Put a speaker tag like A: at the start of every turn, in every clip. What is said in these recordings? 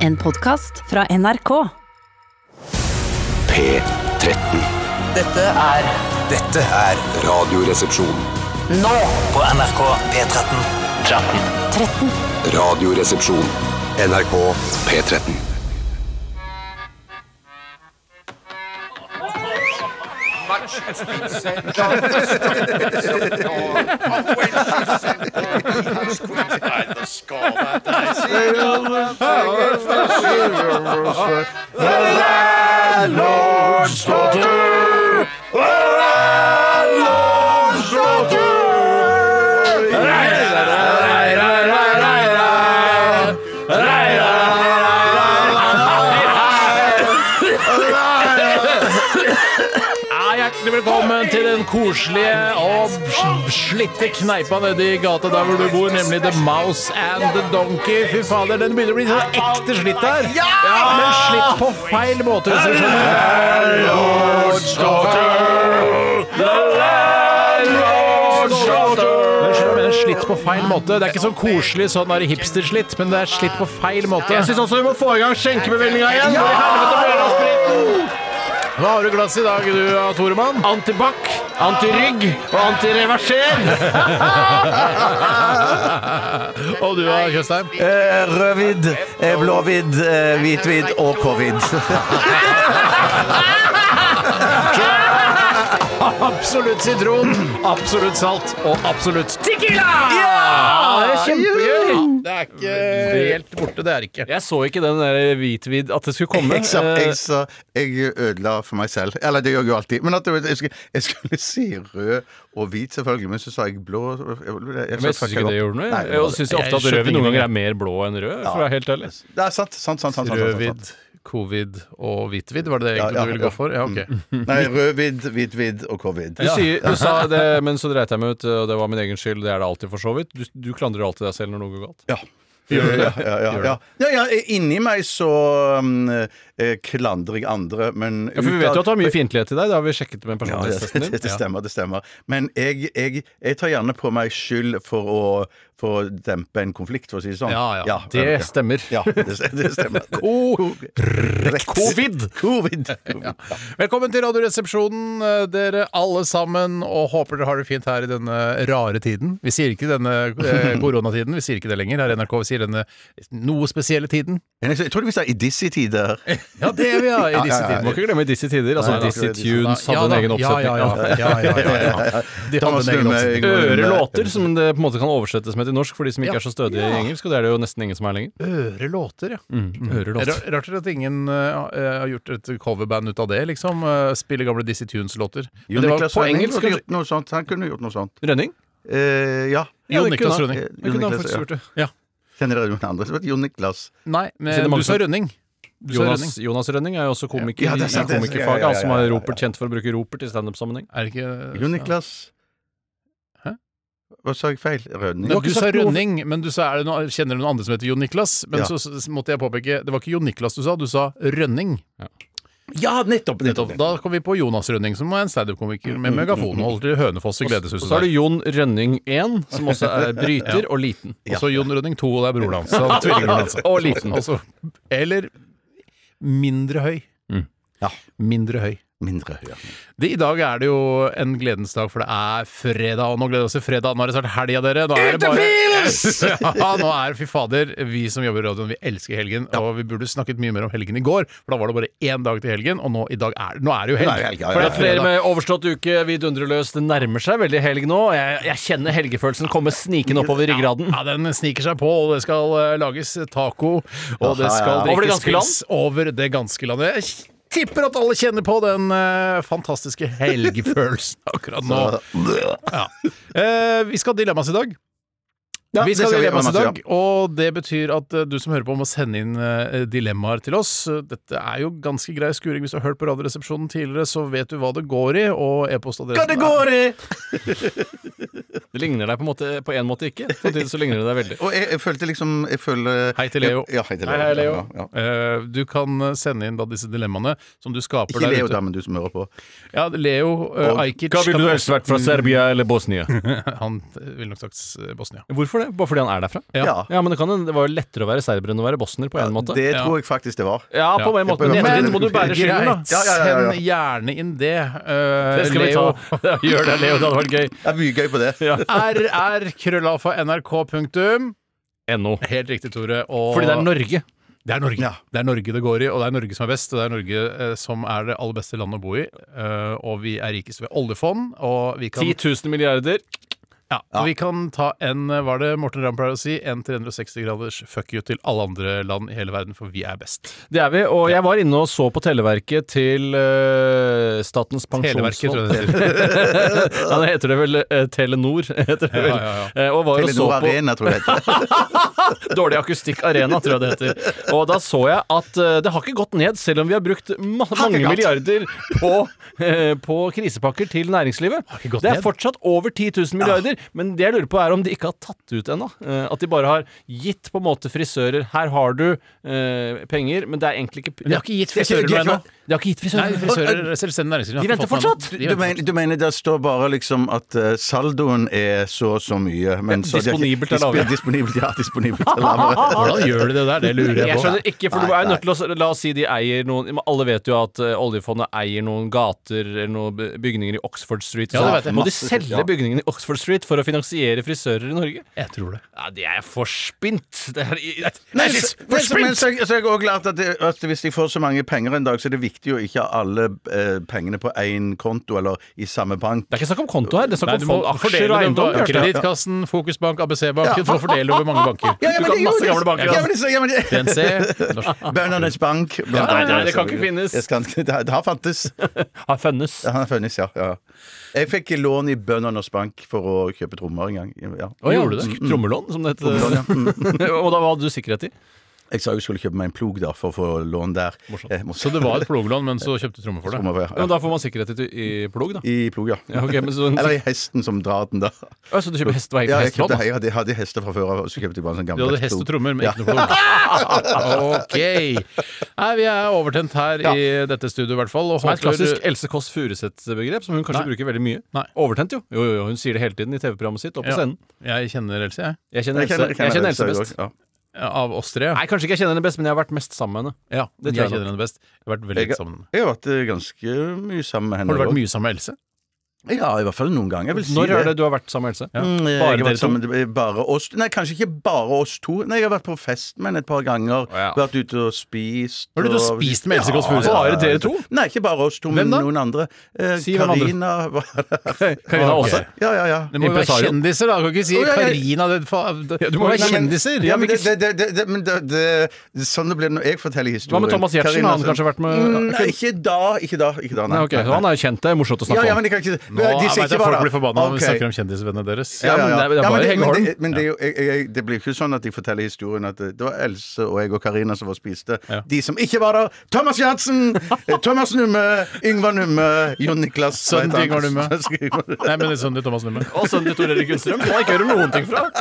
A: En podkast fra NRK.
B: P13.
C: Dette er
B: Dette er Radioresepsjon.
C: nå på NRK P13. 13.
B: Radioresepsjon. NRK P13.
D: Ja, hjertelig velkommen til den koselige og sl- slitte kneipa nede i gata der hvor du bor, nemlig The Mouse and the Donkey. Fy fader, den begynner å bli sånn ekte slitt her. Ja! Men slitt på feil måte, hvis du skjønner. Men skjønner du, jeg mener Slitt på feil måte. Det er ikke sånn koselig sånn der hipsterslitt, men det er slitt på feil måte. Jeg syns også vi må få i gang skjenkebevilgninga igjen. Ja! Hva har du i glasset i dag, du, Toremann? Antibac, antirygg og antireverser. og du, Tjøstheim?
E: Eh, Rødvidd, eh, blåvidd, eh, hvitvidd og covid.
D: Absolutt sitron, absolutt salt og absolutt tequila! det er kjempegøy. Det er ikke helt borte, det er ikke.
F: Jeg så ikke den der hvitvid at det skulle komme.
G: Jeg sa,
F: Eh,
G: jeg sa jeg ødela for meg selv. Eller det gjør jeg jo alltid. Men at jeg, jeg, skulle, jeg skulle si rød og hvit, selvfølgelig, men så sa jeg blå. Jeg,
F: Men jeg syns ikke det gjorde noe.
G: Nei,
F: Jeg syns ofte at
D: skjønner
F: rødvin noen ganger
D: ingenting.
F: er mer blå enn rød, for å være helt ærlig.
G: det er sant. sant, sant, sant, sant, sant, sant, sant.
D: Rødvidd, covid og hvitvidd, var det det
G: Ja,
D: egentlig
G: ja,
D: du ville
G: ja.
D: gå for? Ja, Mm. ok.
G: Nei, rødvidd, hvitvidd og covid.
F: Du, sier, du sa det, men så dreit jeg meg ut, og det var min egen skyld. Det er det alltid, for så vidt. Du, du klandrer alltid deg selv når noe går galt.
G: Ja. Ja, ja, ja, ja. ja, ja, inni meg så um, eh, klandrer jeg andre, men
F: Ja, for vi
G: utad-
F: vet jo at du har mye fiendtlighet i deg. Det har vi sjekket med
G: Ja, det,
F: personlighetstesten
G: det,
F: din.
G: det stemmer, det stemmer. Men jeg, jeg, jeg tar gjerne på meg skyld for å, for å dempe en konflikt, for å si det sånn.
D: Ja, ja. Det
G: ja.
D: stemmer. Oh,
G: Ja, det, det stemmer. Korrekt.
D: Covid.
G: Covid.
D: Velkommen til Radioresepsjonen, eh, dere alle sammen, og håper dere har det fint her i denne rare tiden. Vi sier ikke denne eh, koronatiden, vi sier ikke det lenger her i NRK. Vi sier denne noe spesielle tiden.
G: Men Jeg jeg trodde vi sa i disse tider.
D: Ja, det vi har i disse
G: ja, ja.
F: Må
D: tider.
F: ikke glemme i disse tider. Altså,
G: Nei, da.
F: Dizzie Tunes hadde en
D: da,
F: egen oppsetning.
D: Ja, ja, ja. ja, ja, ja, ja. De hadde
G: Thomas
D: en egen
G: Numme,
D: oppsetning.
G: Yngvar Numme.
F: Ørelåter, som det på en måte kan oversettes med til norsk for de som ikke
D: Ja.
F: er så stødige i engelsk. Og det er det jo nesten ingen som er lenger. Mm,
D: Ørelåter, ja. Det
F: Ørelåter.
D: er Rart at ingen eh, har gjort et coverband ut av det, liksom. eh, Spille gamle Dizzie Tunes-låter. Men
G: Jon
D: det var
G: Niklas
D: på
G: Rønning
D: engelsk,
G: kunne
D: kanskje.
G: gjort noe sånt. Han kunne gjort noe sånt.
F: Rønning?
G: Eh, ja.
D: Jon
F: det kunne
D: Niklas
F: han.
G: Eh,
D: Rønning.
G: Jon
F: Jeg kunne ha
G: Niklas,
F: faktisk
G: ja.
F: gjort det.
G: Kjenner dere noen andre som heter Jon Niklas?
D: Nei,
F: Siden
D: men
F: mange
D: du sa
F: som-
D: Rønning. Du sa Rønning.
F: Jonas, Jonas Rønning er jo også komiker
G: Ja, det er
F: i
G: sant, det er sant. Ja,
F: komikerfaget.
G: ja,
F: Han som
G: ja, ja, ja,
F: er
G: ja.
F: Ropert kjent for å bruke Ropert i standup-sammenheng.
D: Er det ikke
G: Jon Niklas
D: Hæ?
G: Hva sa jeg feil? Rønning?
D: Men
F: har
D: du
F: ikke
D: sa
F: sagt noe-
D: Rønning, men du sa, er det noe, kjenner du noen andre som heter Jon Niklas? Men
G: Ja.
D: så, så måtte jeg påpeke, det var ikke Jon Niklas du sa, du sa Rønning.
G: Ja, nettopp!
D: Nettopp. Da kom vi på Jonas Rønning, som er en standup-komiker med megafon og holder til Hønefoss i
F: Og
D: Gledeshuset.
F: så er det
D: der.
F: Jon Rønning 1, som også er bryter og liten.
D: Og så Jon Rønning 2, og det er broren hans. så han er Tvillingbroren hans.
F: Og liten.
D: Altså, eller mindre høy.
F: Mm.
G: Ja.
D: Mindre høy.
G: Mindre høy.
D: Det, I dag er det jo en gledens dag, for det er fredag. Og nå gleder vi oss til fredag. Nå er det snart helg av dere. Nå er det bare... ja, nå er det fy fader. Vi som jobber i radioen, vi elsker helgen. Og vi burde snakket mye mer om helgen i går, for da var det bare én dag til helgen. Og nå i dag er, nå er det jo helg.
G: Nå er det helg, ja, ja,
F: For det
G: ja.
F: er flere med overstått uke, vi dundrer løs. Det nærmer seg veldig helg nå. og Jeg, jeg kjenner helgefølelsen komme snikende oppover ryggraden.
D: Ja, den sniker seg på, og det skal eh, lages taco, og det skal
G: ja.
F: Over det
D: drikkes
F: ganske
D: pils over det ganske land. Jeg tipper at alle kjenner på den eh, fantastiske helgefølelsen akkurat nå. Ja. Eh, vi skal ha dilemmas i dag.
G: Ja,
D: vi
G: det
D: skal ha
G: skal vi
D: dilemmas i
G: ha
D: dag, og det betyr at eh, du som hører på må sende inn eh, dilemmaer til oss. Dette er jo ganske grei skuring. Hvis du har hørt på Radioresepsjonen tidligere, så vet du hva det går i, og e-postadressen er
F: Det ligner deg på en måte, på en måte ikke. Samtidig så ligner det deg veldig.
G: Og jeg, jeg følte liksom jeg føler,
D: Hei til Leo.
G: Ja, hei til Leo.
D: Hei, hei, Leo.
G: Ja, ja.
D: Eh, Du kan eh, sende inn da disse dilemmaene som du skaper
G: Ikke Leo,
D: der
G: da, men du som hører på.
D: ute. Ja, Leo eh, Ajkic kan-
F: helst vært fra Serbia eller Bosnia?
D: Han eh, ville nok sagt eh, Bosnia.
F: Hvorfor Hvorfor det? Bare fordi han er derfra?
G: Ja.
F: ja men det, kan, hende- det var jo lettere å være serber enn å være bosner, på en måte.
G: Det tror jeg faktisk det var.
F: Ja, på en måte.
G: Ja, på en
F: Men
G: måte.
F: må du bære skylden, da.
D: Greit,
G: Ja, ja, ja, ja.
D: send gjerne inn det. eh,
F: Det skal vi
D: Leo.
F: ta. Gjør det, Leo. Det hadde vært gøy.
G: Det er mye gøy på det.
F: Ja.
D: RR krøllalfa NRK punktum.
F: NO.
D: Helt riktig, Tore. Og
F: Fordi det er Norge.
D: Det er Norge.
G: Ja.
D: Det er Norge det går i, og det er Norge som er best. Og det er Norge eh, som er det aller beste landet å bo i. Eh, og vi er rikest ved oljefond, og vi kan
F: 10 000 milliarder.
D: Ja, og Vi kan ta en, eh, hva er det Morten Ramm pleier å si, en 360 graders fuck you til alle andre land i hele verden, for vi er best.
F: Det er vi. Og jeg var inne og så på televerket til eh, Statens
D: Televerket, tror
F: pensjonsfond.
D: jeg det heter.
F: Ja, det heter det vel eh, Telenor. heter det vel.
D: Ja, ja,
F: Eh, og var og så
G: Telenor
F: på
G: Arena, tror jeg det heter.
F: Dårlig akustikk arena, tror jeg det heter. Og da så jeg at eh, det har ikke gått ned, selv om vi har brukt ma mange milliarder på, eh, på krisepakker til næringslivet.
D: ikke gått
F: Det er
D: ned.
F: fortsatt over 10 000 milliarder, men det jeg lurer på er om de ikke har tatt ut ennå. Eh, At de bare har gitt på en måte frisører Her har du eh, penger, men det er egentlig ikke
D: De har ikke gitt frisører
G: De har
D: noe
G: ikke-
D: ennå.
F: De har ikke gitt
D: Nei,
F: frisører.
D: frisører, selvstendig næringsdrivende. har
F: De
D: ikke
F: venter
D: fått noe
F: fortsatt.
D: ennå. De
G: Du
D: venter
G: mener, du mener det står bare liksom at eh, saldoen er så og så mye men så de har ikke-
F: disponibelt er lavere.
G: disp- Disponibelt, ja. Disponibelt er lavere.
D: Hvordan gjør de det der? Det lurer
F: Jeg
D: jeg på.
F: skjønner ikke, for du
G: Nei,
F: er jo nødt til å s- La oss si de eier noen Alle vet jo at eh, oljefondet eier noen gater eller noen b- bygninger i Oxford Street.
D: Ja,
F: så
D: det vet jeg.
F: Må de
G: Masse-
F: selge
G: ja.
F: bygningene i Oxford Street for å finansiere frisører i Norge?
D: Jeg tror det.
F: Ja, Det er for spint! Det er i-
G: Nei,
F: Nei,
G: så, men, så, men så, så er jeg også lært at, det, at hvis jeg får så mange penger en dag, så er det viktig å ikke ha alle eh, pengene på én konto eller i samme bank.
F: Det er ikke snakk om konto her, det er
D: Nei,
F: snakk
D: du
F: om
D: må
F: fond, aksjer
D: fordele dem på
F: og eiendom. hørte jeg.
D: Kredittkassen, Fokusbank, ABC-banken. Du må fordele over mange banker. altså.
G: Ja, ja,
F: Du
G: men
F: kan
G: det er jo
F: masse
G: det-
F: gamle banker,
G: Ja,
F: da.
G: men det, ja, men det,
D: DNC. Norsk.
G: Bøndenes Bank. blant
F: Nei, nei,
G: annet.
F: det kan ikke finnes.
G: Det, skal, det, det har fantes.
F: Har funnes.
G: Det har funnes, ja. ja. Jeg fikk lån i Bøndenes Bank for å kjøpe trommer en gang. Ja.
F: Å, ja,
D: Gjorde du det?
F: sk- Trommelån, som det heter. og da hva hadde du sikkerhet i?
G: Jeg sa jeg skulle kjøpe meg en plog der for å få lån der. Eh, morsomt.
D: Så det var et ploglån, men så kjøpte trommer for det.
G: Trommer, ja.
F: Ja, men da får man sikkerhet i, t- i plog, da.
G: I plog, ja.
F: Ja, ok, men så,
G: Eller i hesten som drar den, da.
F: Å, så du kjøper hest og
G: Ja,
F: eier
G: jeg,
F: hestehånd?
G: kjøpte, jeg hadde, jeg hadde hester fra før av, og så kjøpte jeg bare en sånn
D: Du hadde
G: gammeldags
D: hest og
G: plog.
D: trommer, men ikke noe plog. Ok. Nei, vi er overtent her i dette studioet, i hvert fall. Og
F: Som er et klassisk
D: håper
F: Else Kåss Furuseth-begrep, som hun kanskje
D: Nei.
F: bruker veldig mye.
D: Nei.
F: Overtent, jo. Jo, jo, jo. Hun sier det hele tiden i TV-programmet sitt og på
D: Ja.
F: scenen.
D: Jeg kjenner Else, jeg.
F: Jeg kjenner Else, jeg kjenner Else best.
G: Ja.
D: Av oss tre.
F: Nei, kanskje ikke jeg kjenner henne best, men jeg har vært mest sammen med henne.
D: Ja,
F: det
D: jeg
F: tror jeg nok.
D: kjenner henne best. Jeg har vært veldig
G: Jeg,
D: sammen med henne.
G: jeg har vært eh, ganske mye sammen med henne.
D: Har du vært
G: også.
D: mye sammen med Else?
G: Ja, i hvert fall noen ganger. Jeg vil si
F: Når er det du har vært sammen med Else?
G: Mm, jeg
F: Bare
G: har
F: dere
G: vært
F: to?
G: sammen med eh, bare oss Nei, kanskje ikke bare oss to. Nei, Jeg har vært på fest med henne et par ganger.
F: Ja.
G: Vært ute og spist.
D: Har du ute og spist med Else Kåss Furuseth?
F: Bare dere to?
G: Nei, ikke bare oss to,
F: Hvem
G: men
F: da?
G: noen andre. Eh,
F: Si hvem andre.
G: Karina var der. Altså,
F: Karina
D: Ok.
F: Aase.
G: Ja, ja, ja.
D: Det må jo være
F: Impresario.
D: kjendiser, da. Du kan ikke si
G: Å, ja, ja.
D: Karina det, fa- det, Du må
G: Nei,
D: være
G: men-
D: kjendiser!
G: Ja, men
D: Jeg
G: det,
D: vil ikke
G: det, det, det, men det, det, sånn det blir når jeg forteller historien.
F: Hva med Thomas Giertsen?
G: Karina
F: Har han
G: Sand-
F: kanskje vært med-
G: Mm, Nei, ikke da. Ikke da. Ikke da nei.
F: Nei, ok, så Han er jo kjent, det er morsomt å
G: Ja,
F: snakke
G: ja,
F: om.
G: men jeg kan ikke
D: si- Nå
G: de
D: vet
G: sier
D: jeg
G: ikke hva
D: folk
G: da.
D: blir forbanna når
G: Ok.
D: vi snakker om kjendisvennene deres.
G: Ja, ja,
F: men det er- det er
G: ja.
F: bare
G: men det-
F: Hege
G: men
F: Holm.
G: det- Men det er jo- jeg- jeg- det blir jo ikke sånn at jeg forteller historien at eh, det det var Else og jeg og Karina som var og spiste.
D: Ja.
G: De som ikke var der, Thomas Giertsen, eh, Thomas Numme, Yngvar Numme, Jon Niklas
D: Sønnen til Yngvar Numme.
G: Numme.
D: Nei, men det er sånn det er Thomas Numme.
F: Og sønnen til Tor Erik Gunnstrøm, som han ikke hører noen ting fra.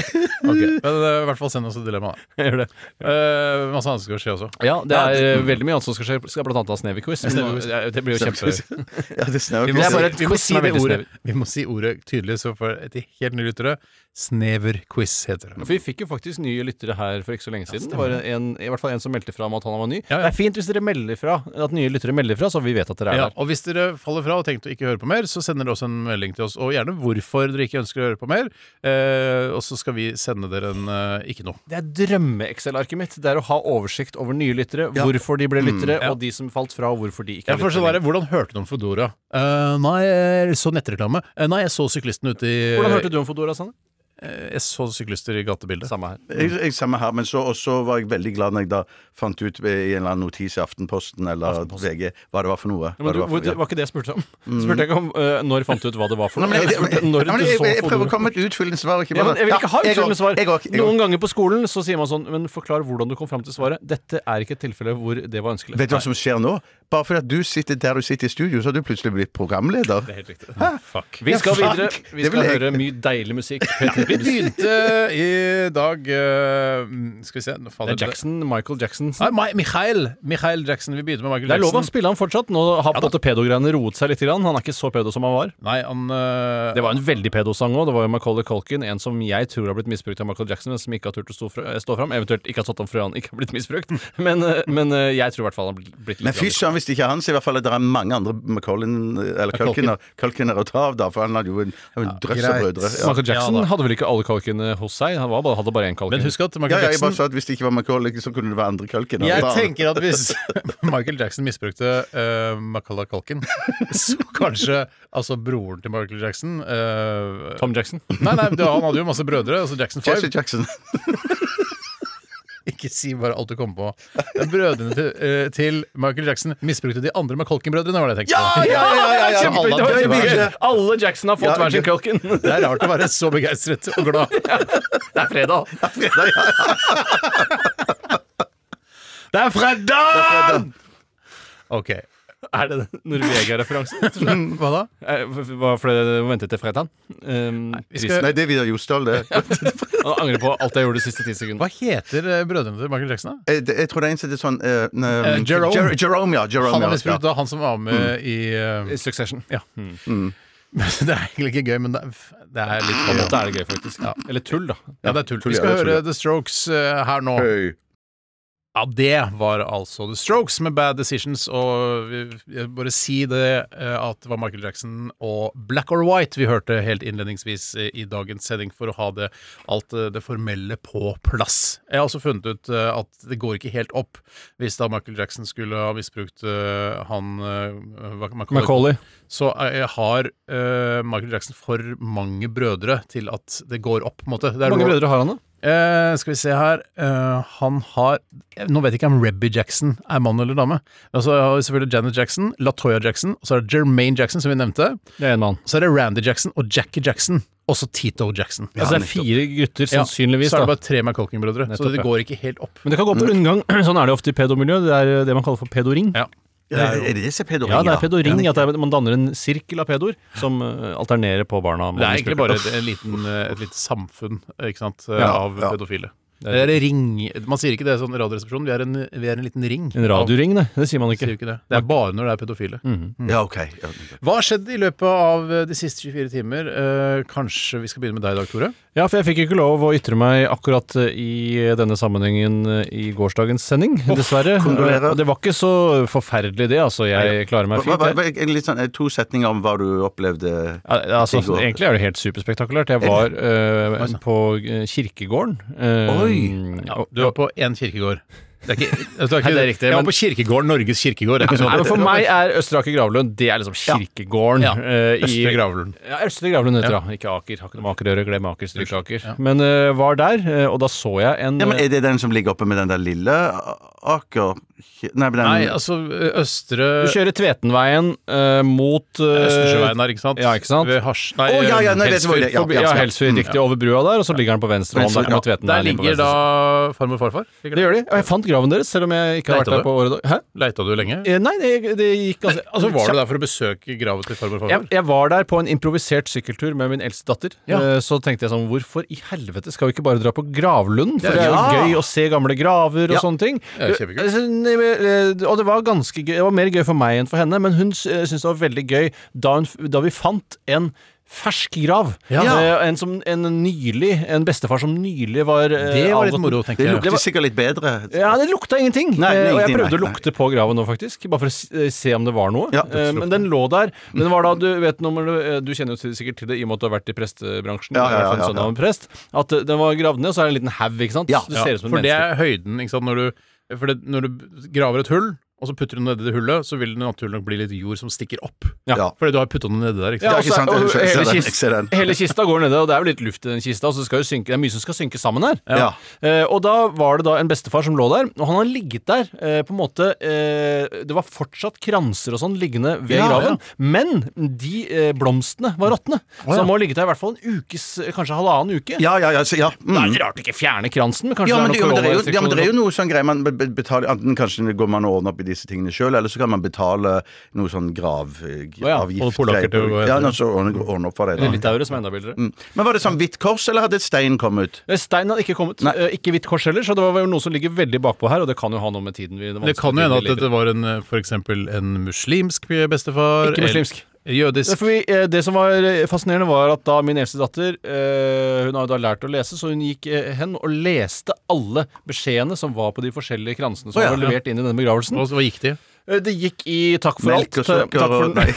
D: Men eh, i hvert fall send oss et dilemma, da.
F: Jeg gjør det.
D: Eh, masse annet skal skje også.
F: Ja, det er eh, veldig mye annet som skal skje. Skal blant annet ha Snevi-quiz. men nå- ja, Det blir jo kjempe...
G: Ja, det snør
D: Vi
G: jo
D: må,
F: Det
D: si,
F: er bare
G: ikke.
F: et
D: vi, må
F: quiz
D: si
F: som er
D: det
F: veldig
D: ordet,
F: snever.
D: vi må si ordet tydelig, så for et helt nye lyttere Snever-quiz heter det.
F: For vi fikk jo faktisk nye lyttere her for ikke så lenge siden. Det var en, I hvert fall en som meldte fra om at han var ny.
D: Ja, ja.
F: Det er fint hvis dere melder fra at nye lyttere melder fra, så vi vet at dere er
D: Ja,
F: der.
D: og hvis dere faller fra og tenkte å ikke høre på mer, så sender dere også en melding til oss. Og gjerne hvorfor dere ikke ønsker å høre på mer. Eh, og så skal vi sende dere en eh, ikke noe.
F: Det er drømme-Excel-arket mitt. Det er å ha oversikt over nye lyttere, hvorfor de ble lyttere,
D: Mm. ja.
F: og de som falt fra, og hvorfor de ikke
D: Ja,
F: er
D: for sånn
F: lyttere.
D: er det, Hvordan hørte du om Foodora? Eh, nei, jeg så nettreklame. Eh, nei, jeg så syklisten ute i
F: Hvordan hørte du om Fodora, Sanne?
D: Jeg så syklister i gatebildet.
F: Samme her.
G: Jeg, jeg, samme her, men så også var jeg veldig glad når jeg da fant ut i en eller annen notis i Aftenposten eller VG hva det var for noe.
F: Ja, men
G: hva
F: du,
G: det var for,
F: hvor, det var ikke det jeg spurte om. Spurte jeg ikke om eh, når fant du ut hva det var for
G: Nei,
F: noe.
G: men
F: Jeg
G: jeg,
F: spurte
G: Nei,
F: når
G: men
F: du
G: jeg,
F: så
G: jeg, jeg prøver å
F: Fodora.
G: komme med et utfyllende svar. Ikke
F: Ja,
G: bare,
F: men jeg vil ikke ha
G: jeg
F: utfyllende
G: også,
F: svar.
G: jeg også, jeg også.
F: Noen ganger på skolen så sier man sånn Men forklar hvordan du kom fram til svaret. Dette er ikke et tilfelle hvor det var ønskelig.
G: Vet du hva som skjer nå? Bare fordi at du sitter der du sitter i studio, så har du plutselig blitt programleder.
F: Helt riktig. Vi skal
G: Ja, fuck.
F: videre. Vi
G: Det vil
F: skal
G: jeg-
F: høre mye deilig musikk. P13
D: Vi begynte i dag eh, Skal vi se nå faller
F: Det er Jackson, Michael Jackson.
D: Nei, Mi- Michael, Michael Jackson. Vi begynte med Michael
F: Det er lov å
D: Jackson.
F: spille han fortsatt. Nå har på
D: Ja
F: en måte pedogreiene roet seg litt. grann. Han er ikke så pedo som han var.
D: Nei, han eh,
F: Det var en veldig pedosang òg. Det var jo Macaulay Culkin, en som jeg tror har blitt misbrukt av Michael Jackson, men som ikke har turt å stå, fra, stå fram. Eventuelt ikke har stått fram fordi han ikke har blitt misbrukt. Men, eh, men eh, jeg tror i hvert fall han har blitt litt
G: Men fy
F: grann-
G: søren, hvis det ikke er han, så i hvert fall at det er mange andre Macaulin eller Culkiner, Culkiner å ta av, da, for han hadde jo en, en drøss av
D: greit.
G: brødre. Ja.
F: Michael Jackson
D: Ja da.
F: hadde vel ikke alle kalkene hos seg? Han var bare, hadde bare én kalken.
D: Men husk at
G: Ja,
D: Michael
G: ja, jeg bare
D: Jackson
G: sa at Hvis det ikke var Macaulay, så kunne det være andre Culkiner.
D: jeg
G: Da-
D: tenker at hvis Michael Jackson misbrukte uh, Macaulay Culkin, så kanskje altså broren til Michael Jackson eh,
F: Tom Jackson.
D: Nei, nei, det, han hadde jo masse brødre. Altså Jackson 5.
G: Jesse Jackson.
D: Ikke si bare alt du kommer på. Det er Brødrene til, eh, til Michael Jackson misbrukte de andre Macaulkin-brødrene, var det jeg tenkte. på.
F: ja,
D: Så alle
F: Kjempe, det var
D: hadde
F: så
D: hver-
F: mye. Alle Jackson har fått
G: Ja,
F: hver sin kalken.
D: Det er rart å være så begeistret og glad.
F: Det er fredag.
D: Det er fredag! OK.
F: Er det den Norvegia-referansen?
D: Hva da?
F: Eh, Var for det ventet til fredag? Um,
D: skal-
G: Nei, det er Vidar Josdal, det.
F: Jeg angrer på alt jeg gjorde de siste ti sekundene.
D: Hva heter eh, brødrene til Michael Jackson? da?
G: Jeg, jeg tror det er en som heter sånn eh, ne,
D: Eh, Jerome.
G: Jer Jerome, ja. Jerome,
D: Han
G: ja,
D: har misbrukt da, han som var med i eh,
F: Succession.
D: Ja.
G: Mm.
D: Det er egentlig ikke gøy, men det er, det er litt
F: På
D: gøy.
F: en måte er det gøy, faktisk. Eller tull, da.
D: Ja, det er tull.
G: Tull, ja,
D: Vi skal
G: det er tull,
D: høre
G: ja.
D: The Strokes eh, her nå.
G: ja. Høy.
D: Ja, det var altså The Strokes med Bad Decisions, og vi, jeg bare si det eh, at det var Michael Jackson og Black or White vi hørte helt innledningsvis eh, i dagens sending for å ha det, alt eh, det formelle på plass. Jeg har også funnet ut eh, at det går ikke helt opp hvis da Michael Jackson skulle ha misbrukt eh, han eh, hva-
F: Macaulay.
D: så eh, har eh, Michael Jackson for mange brødre til at det går opp, på en måte. Det er
F: Hvor mange
D: Ro-
F: brødre har han, da?
D: Eh, skal vi se her eh, Han har eh, Nå vet jeg ikke om Rebby Jackson er mann eller dame. Men så har vi selvfølgelig Janet Jackson, Latoya Jackson, og så er det Jermaine Jackson, som vi nevnte.
F: Det er én mann.
D: Så er det Randy Jackson og Jackie Jackson. Også Tito Jackson.
F: Altså, det er fire gutter,
D: Ja,
F: sannsynligvis.
D: Så er det
F: da.
D: bare tre McColkin-brødre. Så
F: Nettopp,
D: det
F: ja.
D: går ikke helt opp.
F: Men det kan gå opp til rundgang. Sånn er det ofte i pedomiljøet. Det er eh, det man kaller for pedoring.
D: Ja.
G: Ja, er det det som er pedoring?
F: Ja, det er pedoring. At det er, man danner en sirkel av pedoer som eh, alternerer på barna. man
D: Det er egentlig bare
F: misbruker.
D: et, en liten, eh, et lite samfunn ikke sant, eh,
F: Ja,
D: av
G: ja.
D: pedofile. Det er en ring Man sier ikke det sånn i Radioresepsjonen. Vi, er en- vi er en liten ring.
F: En Mm. radioring, det. Det sier man
D: Sier
F: ikke.
D: vi ikke det. det er bare når det er pedofile.
G: Ja, ok. Ja.
D: Hva har skjedd i løpet av eh, de siste 24 timer? Eh, kanskje vi skal begynne med deg i dag, Tore?
F: Ja, for jeg fikk jo ikke lov å ytre meg akkurat eh, i denne sammenhengen eh, i gårsdagens sending, dessverre. Eh,
G: kondolerer.
F: Og det var ikke så forferdelig, det. Altså, jeg klarer meg
G: Hva, hva,
F: fint. jeg.
G: hva, en litt sånn, eh, to setninger om hva du opplevde
F: Ja,
G: i
F: altså,
G: går.
F: egentlig er det helt superspektakulært. Jeg var eh, på eh, kirkegården. eh,
G: Oi.
F: og-
D: Du var på én kirkegård. Det er ikke, det er ikke,
F: Nei, det er riktig,
D: jeg var
F: men-
D: på kirkegården, Norges kirkegård. Det er ikke sånn
F: Nei,
D: at-
F: men for meg er Østre Aker Gravlund Det er liksom kirkegården.
D: Ja.
F: eh, i-
D: Østre Gravlund.
F: Ja, Østre Gravlund heter
D: Ja.
F: det. da. Ikke Aker. Har ikke noe med Aker å gjøre. Glem Aker, stryk Aker. Men eh, var der, eh, og da så jeg en eh,
G: Ja, men Er det den som ligger oppe med den der lille Aker Nei, men den
D: Nei, altså ø, Østre
F: Du kjører Tvetenveien eh, mot eh,
D: Østersjøveien her, ikke sant?
F: Ja, ikke sant?
D: Ved Hasj... Nei,
G: Å, ja, ja, nei, det
D: Helsfyr.
G: var det,
F: Forbi, ja, Helsfyr, riktig. Over brua der, og så ligger den på venstre hånd.
G: Venstre,
F: Der, mot
G: ja.
F: Tvetenveien,
D: Der
F: inne på
D: ligger
F: venstre
D: da
F: side.
D: farmor og farfar?
F: Det gjør de. Og jeg fant graven deres, selv om jeg ikke har vært
D: Leita
F: der på året. Hæ?
D: Leita du lenge?
F: Eh, Nei, det, det gikk ganske
D: Altså, Var du der for å besøke graven til farmor og
F: jeg,
D: farfar?
F: jeg var der på en improvisert sykkeltur med min eldste datter.
D: Ja.
F: Eh, Så tenkte jeg sånn, hvorfor i helvete skal vi ikke bare dra på gravlund? For det er
G: Ja.
F: jo gøy å se gamle graver og
G: Ja.
F: sånne ting.
D: Ja, kjempekult.
F: Eh, så- eh, Og det var ganske gøy. Det var mer gøy for meg enn for henne, men hun s- eh, syntes det var veldig gøy da, hun, f- da vi fant en Fersk grav. Eh, En, som, en nylig En bestefar som nylig var eh,
D: Det var litt moro, tenker
G: Det
D: jeg.
G: lukter
F: var-
G: sikkert litt bedre.
F: ja, det lukta ingenting.
G: Nei,
F: Eh, og jeg
G: ingenting,
F: prøvde å
G: nei,
F: lukte på graven nå, faktisk. Bare for å s- eh, se om det var noe.
G: Ja,
F: Eh, men den lå der. Men det var da, du vet når man, eh, Du kjenner jo til- sikkert til det i og med at du har vært i prestebransjen.
G: Ja, ja,
F: i hvert fall
G: ja,
F: en sønn
G: ja.
F: av en prest At eh, den var gravd ned, og så er det en liten haug, ikke sant?
G: Ja.
F: Så det ser ut som en
D: for det
F: menneske.
D: er høyden, ikke sant. Når du, for det, når du graver et hull, og så putter du den nedi det hullet, så vil det naturlig nok bli litt jord som stikker opp.
G: Ja.
D: Fordi du har putta den nedi der, ikke
F: Ja,
D: sant.
G: ikke sant,
F: altså, og
G: jeg
F: så-
G: ser- jeg ser
F: hele,
G: den, jeg ser
F: kista,
G: den.
F: hele kista går nede, og det er jo litt luft i den kista, og så skal jo synke, det er mye som skal synke sammen her.
G: Ja.
F: Eh, og da var det da en bestefar som lå der, og han har ligget der eh, på en måte eh, Det var fortsatt kranser og sånn liggende ved
G: Ja,
F: graven, men de eh, blomstene var råtne. Så han må ha ligget der i hvert fall en ukes, kanskje halvannen uke.
G: Ja, ja, ja, så, ja. Mm.
F: Det er litt rart å ikke fjerne kransen, men kanskje
G: Ja men,
F: det
G: det, jo,
F: er
G: men
F: noe
G: det er jo, ja, men det er
F: korona-
G: jo noe sånn greier man be- be- betaler Enten kanskje går man og ordner opp i de disse tingene sjøl, eller så kan man betale noe sånn gravavgift.
F: ja,
D: og polakker til å gå etter.
G: ja, men så ordner ordner opp for deg.
F: Eller
G: Da.
F: litauere, som er enda billigere.
G: Mm. Men var det sånn hvitt kors, eller hadde stein kommet ut?
F: Eh, Stein hadde ikke kommet.
G: Nei.
F: eh, Ikke hvitt kors heller, så det var vel noe som ligger veldig bakpå her, og det kan jo ha noe med tiden vi
D: Det kan jo hende at
F: vanskelige tiden vi lever i.
D: dette var en, eh, for eksempel en muslimsk bestefar.
F: Ikke muslimsk.
D: eller Jødisk.
F: Ja, for vi, eh, det som var eh, fascinerende, var at da min eldste datter eh, Hun har jo da lært å lese, så hun gikk eh, hen og leste alle beskjedene som var på de forskjellige kransene som
G: Å, ja.
F: var levert inn i denne begravelsen.
D: Og så- Hva gikk de?
F: Eh, Det gikk i 'takk for
G: Melk og
F: alt'. eh,
G: sukker
F: Takk for
G: og Nei.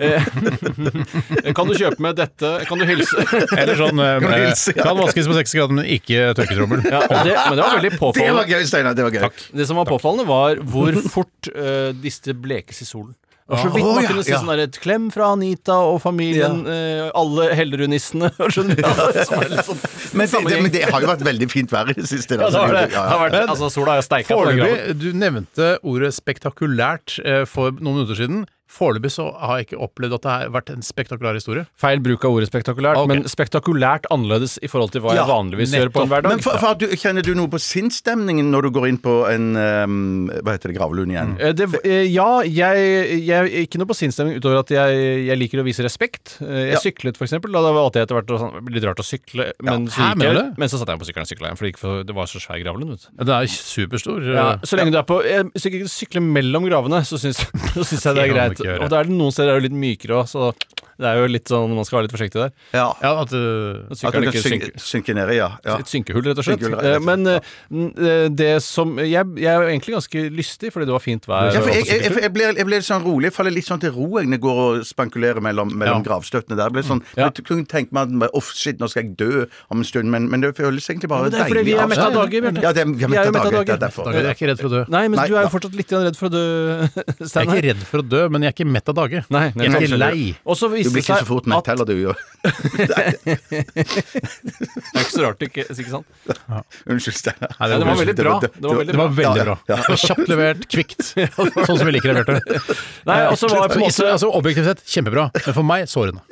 F: den. Eh, Kan du kjøpe med dette? Kan du hilse?
D: Eller sånn eh,
G: Kan hilse, ja.
D: Kan vaskes på 60 grader, men ikke tørketrommel.
F: Ja, og det, men det var veldig
G: Det var
F: påfallende.
G: gøy, Steinar. Det var gøy.
F: Det som var påfallende, var hvor fort eh, disse blekes i solen. Det var så vidt man kunne si sånn der, et klem fra Anita og familien, eh, alle Hellerudnissene. Skjønner du? Som er litt sånn
G: Men det, det,
F: sammenheng.
G: men det har jo vært veldig fint vær i det siste. da.
F: Ja, det har det.
G: Ja,
F: det har
G: ja.
F: vært, altså, sola har steika på den graven.
D: Foreløpig, Du nevnte ordet spektakulært eh, for noen minutter siden. Foreløpig så har jeg ikke opplevd at det har vært en spektakulær historie.
F: Feil bruk av ordet spektakulært,
D: Ok.
F: men spektakulært annerledes i forhold til hva
G: Ja,
F: jeg vanligvis gjør på en hverdag.
G: Men for, for, at du, kjenner du noe på sinnsstemningen når du går inn på en ehm, Hva heter det, gravlund igjen?
F: Eh, Det, eh, ja, jeg, jeg Ikke noe på sinnsstemning utover at jeg, jeg liker å vise respekt. Eh, Jeg
G: Ja. syklet
F: syklet, for eksempel. Da valgte jeg etter hvert å sånn, litt rart å sykle, men, så,
D: hæ,
F: gikk
D: mener
F: jeg,
D: du det?
F: men så satte jeg meg på sykkelen og sykla igjen, for det, gikk for det var så svær gravlund. Vet. du.
D: Det er superstor. eh,
F: Ja, så lenge du er på eh, Hvis du ikke sykler mellom gravene, så syns, så syns jeg det er
D: Det kan
F: greit.
D: du ikke gjøre.
F: Og da er det noen steder er det litt mykere òg, så det er jo litt sånn man skal være litt forsiktig der.
G: Ja.
D: ja, at, eh,
F: At
G: At
F: sykkelen
G: det
F: ikke
G: synker,
F: synker.
G: synker ned, ja. ja.
F: Et synkehull, rett og slett.
G: Synkehull, rett og slett,
F: Eh, Men eh, n- eh, det som Jeg, jeg er jo egentlig ganske lystig, fordi det var fint vær.
G: Ja, for
F: og
G: jeg, jeg,
F: sykkeltur.
G: jeg, blir, jeg blir litt sånn rolig. Jeg faller litt sånn til ro jeg, når jeg går og spankulerer mellom, mellom
D: Ja.
G: gravstøttene der. Jeg blir sånn,
F: Mm. Ja.
G: Jeg kunne tenke meg at «Åh, shit, nå skal jeg dø om en stund, men, men det føles egentlig bare
F: Men det er fordi vi er mette av dager, Bjarte.
G: Ja, det er, vi er
F: Vi er jo
G: mette av dager. Det
F: mette av
G: er
D: Dager,
F: dager.
D: jeg er
G: derfor.
D: ikke redd for å dø.
F: Nei, men
G: Nei,
F: du er
G: ja.
F: jo fortsatt litt grann redd for å dø,
D: Jeg er
F: Steinar.
D: ikke redd for å dø, men jeg er ikke mett av dage.
F: Nei, nei,
D: Jeg er
F: nei.
D: ikke lei.
F: Og så
G: Du
F: viste
G: blir
F: det
G: ikke så
F: seg
G: fort mett
F: at
G: heller, du. jo.
F: Det er ikke så rart, ikke, ikke sant?
G: Unnskyld, Steinar.
D: Nei,
F: Nei, det var veldig bra. Det var veldig
D: Det var
F: bra.
D: veldig
G: Ja,
D: bra.
G: ja,
D: Det var Kjapt levert, kvikt. Sånn som vi liker det, Bjarte.
F: Nei, og så var jeg på en måte
D: Altså, objektivt sett kjempebra, men for meg sårende.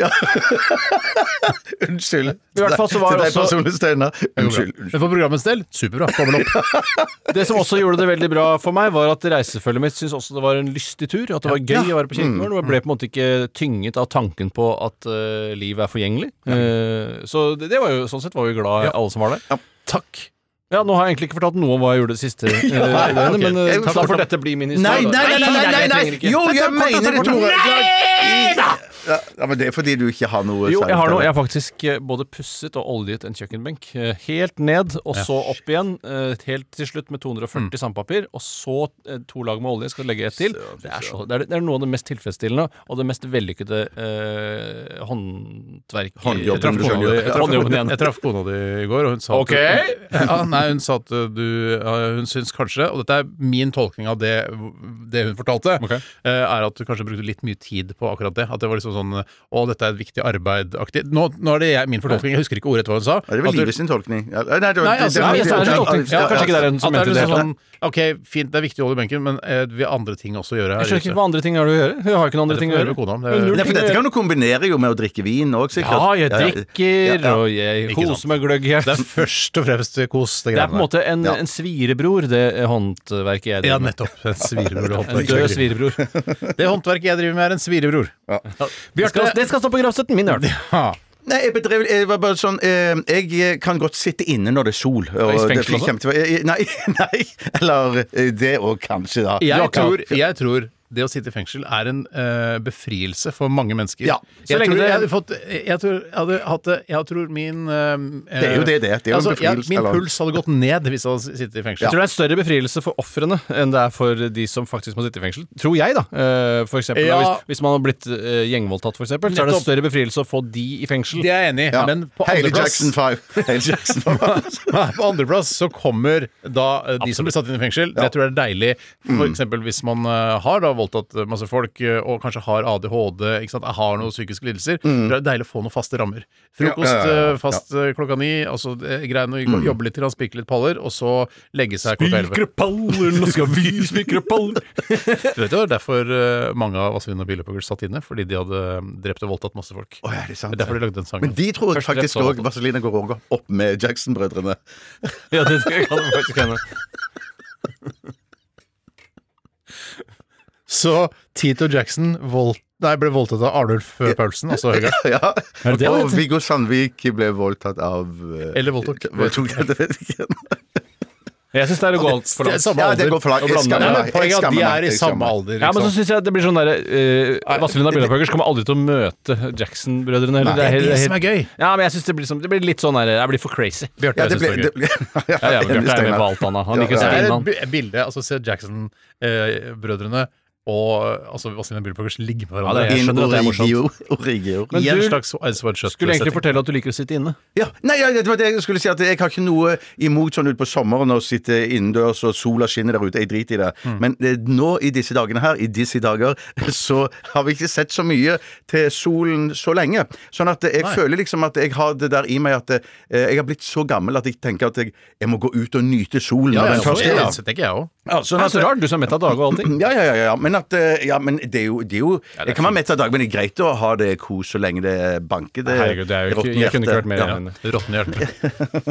G: Unnskyld.
F: I hvert fall så var
G: Til
F: det
G: deg
F: også-
G: personlig, Steinar. Unnskyld.
D: Men for programmets del, superbra. Tommel opp.
F: Det som også gjorde det veldig bra for meg, var at reisefølget mitt syntes også det var en lystig tur. At det var gøy å være på
G: Mm.
F: kirkegården. Og jeg ble på en måte ikke tynget av tanken på at eh, liv er forgjengelig. Eh, så det, det var jo, sånn sett var vi glad alle som var der.
D: Takk.
F: Ja, nå har jeg egentlig ikke fortalt noe om hla jeg gjorde det siste eh, døgnet,
D: ok.
F: men eh,
G: Jeg-
F: da får dette bli min
G: Nei,
F: historie.
G: nei, nei, nei,
F: da.
G: nei, nei,
F: jeg trenger ikke.
G: Jo, jeg mener det, Tore. Nei da! Ja, men det er fordi du ikke har noe
F: Jo,
G: særlig
F: jeg har noe.
G: talent.
F: Jeg har faktisk eh, både pusset og oljet en kjøkkenbenk. eh, Helt ned, og så opp igjen. eh, Helt til slutt med 240 sandpapir, og så eh, to lag med olje. Skal du legge ett til? Det er, så, det, er, det er noe av det mest tilfredsstillende og det mest vellykkede eh, håndverk...
G: Håndjobben du selv gjør.
F: Håndjobben, håndjobben igjen.
D: Jeg traff kona di i går, og hun sa
F: Ok.
D: at, ja, nei, hun sa at du ja, Hun syns kanskje, og dette er min tolkning av det, det hun fortalte,
F: Ok.
D: eh, er at du kanskje brukte litt mye tid på akkurat det. At det var liksom sånn Å, dette er et viktig arbeid-aktig. Nå, nå er det jeg, min fortolkning, jeg husker ikke ordet hva hun sa.
G: Ja, Det var
D: At du-
G: livet sin tolkning. Ja, Nei, det var-
D: Nei, altså,
G: det var-
D: nei,
F: Steinar sin tolkning. Ja, kanskje ikke det er hun som
D: At det er
F: mente det.
D: liksom sånn OK, fint, det er viktig å holde i benken, men eh, vi har andre ting også å gjøre her.
F: Jeg skjønner ikke hva andre ting har du å gjøre. Hun har ikke noen andre
D: Det
F: ting
D: får
F: å
D: du høre med kona om. Det er-
F: gjøre.
G: Nei, for dette kan du kombinere jo med å drikke vin òg, sikkert.
F: Ja, jeg
G: ja.
F: drikker,
G: Ja, ja.
F: og jeg
D: Ikke sant.
F: koser meg gløgg. Jeg.
D: Det er først og fremst kos, det
F: Det er
D: greiene der.
F: på en måte en,
G: Ja.
F: en svirebror, det håndverket jeg
D: Ja,
F: driver med.
D: nettopp. En svirebror. det
F: En
D: håndverket
F: død
D: jeg driver med.
F: svirebror.
D: Det håndverket jeg driver med, er en svirebror.
F: Det skal, det skal stå på gravstøtten min, i hvert fall.
D: Ja.
G: Nei, jeg bedrev Jeg var bare sånn eh, Jeg kan godt sitte inne når det er sol. Og
F: fengsel
G: det er
F: også?
G: kjempe- eh, Nei, nei. Eller eh, det òg, kanskje, da. Du har
D: Jeg
G: ikke-
D: tror, jeg tror det å sitte i fengsel er en eh, befrielse for mange mennesker.
G: Ja.
F: Så
D: Jeg
F: lenge
D: tror
F: det-
D: jeg hadde fått Jeg tror jeg hadde hatt det Jeg tror min eh,
G: Det er jo det det er. Det er jo en
D: altså, jeg-
G: befrielse,
D: Min
G: eller-
D: puls hadde gått ned hvis jeg hadde sittet i
F: Jeg
D: fengsel.
F: tror det er en større befrielse for ofrene enn det er for de som faktisk må sitte i fengsel. Tror jeg, da. Eh, For eksempel,
D: Ja.
F: da, hvis, hvis man har blitt eh, gjengvoldtatt, for eksempel, så er det en
D: Nettopp.
F: større befrielse å få de i fengsel.
D: Det er jeg enig i,
G: Ja.
D: men på
G: Hele
D: andreplass
G: Jackson 5. Hele Jackson 5.
D: på andreplass så kommer da eh, de som blir satt inn i fengsel. Det tror jeg er deilig. For
G: Mm.
D: eksempel hvis man eh, har da voldtatt eh, masse folk, eh, og kanskje har ADHD, ikke sant? har noen psykiske lidelser, tror jeg det er deilig å få noen faste rammer.
G: Mm.
D: Frokost
G: Ja, ja, ja, Mm. ja.
D: eh, fast eh, klokka ni, og så eh, greier man å jobbe litt, grann, spikre litt paller, og så legge seg klokka elleve.
F: paller, nå skal vi spikre paller!
D: Du vet jo, det er derfor eh, mange av Vazelina og Bilopphøggers satt inne, fordi de hadde eh, drept og voldtatt masse folk.
G: Å, ja, det er sant.
D: Det er derfor de lagde den
G: Men
D: sangen.
G: de tror jeg
F: Første
G: faktisk
F: rett så
G: òg Vazelina går også opp med Jackson-brødrene.
F: ja, det kan det faktisk hende.
D: Så Tito Jackson vold, nei, ble voldtatt av Arnulf eh, Paulsen, altså Høgre.
G: Ja.
F: Er det det
G: og
F: det heter?
G: Viggo Sandvik ble voldtatt av eh,
D: Eller voldtok.
G: voldtok, det vet jeg ikke.
F: Jeg syns det er å gå alt for
D: Det er
F: langt.
D: samme
G: Ja,
D: alder.
G: det går for langt.
D: Å blande
G: Jeg skammer
D: det. Nei,
G: meg.
D: men Poenget er at de
G: Jeg skammer
D: er i
G: meg.
D: samme alder.
F: Ja, men så
D: liksom.
F: syns jeg det blir sånn derre uh, Vazelina Bjørnapøkers kommer aldri til å møte Jackson-brødrene heller.
D: det er
F: helt-
D: det
F: helt-
D: som er gøy.
F: Ja, men jeg syns det blir som Det blir litt sånn der, Jeg blir for crazy.
G: Ja,
D: Bjarte,
G: det
D: jeg syns
G: ble,
D: det er
G: det
D: gøy.
G: ble, ja,
F: Ja, ja,
G: enig,
F: men Bjarte er med
G: Steinar.
F: på alt annet. Han liker å
D: Det
F: spille
D: er
F: inn,
D: et
F: han.
D: bi- bilde, altså se Jackson-brødrene og altså Vazelina Bilpokers ligge med
F: Ja, det
D: hverandre.
F: Jeg skjønner at det er
G: Origio. Origio.
F: Men
D: I en
F: du
D: slags sweatshirt.
F: skulle egentlig fortelle at du liker å sitte inne.
G: Ja, nei, ja, det var det jeg skulle si, at jeg har ikke noe imot sånn utpå sommeren å sitte innendørs og sola skinner der ute, jeg driter i det. Men eh, nå i disse dagene her, i disse dager, så har vi ikke sett så mye til solen så lenge. Sånn at eh, jeg føler liksom at jeg har det der i meg at eh, jeg har blitt så gammel at jeg tenker at jeg, jeg må gå ut og nyte solen når
D: Ja, ja,
G: den først
D: det
G: er der.
D: tenker jeg òg.
G: Ja, sånn
F: Det er
G: at-
F: så rart, du som er mett av dage og allting.
G: Ja, ja, ja, ja. Men, at, eh, ja, men det er jo, det er jo Jeg kan være mett av dag, men det er greit å ha det kos så lenge det banker. Det,
F: Herregud, det er jo ikke,
G: råtne
F: jeg kunne ikke
G: hjertet.
F: vært mer
G: Ja.
F: enig.
D: Råtne hjerte.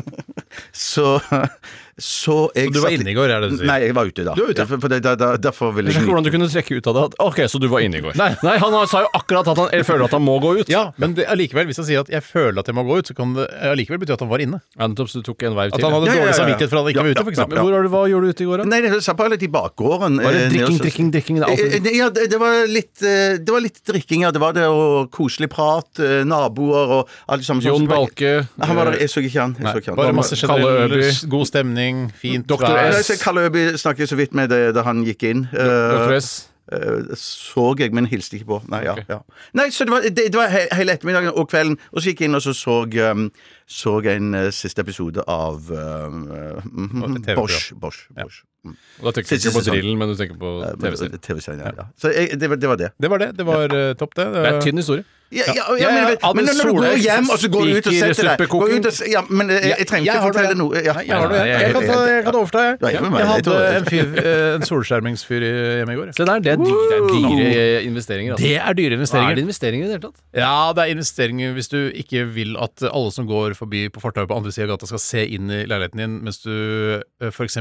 G: Så, så jeg
D: du var
G: satt-
D: inne i går, er det du sier?
G: Nei, jeg var ute da.
D: Du var ute, ja.
G: For det, da, da, derfor ville
F: Jeg
G: jeg
F: skjønner ikke hvordan du kunne trekke ut av det. at- Ok, så du var inne i går. Nei, nei han har- sa jo akkurat at han eller føler at han må gå ut.
D: Ja, men det- allikevel, hvis han sier at 'jeg føler at jeg må gå ut', så kan det allikevel bety at han var inne.
F: Ja, nettopp, så du tok en vei
D: At
F: til.
D: han hadde
G: Ja, ja, ja,
D: dårlig
G: ja.
D: samvittighet for at han ikke var ute, for
G: Ja, ja,
D: eksempel.
G: ja.
F: Hvor var det, hva gjorde du ute i går, da?
G: Nei, det var litt i bakgården.
F: Var det
G: eh, nede
F: drikking,
G: hos-
F: drikking, altså? drikking? Det er alltid-
G: Eh, eh, Ja, det, det, var litt, eh, det var litt drikking, ja. Det var det, og koselig prat, eh, naboer og alt sammen. sånn
F: Jon
G: som-
F: Balke.
G: Han var der, jeg så ikke han. Jeg så ikke han.
D: Bare masse
F: Kalle
D: generell
F: Øby.
D: god stemning, fint
F: Dr.
D: vær.
G: Nei,
F: S.
G: så Kalle Øby snakket jeg så vidt med det, da han gikk inn. Eh,
F: Dr. S.
G: eh, så jeg, men hilste ikke på. Nei, ja, ja. Nei så det var, det, det var he hele ettermiddagen og kvelden. Og så gikk jeg inn og så så, um, så jeg en eh, siste episode av um, eh, mhm,
D: TV-program.
G: Bosch. Bosch, Bosch.
F: Da tenker du
G: Siste
F: ikke på
G: sesong.
F: drillen, men du tenker på TV-serien.
G: TV-serien, ja. ja. Så jeg, det, var- det var det.
D: Det var det. Det var eh, topp, det.
F: Det er en tynn historie.
G: Ja, ja, ja,
D: Ja,
G: men,
D: ja,
G: men
D: Anders
G: når du går
D: Solhaug
G: hjem og så går du ut og
F: skriker i
G: setter deg
F: suppekoken.
G: Gå ut og s- ja, Men jeg, jeg trenger ikke
D: har det.
G: fortelle noe. Ja.
D: Nei, jeg har det. Jeg, jeg, kan, ta, jeg kan overta, jeg.
G: Ja, jeg vil være
D: Jeg
G: med. Jeg
D: hadde
G: tror-
D: en, fyr, eh, en solskjermingsfyr i- hjemme i går. jeg.
F: Se der, det er, dyr, det er dyre investeringer. Altså.
D: Det er dyre
F: er det
D: investeringer.
F: investeringer i det hele tatt?
D: Ja, det er investeringer hvis du ikke vil at alle som går forbi på fortauet på andre sida av gata, skal se inn i leiligheten din mens du f.eks.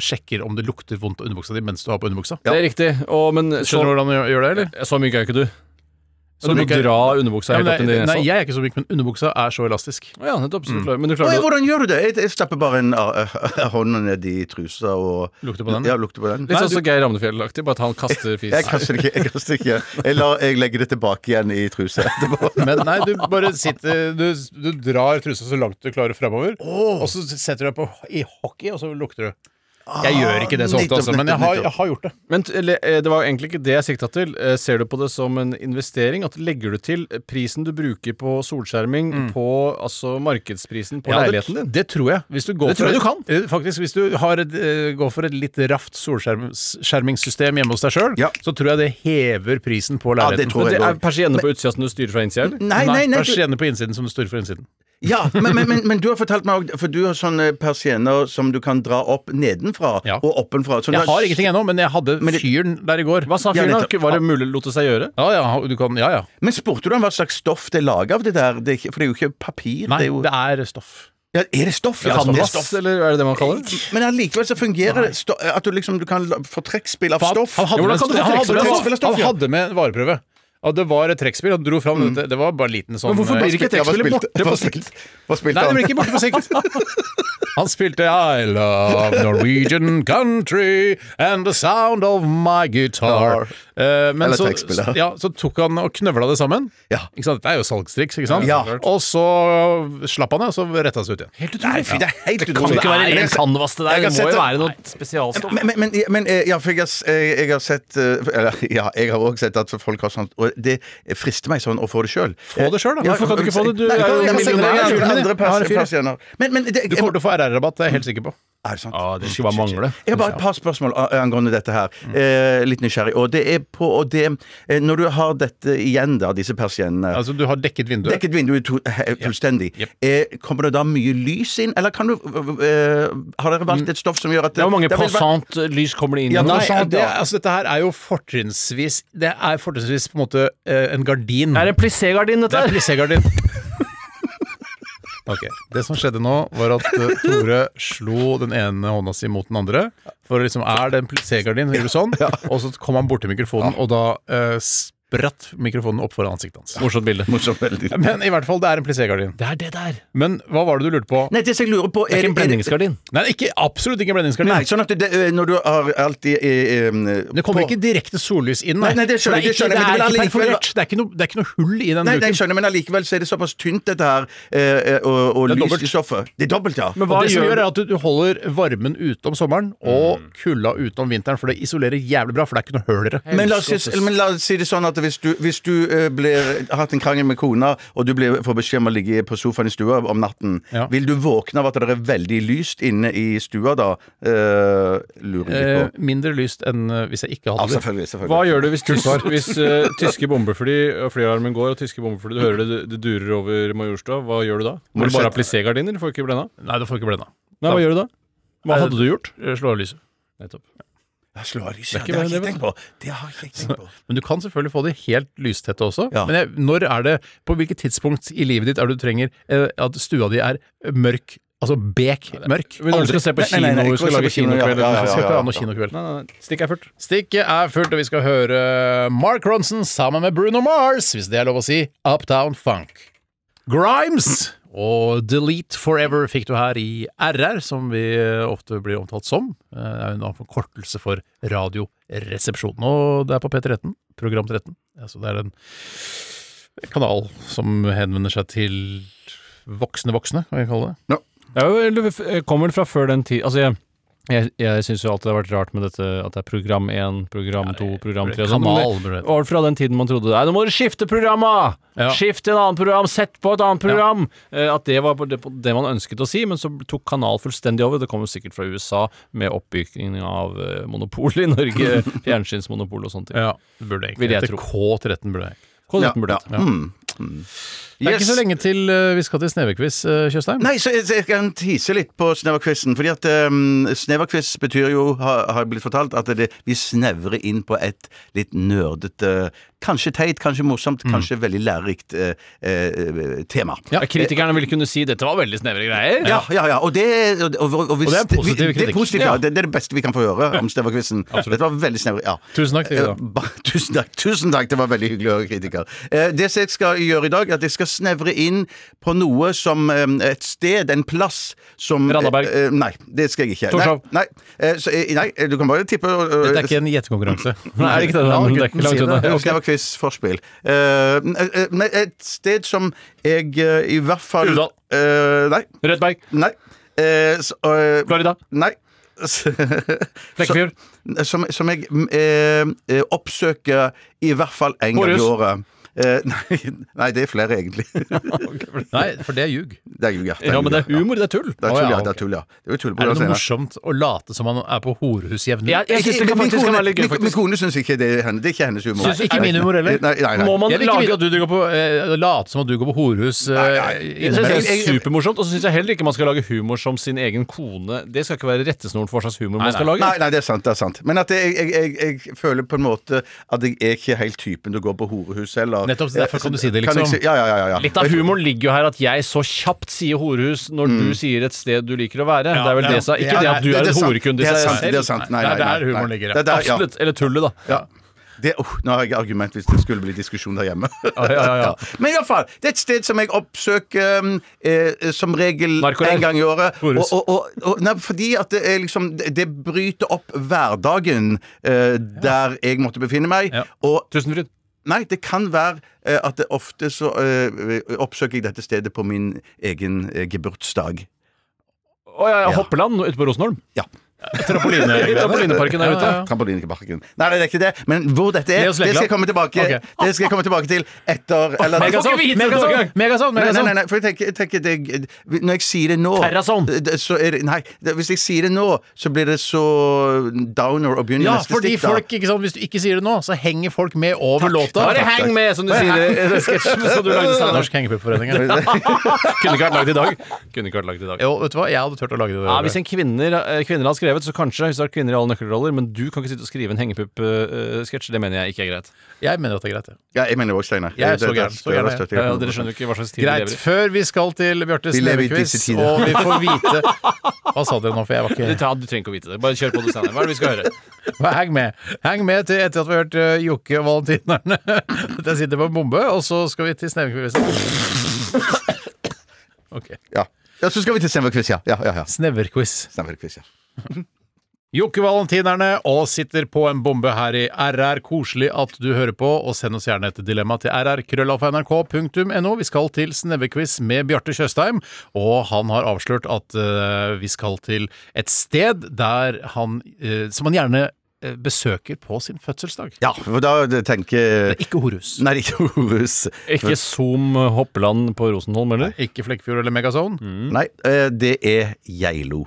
D: sjekker om det lukter vondt av underbuksa di mens du har på underbuksa.
F: Det er riktig. Å, men så,
D: Skjønner du hvordan du gjør- gjør det, eller?
F: så mye gøy er ikke du. Så
D: Så
F: du må
D: mye gøy-
F: dra underbuksa
D: Ja,
F: helt
D: men
F: opp til
D: det,
F: nesa?
D: nei, jeg er ikke så myk, men underbuksa er så elastisk.
F: Å ja, nettopp. Så du klarer, men du
G: Å,
F: klarer
G: ja,
F: det.
G: hvordan gjør du det? Jeg, jeg stapper bare en uh, hånda ned i trusa og
D: Lukter på den,
G: Ja,
D: ja.
G: lukter på den.
F: Litt sånn som Geir Ramnefjell-aktig, bare at han kaster fis.
G: Jeg kaster ikke. Jeg, kaster ikke. jeg, lar, jeg legger det tilbake igjen i trusa etterpå.
D: Men nei, du bare sitter Du, du drar trusa så langt du klarer framover, og så setter du deg på i hockey, og så lukter du. Jeg gjør ikke det så ofte,
G: Ah, nettopp,
D: altså, men jeg har,
G: nettopp.
D: jeg har gjort det.
F: Men t- eller, eh, det var jo egentlig ikke det jeg sikta til. Eh, Ser du på det som en investering? At legger du til eh, prisen du bruker på solskjerming på altså markedsprisen på
D: Ja,
F: leiligheten
D: det,
F: din?
D: det tror jeg. Hvis du går
F: Det tror jeg
D: for
F: du
D: et- eh, Faktisk, hvis du har et, eh, går for et litt raft solskjermingssystem hjemme hos deg sjøl,
G: Ja.
D: så tror jeg det hever prisen på
G: Ja, det
D: leiligheten.
G: tror
F: Men
G: jeg
F: det er
G: òg.
F: persienne på utsida som du styrer fra innsida, eller?
G: Nei, nei, nei. du-
D: Persienne på innsiden som det står for innsiden.
G: Ja, men, men, men, men du har fortalt meg òg For du har sånne persienner som du kan dra opp nedenfra
D: Ja.
G: og oppenfra. Så du
D: Jeg har ingenting ennå, men jeg hadde
G: Men det-
D: fyren der i går.
F: Hva sa
G: Ja,
F: fyren? da?
G: nettopp.
F: Var det mulig lot det seg gjøre?
D: Ja, ja, du kan, ja, ja.
G: Men spurte du ham hva slags stoff det er laget av det der? Det er ikke, for det er jo ikke papir.
D: Nei,
G: det er, jo,
D: det er stoff.
G: ja, er det stoff? Ja, det er
F: Canvas,
G: stoff.
F: eller er det det man kaller det?
G: Men allikevel så fungerer det sto- at du liksom du kan la- få trekkspill av stoff.
D: Han hadde,
F: Jo,
D: med,
F: hvordan kan du
D: han,
F: trekke
D: hadde,
F: spill av
D: med,
G: stoff,
D: han
G: ja?
D: hadde med en vareprøve. Ja, det var et trekkspill. Han dro fram dette. Det var bare en liten sånn
F: Men hvorfor
D: eh,
F: blir ikke
G: Ja, hva
F: trekkspillet
G: spilte-
F: borte på
G: hva
F: sikt?
G: spilte- Hva spilte
D: Nei, det
G: han?
D: blir ikke borte på sikt. Han spilte I love Norwegian country and the sound of my guitar. Eh, men
G: Eller
D: så,
G: trekkspillet.
D: ja, så tok han og knøvla det sammen.
G: Ja.
D: Ikke sant? Det er jo salgstriks, ikke sant?
G: Ja.
D: Og så slapp han det, og så retta han seg ut igjen. Helt
G: Nei, fy, det er helt utrolig.
F: ren canvas, det
G: Jeg kan sette-
F: noe spesialstoff.
G: Men, men, men, men eh, ja, for jeg, har s- eh, jeg har sett eh, Eller ja, jeg har òg sett at folk har sånt Og det frister meg sånn å få det sjøl.
D: Få det selv, da.
G: Ja,
D: Hvorfor kan du ikke få det? Du
G: nei,
D: er jo
G: jeg kan-
D: millionær.
G: jeg
D: Jeg
G: har
D: har
G: andre
D: en fyr, jeg.
G: persienner. Men, men det,
D: Du kommer til å få RR-rabatt, det er jeg helt sikker på.
G: Er det sant?
F: Ja, det skulle bare mangle.
G: Jeg har bare et par spørsmål a- angående dette her.
D: Mm.
G: Eh, litt nysgjerrig. Og det er på og det, eh, Når du har dette igjen, da, disse persiennene
D: Altså, du har dekket vinduet.
G: Dekket vinduet to, eh, he, fullstendig.
D: Yep.
G: Eh, kommer det da mye lys inn, eller kan du eh, Har dere
D: Mm.
G: valgt et stoff som gjør at
F: Det er hvor mange
G: det vil være-
F: passant-lys kommer det inn sånn. i?
G: Ja,
F: Nei,
D: Nei,
G: sant,
D: det,
G: ja.
D: altså, dette her er jo fortrinnsvis Det er fortrinnsvis på en måte eh, en gardin.
F: Det er en plissé-gardin,
D: Det
F: dette
D: er
F: her.
D: plissegardin. Ok, Det som skjedde nå, var at eh, Tore slo den ene hånda si mot den andre. For å liksom er den pl- C-gardinen, så gjør du sånn. Og så kom han bort til mikrofonen, og da eh, spratt mikrofonen opp foran ansiktet hans.
F: Morsomt bilde.
G: Morsomt veldig.
D: Men i hvert fall, det er en plissé-gardin.
F: Det er det der.
D: Men hva var det du lurte på?
G: Nei, det som jeg lurer på
F: Det er ikke en blendingsgardin.
D: Nei, ikke, absolutt ikke en
G: Nei,
D: blendingsgardin.
G: sånn at det, ø, når du har alltid eh, em,
D: Mm. Det kommer
G: på-
D: ikke direkte sollys inn.
G: Nei, nei, det skjønner jeg, det
D: For
G: skjønner jeg, men det
D: det er
G: vil
D: ikke
G: allikevel-
D: perforert. Det er ikke noe, det er ikke noe hull i den
G: Nei, nei, jeg
D: duken.
G: skjønner, men allikevel så er det såpass tynt dette her, eh, og, og
D: Det er
G: lyst
D: dobbelt.
G: i stoffet. Det er dobbelt, ja.
F: Men
D: Og
F: hva
D: det som
F: gjør
D: gjør er at du- Du holder varmen ute om sommeren og kulda ute om vinteren, for det isolerer jævlig bra. For det er ikke noe hull i det.
G: Men la, oss si, men la oss si det sånn at hvis du, hvis du eh, blir, har hatt en krangel med kona, og du blir, får beskjed om å ligge på sofaen i stua om natten,
D: Ja.
G: vil du våkne av at det er veldig lyst inne i stua da? Eh, lurer jeg
D: Eh,
G: litt på.
D: mindre lyst enn eh, hvis jeg ikke
G: Ja,
D: hadde det.
G: selvfølgelig. selvfølgelig.
F: Hva gjør du hvis, tys hvis eh, tyske bombefly og flyalarmen går, og tyske bombefly, du hører det, det durer over Majorstua, hva gjør du da? Må du bare ha plissé-gardiner? Får ikke blenda?
D: Nei, du får ikke blenda.
F: Nei, hva gjør du da? Hva hadde du gjort?
D: Eh, Slå av lyset.
F: Nettopp.
G: Jeg slår lyset,
F: ikke
G: det har
F: mer
G: jeg
F: enn
G: ikke tenkt på. Det har jeg ikke tenkt på.
D: Men du kan selvfølgelig få det helt lystette også.
G: Ja.
D: Men jeg, når er det På hvilket tidspunkt i livet ditt er det du trenger eh, at stua di er mørk? Altså bek mørk?
F: Men når du skal se på
G: Nei, nei,
F: kino,
G: nei,
F: du
G: ikke
F: skal
G: se på
F: lage
G: kino, ja,
F: kinokveld
G: ja, ja,
D: Vi
F: eller-
D: skal ikke ha noe kinokveld.
F: Nei, nei, nei. Stikk er fullt.
D: Stikket er fullt, og vi skal høre Mark Ronson sammen med Bruno Mars, hvis det er lov å si. Uptown Funk. Grimes og Delete Forever fikk du her i RR, som vi eh, ofte blir omtalt som. Eh, Det er jo en annen forkortelse for Radioresepsjonen. Og det er på P13, program 13. Ja, så det er en kanal som henvender seg til voksne voksne, kan vi kalle det.
F: Det er jo, eller, f- eh, kommer fra før den tid Altså, jeg, jeg, jeg syns jo alltid det har vært rart med dette at det er program 1, program 2, program 3 og sånn. men
D: Kanal,
F: det-
D: burde det hete.
F: Var det fra den tiden man trodde Nei, nå må du skifte programma!
D: Ja.
F: Skift til et annet program! Sett på et annet program! Eh, At det var på det, på det man ønsket å si, men så tok Kanal fullstendig over. Det kom jo sikkert fra USA med oppbyggingen av eh, monopol i Norge. Fjernsynsmonopol og sånne ting.
D: Ja, det burde egentlig
F: Vil jeg
D: hete K13. burde det.
F: Hvordan
G: Ja,
F: burde det?
G: ja. Mm. Mm.
D: Det er ikke
G: Yes.
D: så lenge til eh, vi skal til Snevekviss, eh, Tjøstheim.
G: Nei, så jeg, så jeg kan tise litt på sneverquizen. Fordi at um, sneverquiz betyr jo, har, har jeg blitt fortalt, at det, vi snevrer inn på et litt nerdete Kanskje teit, kanskje morsomt,
D: Mm.
G: kanskje veldig lærerikt eh, eh, tema.
F: Ja, kritikerne ville kunne si 'dette var veldig snevre greier'.
G: Ja, ja, ja. Og det, og, og, og, hvis-
D: Og det er positiv
G: vi- Det
D: kritikk.
G: er, positivt, ja.
D: Ja.
G: det, det er det beste vi kan få høre om Sneverquizen. Dette var veldig snevert. Ja.
D: Tusen takk, Ida.
G: Eh, ba- Tusen takk. Tusen takk, det var veldig hyggelig å høre kritiker. Eh, Det som jeg skal gjøre i dag, er at jeg skal snevre inn på noe som eh, et sted, en plass som
F: Randaberg.
G: eh, eh, Nei, det skal jeg ikke. Nei,
F: Torshov.
G: Nei, eh, så, eh, nei, eh, du kan bare tippe. og- og-
D: Dette er ikke en gjettekonkurranse.
F: Nei, er det ikke det?
D: La
F: men det er
D: gutten
F: ikke langt
D: si
F: unna.
D: det.
G: Ok. Sneverquiz forspill. Eh, eh, men et sted som jeg eh, i hvert fall
F: Uvdal.
G: Eh, nei.
F: Rødt berg,
G: Nei. Eh, så, eh,
F: Florida,
G: Nei. S-
F: Flekkefjord.
G: Som, som jeg mm, eh, eh, oppsøker i hvert fall en gang i
F: Horus.
G: året. Eh, nei, nei, det er flere, egentlig.
D: Nei, for det er ljug.
G: Det er jo ja,
F: Ja, men det er
G: ja.
F: humor, det er tull.
G: Det er
D: Å,
G: tull,
D: ja,
G: ja.
D: ok.
G: Det er tull, ja. Det er jo tull på
D: Er det
G: grunn av
D: noe
G: scenen.
D: morsomt å late som man er på horehus jevnlig?
F: Jeg, jeg syns det kan
G: Min
F: faktisk kan
G: kone-
F: være litt gøy,
G: min- Min
F: faktisk.
G: kone syns ikke det er henne. Det er ikke hennes humor.
D: Synes ikke min humor heller.
G: Nei, nei, nei.
F: Må man
D: Jeg vil ikke
F: lage
D: vite at du, du går på eh, late som at du går på horehus. Eh,
F: jeg
D: innimellom.
F: synes det
G: Jeg-
F: er
G: jeg-
F: supermorsomt, og så syns jeg heller ikke man skal lage humor som sin egen kone. Det skal ikke være rettesnoren for hva slags humor man skal lage.
G: Nei, nei, det er sant. det er sant Men at jeg, jeg, jeg, jeg føler på en måte at jeg er ikke helt typen til å gå på horehus heller. Eh,
D: Nettopp, så derfor kan du si det,
G: Kan jeg
D: liksom.
G: si- ja, ja, ja, ja, ja.
F: Litt av humoren ligger jo her at jeg så kjapt sier horehus når du sier et sted du liker å være. det er vel
D: ja.
F: det som Ikke
G: Mm. Ja,
F: det
G: nei,
F: at du
G: det-
F: er
G: det
F: en
G: sant.
F: horekund i
G: Det er
F: seg
G: sant, det er
F: selv.
G: sant. Nei,
D: Det
G: nei,
D: er der
G: nei, nei.
D: humoren ligger, ja.
G: Det er der, ja.
F: Absolutt. Eller tullet, da.
G: Ja. Det, oh, nå har jeg argument hvis det skulle bli diskusjon der hjemme. Ja. Men i hvert fall, det er et sted som jeg oppsøker um, eh, som regel
F: Narkoleir.
G: en gang i året. Og,
F: Horus.
G: og, og, og, nei, fordi at det, er liksom, det det bryter opp hverdagen eh, der jeg måtte befinne meg.
D: Ja.
G: Og
F: Tusenfryd.
G: nei, det kan være eh, at det ofte så eh, oppsøker jeg dette stedet på min egen eh, geburtsdag.
F: Å ja, ja,
G: Ja.
F: Hoppeland ute på Rosenholm.
G: Ja.
F: Trampolineparken der ute.
G: Trampolineparken. Nei, det er ikke det. Men hvor dette er,
D: Leos
G: det skal jeg
D: Legoland.
G: komme tilbake,
D: Ok.
G: det skal jeg komme tilbake til etter eller,
F: Megason, Megason,
D: Megason,
G: Nei, nei,
D: Megason!
G: nei, nei, for jeg tenker, jeg tenker det, Når jeg sier det nå
F: Terrazon.
G: det- Så er det, nei, det, hvis jeg sier det nå, så blir det så downer å begynne
D: Ja,
G: neste
D: fordi
G: stikk. da.
D: folk, ikke sant, Hvis du ikke sier det nå, så henger folk med over låta.
F: Bare heng med, som du sier i sketsjen som du lagde sammen.
D: Norsk hengepuppforening. ja.
F: Kunne ikke vært lagd i dag. Kunne ikke vært lagd i dag.
D: Jo, vet du hva, jeg hadde turt å lage det.
F: Ja, hvis en kvinner, eh, kvinner hadde skrevet skrevet, så kanskje hvis det er kvinner i alle nøkkelroller, men du kan ikke sitte og skrive en hengepupp-sketsj. Det mener jeg ikke er greit.
D: Jeg mener at det er greit. Ja.
G: Ja, jeg mener òg Steinar.
D: Jeg er så
G: Det- det-
D: gæren,
G: det-
D: så gæren
G: det-
D: er jeg.
G: det- det-
F: Ja, dere skjønner jo ikke hva slags tid vi
D: Greit.
F: lever i.
D: Før vi skal til Bjartes
G: Vi lever i
D: levequiz,
G: disse tider.
D: og vi får vite Hva sa dere nå, for jeg var ikke
F: Du, ta- du trenger ikke å vite det. Bare kjør på, du, Steinar. Hva er det vi skal høre?
D: Hva- Heng med. Heng med til etter at vi har hørt eh, Jokke og Valentinerne. Jeg sitter på en bombe, og så skal vi til Sneverquiz. Ok.
G: Ja. ja, så skal vi til Stemmerquiz, ja. ja, ja, ja.
D: Sneverquiz.
G: Stemmerquiz, ja.
D: Jokke Valentinerne og sitter på en bombe her i RR. Koselig at du hører på, og send oss gjerne et dilemma til rrkrøllalfa.nrk.no. Vi skal til snevekviss med Bjarte Tjøstheim, og han har avslørt at eh, vi skal til et sted der han, eh, som han gjerne eh, besøker på sin fødselsdag.
G: Ja, for da tenker
D: Ikke Horus.
G: Nei, det er ikke Horus.
F: Ikke Zoom eh, Hoppeland på Rosenholm, eller?
D: Ikke Flekkefjord eller Megazone.
F: Mm.
G: Nei, eh, det er Geilo.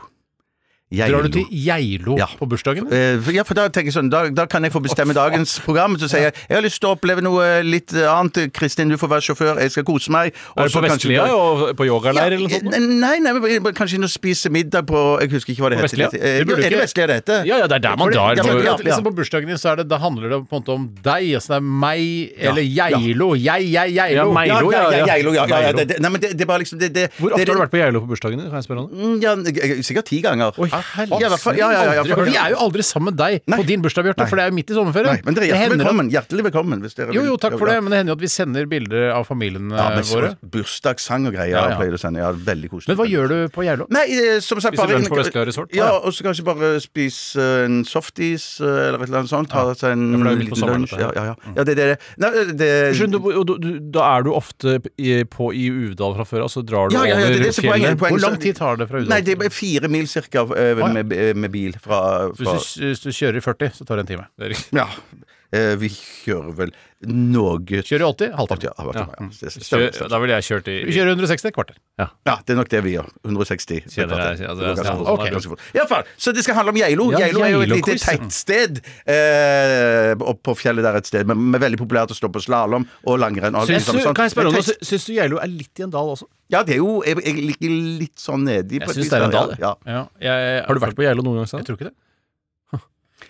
G: Geilo.
D: Drar du til Geilo
G: Ja.
D: på bursdagen? din?
G: Eh, for- Ja, for da tenker jeg sånn, da, da kan jeg få bestemme dagens program. Så sier jeg jeg har lyst til å oppleve noe eh, litt annet. Kristin, du får være sjåfør, jeg skal kose meg.
F: Er det på Vestlia og på yogaleir eller noe sånt?
G: Ja, eh, nei, nei, men kanskje inn og spise middag på Jeg husker ikke hva det
F: På
G: heter.
F: Vestlia?
G: Eh,
D: Det
G: jo,
D: burde
G: er det
D: ikke-
G: Vestlia det heter?
F: Ja, ja, det er der man
D: Fordi-
F: drar.
D: ja, fordi
G: ja,
D: at
G: ja.
D: liksom på bursdagen din så er det, da handler det på en måte om deg. Altså det er meg eller Geilo. Jeg, jeg, Geilo.
F: Ja, meg. Geilo,
G: ja,
F: ja,
G: ja,
F: ja.
G: Geilo, ja, ja, ja, det, det, nei, men det, det er bare liksom det, det,
F: Hvor
G: det,
F: ofte har du vært på Geilo på bursdagen din? Kan jeg spørre om det?
G: Mm, Ja, jeg- jeg- sikkert ti ganger. ja, i hvert fall, ja, ja, ja, ja,
D: Aldri-
G: for-
D: vi er jo aldri sammen med deg på din bursdag, Bjarte, for det er jo midt i sommerferien.
G: Nei, men dere er
D: Det
G: hjertelig
D: hender at-
G: velkommen. Hjertelig velkommen hvis dere
D: Jo, jo,
G: vil-
D: takk for
G: ja.
D: det, men det hender jo at vi sender bilder av familiene
G: Ja, men så
D: våre.
G: Bursdagssang og greier
D: Ja, ja.
G: pleier du å sende. Ja, veldig koselig.
D: Men hva gjør du på Geilo?
G: Nei, eh, som sagt
F: Spiser
G: bare-
F: lunsj på Vestlia Resort?
G: Ja, og så kanskje bare spise eh, en softis eh, eller et eller annet sånt. Ta seg en
D: for det er jo midt på
G: liten
D: sommeren,
G: lunsj.
D: dette
G: Ja, ja,
D: her.
G: ja. ja, det er det. Nei, eh, det
F: Skjønner du, og du- du- Da er du ofte i- på i Uvdal fra før, og så drar du
G: Ja, ja, ja, det er det som er
F: over
G: poenget.
F: fjellet.
D: Hvor
G: så-
D: lang tid tar det fra Udal?
G: Nei, det er bare fire mil cirka eh,
D: ja.
G: med, med bil fra,
D: Hvis
G: fra
D: du, hvis du kjører i 40, så tar det en time.
G: Ja. Eh, Vi kjører vel noe
D: Kjører i 80, halvtime.
G: Ja, ja, ja. Det stemmer,
F: Kjør-
G: stemmer.
F: Da ville jeg kjørt
D: Vi
F: i
D: kjører 160, kvarter.
G: Ja, det er nok det vi gjør. 160.
F: Kjenner jeg, ja, det er-
G: Ganske
F: ja,
G: fort.
D: ok.
G: Ganske fort. I hvert fall, så det skal handle om Geilo.
D: Ja,
G: Geilo er jo et lite
D: Geilo-quiz, ja.
G: tettsted eh, opp på fjellet der et sted, men, men veldig populært å stå på slalåm og langrenn. og alt
F: Syns
G: sånt,
F: du,
G: sånt.
F: kan jeg spørre om
G: Men
F: noe?
G: tett-
F: Sy- Syns du Geilo er litt i en dal også?
G: Ja, det er jo Jeg, jeg ligger litt sånn nedi. på et
F: syns
G: vis
F: det er
G: der,
F: en dal, jeg.
G: Ja.
D: Ja, jeg,
F: Har du vært på Geilo noen gang? Stein?
D: Jeg tror ikke det.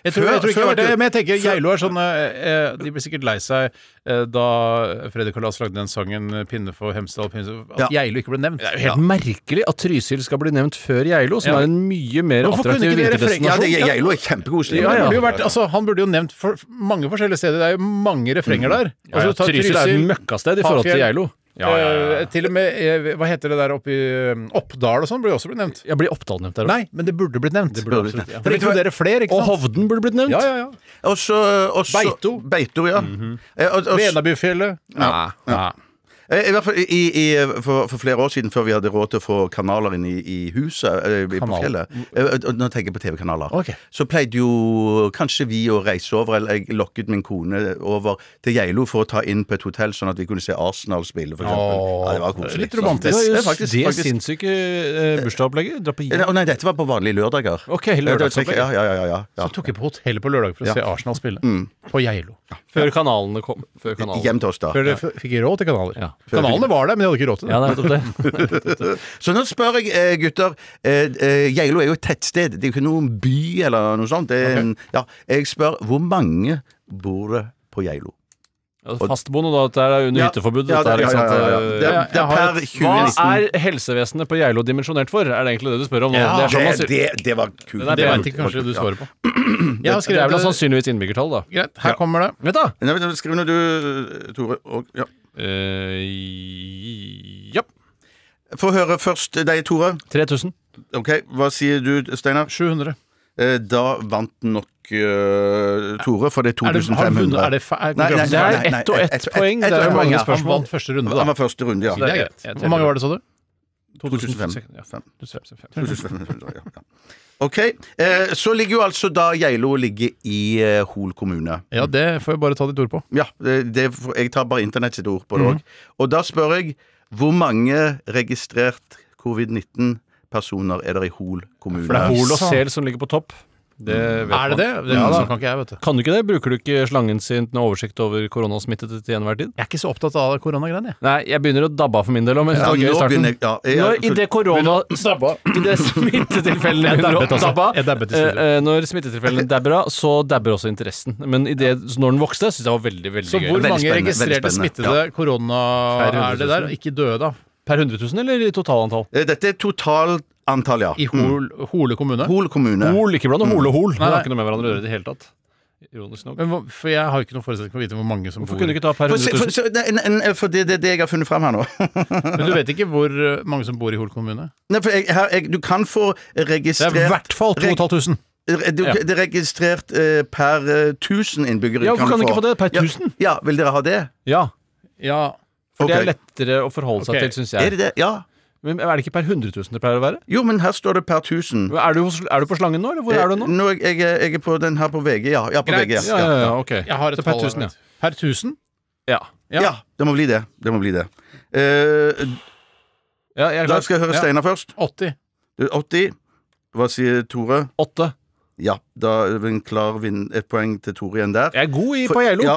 D: Jeg tror,
G: Før-
D: jeg tror ikke
G: før
D: jeg har vært
G: du-
D: det, men jeg tenker Geilo er sånn eh, eh, De blir sikkert lei seg eh, da Fredrik Kalas lagde den sangen eh, 'Pinne for Hemsedal', pinne for- at Geilo ikke ble nevnt.
F: Helt merkelig at Trysil skal bli nevnt før Geilo, som
D: Ja.
F: er en mye mer
D: Hvorfor kunne
F: attraktiv
D: ikke dere
G: ja,
F: vinterdestinasjon.
G: det, Geilo er kjempekoselig.
D: Ja, det burde jo vært, altså, han burde jo nevnt for mange forskjellige steder. Det er jo mange refrenger der.
F: Mm. Ja, ja,
D: Altså, ta
F: Trysil er et
D: Trysil,
F: møkkasted i forhold til
D: Hafjell.
F: Geilo.
D: eh, til og med eh, Hva heter det der oppe i eh, Oppdal og sånn? Burde jo også blitt nevnt.
F: Jeg blir Oppdal nevnt der òg.
D: Nei, men det burde blitt nevnt. Det
G: burde blitt nevnt.
D: For det inkluderer flere, ikke
F: Og
D: sant?
F: Hovden burde blitt nevnt.
D: Ja, ja, ja.
G: Og så og så-
D: Beito. Mhm.
G: Beito, ja. Eh, og- og-
D: Venabyfjellet.
G: Ja.
D: Ja.
G: Eh, I hvert fall i, i, for, for flere år siden, før vi hadde råd til å få kanaler inn i, i huset eh, på
D: Kanal.
G: fjellet
D: Mm.
G: eh, og Nå tenker jeg på TV-kanaler.
D: Ok.
G: Så pleide jo kanskje vi å reise over, eller jeg lokket min kone over til Geilo for å ta inn på et hotell, sånn at vi kunne se Arsenal spille, for eksempel.
D: Åh,
G: ja, det var koselig.
D: litt romantisk.
G: Så-
F: Det
G: Det
F: er
G: er faktisk,
F: det
G: faktisk.
F: sinnssyke eh, bursdagsopplegget. Dra på
G: Eh,
F: Geilo.
G: Nei, dette var på vanlige lørdager.
F: Ok, lørdagsopplegg.
G: Ja, ja, ja, ja, ja.
D: Så tok jeg på hotellet på lørdag for å
G: Ja. Mm.
D: se Arsenal spille. På Geilo.
F: Før kanalene kom. Før kanalene.
G: Hjem til oss, da.
D: Før dere f- fikk råd til kanaler.
F: Ja.
D: Kanalene var der, men de hadde ikke råd til det.
F: Ja, det er nettopp det.
G: Så nå spør jeg eh, gutter. eh, eh, Geilo er jo et tettsted. Det er jo ikke noen by eller noe sånt. Det er, en- ja, jeg spør hvor mange bor det på Geilo?
F: Ja, Fastboende, da. Dette er under
G: Ja.
F: hytteforbud.
G: Ja,
F: Dette er,
G: det- ja,
F: ikke sant?
G: ja, ja, ja. Det er-
F: Ja,
G: det er
F: jeg har
G: per
F: et-
G: 2019.
F: Hva er helsevesenet på Geilo dimensjonert for? Er det egentlig det du spør om nå? det, er sånn man sier-
G: det, det, det var kult.
F: Nei,
D: Det
F: Ja.
D: veit ikke kanskje du svarer på. Jeg har
F: det er
D: skrevet
F: vel da
D: det
F: sannsynligvis innbyggertall, da.
D: Greit, her kommer det.
F: Vent, da!
G: Nei, men Skriv nå du, Tore. Og, ja.
F: Eh, ja.
G: Få høre først deg, Tore.
F: 3000.
G: Ok, Hva sier du, Steinar?
D: 700.
G: Eh, Da vant nok eh, Tore, for det er
D: Er det,
G: 2500.
D: har han vunnet? Er det fa-
G: Nei,
D: er
G: nei,
D: konkurransen
F: Det
G: nei,
F: er
G: nei, nei,
F: ett og
G: ett-
F: ett
G: ett-
F: poeng.
G: ett
F: Det er
G: poeng,
F: jo
G: ja.
F: mange
D: Han
F: spørsmål.
D: vant første runde,
G: Han
D: da.
G: var første runde, ja.
D: Det
F: det
D: er
F: er
D: greit.
F: greit.
D: Hvor mange var det, sa du?
G: 2005.
F: Ja,
G: Fem.
F: 2005.
G: 2005, ja, ja. Ok, eh, så ligger jo altså da Geilo ligger i eh, Hol kommune.
D: Ja, det får jeg bare ta ditt ord på.
G: Ja, det, det, jeg tar bare internett sitt ord på det òg. Og da spør jeg hvor mange registrert covid-19-personer er det i Hol kommune?
F: For det Altså. er Hol og Sel som ligger på topp. Det vet
D: Er det det?
F: man.
D: Det
G: Mm.
F: Ja, da.
D: sånn kan ikke jeg, vet du.
F: Mm. Kan du ikke det? Bruker du ikke slangen sin til oversikt over koronasmittede til enhver tid?
D: Jeg er ikke så opptatt av koronagreiene, jeg.
F: Nei, jeg begynner å dabbe av for min del òg, men
G: Ja,
F: det var gøy i
G: nå
F: starten.
G: begynner jeg- ja, jeg-
F: når, I det korona... I det smittetilfellene
D: Jeg
F: begynner å
D: dabbet også.
F: dabbe
D: Jeg
F: av.
D: dabbet i studio.
F: eh, eh, Når smittetilfellene dabber av, så dabber også interessen. Men i det, så når den vokste, syns jeg var veldig, veldig
D: Så
F: gøy.
D: hvor
G: Veldig
D: mange
G: spennende,
D: registrerte
G: veldig spennende.
D: smittede korona
F: Per
D: er det der? Ikke døde, da?
F: Per 100 000, eller i totalantall?
G: Eh, Dette er totalantall, ja.
F: Mm.
D: I Hol, Hole kommune?
G: Hol kommune.
F: Hol, ikke blant hole og hol. Det
D: nei.
F: har ikke noe med hverandre å gjøre i det hele tatt. Ironisk nok.
D: Men, hva- for jeg har jo ikke noen forutsetning for å vite hvor mange som
F: Hvorfor
D: bor
F: kunne du ikke ta per
G: For, se-
F: 100
G: for,
F: 000?
G: se- nei, nei, nei, for det er det, det jeg har funnet frem her nå.
D: Men du vet ikke hvor eh, mange som bor i Hol kommune?
G: Nei, for jeg, her, jeg, du kan få
D: Det
G: registrert
D: er i hvert fall 2500.
G: Re- Du,
F: Ja.
G: Det er registrert eh, per eh, 1000 innbyggere.
F: Ja, hvorfor kan
G: du
F: du ikke få det? Per
G: Ja,
F: 1000?
G: Ja, vil dere ha det?
F: Ja.
D: Ja.
F: For det
G: Ok.
F: er lettere å forholde seg
D: Ok.
F: til, syns
G: Er
F: jeg.
G: det det? Ja.
F: Men er det ikke per 100 000 det pleier å være?
G: Jo, men her står det per 1000.
F: Er du, hos- er du på slangen nå, eller hvor er du nå?
G: Eh, er jeg, jeg, er på den her på VG, ja. ja på
D: Greit.
G: VG,
F: Ja, ja, ja, ok.
D: Jeg har et
F: Så per
D: tall,
F: 1000, ja.
D: vet du. Per 1000?
F: Ja.
D: Ja.
G: ja. ja, det må bli det. Det må bli det. Eh,
F: ja jeg er
G: da
F: klar.
G: skal jeg høre
D: Ja.
G: Steinar først.
D: 80.
G: Du, 80. Hva sier Tore?
F: Åtte.
G: Ja, da er vi en klar vinn, et poeng til Tore igjen der.
F: Jeg er god i,
G: For-
F: på Geilo.
G: Ja,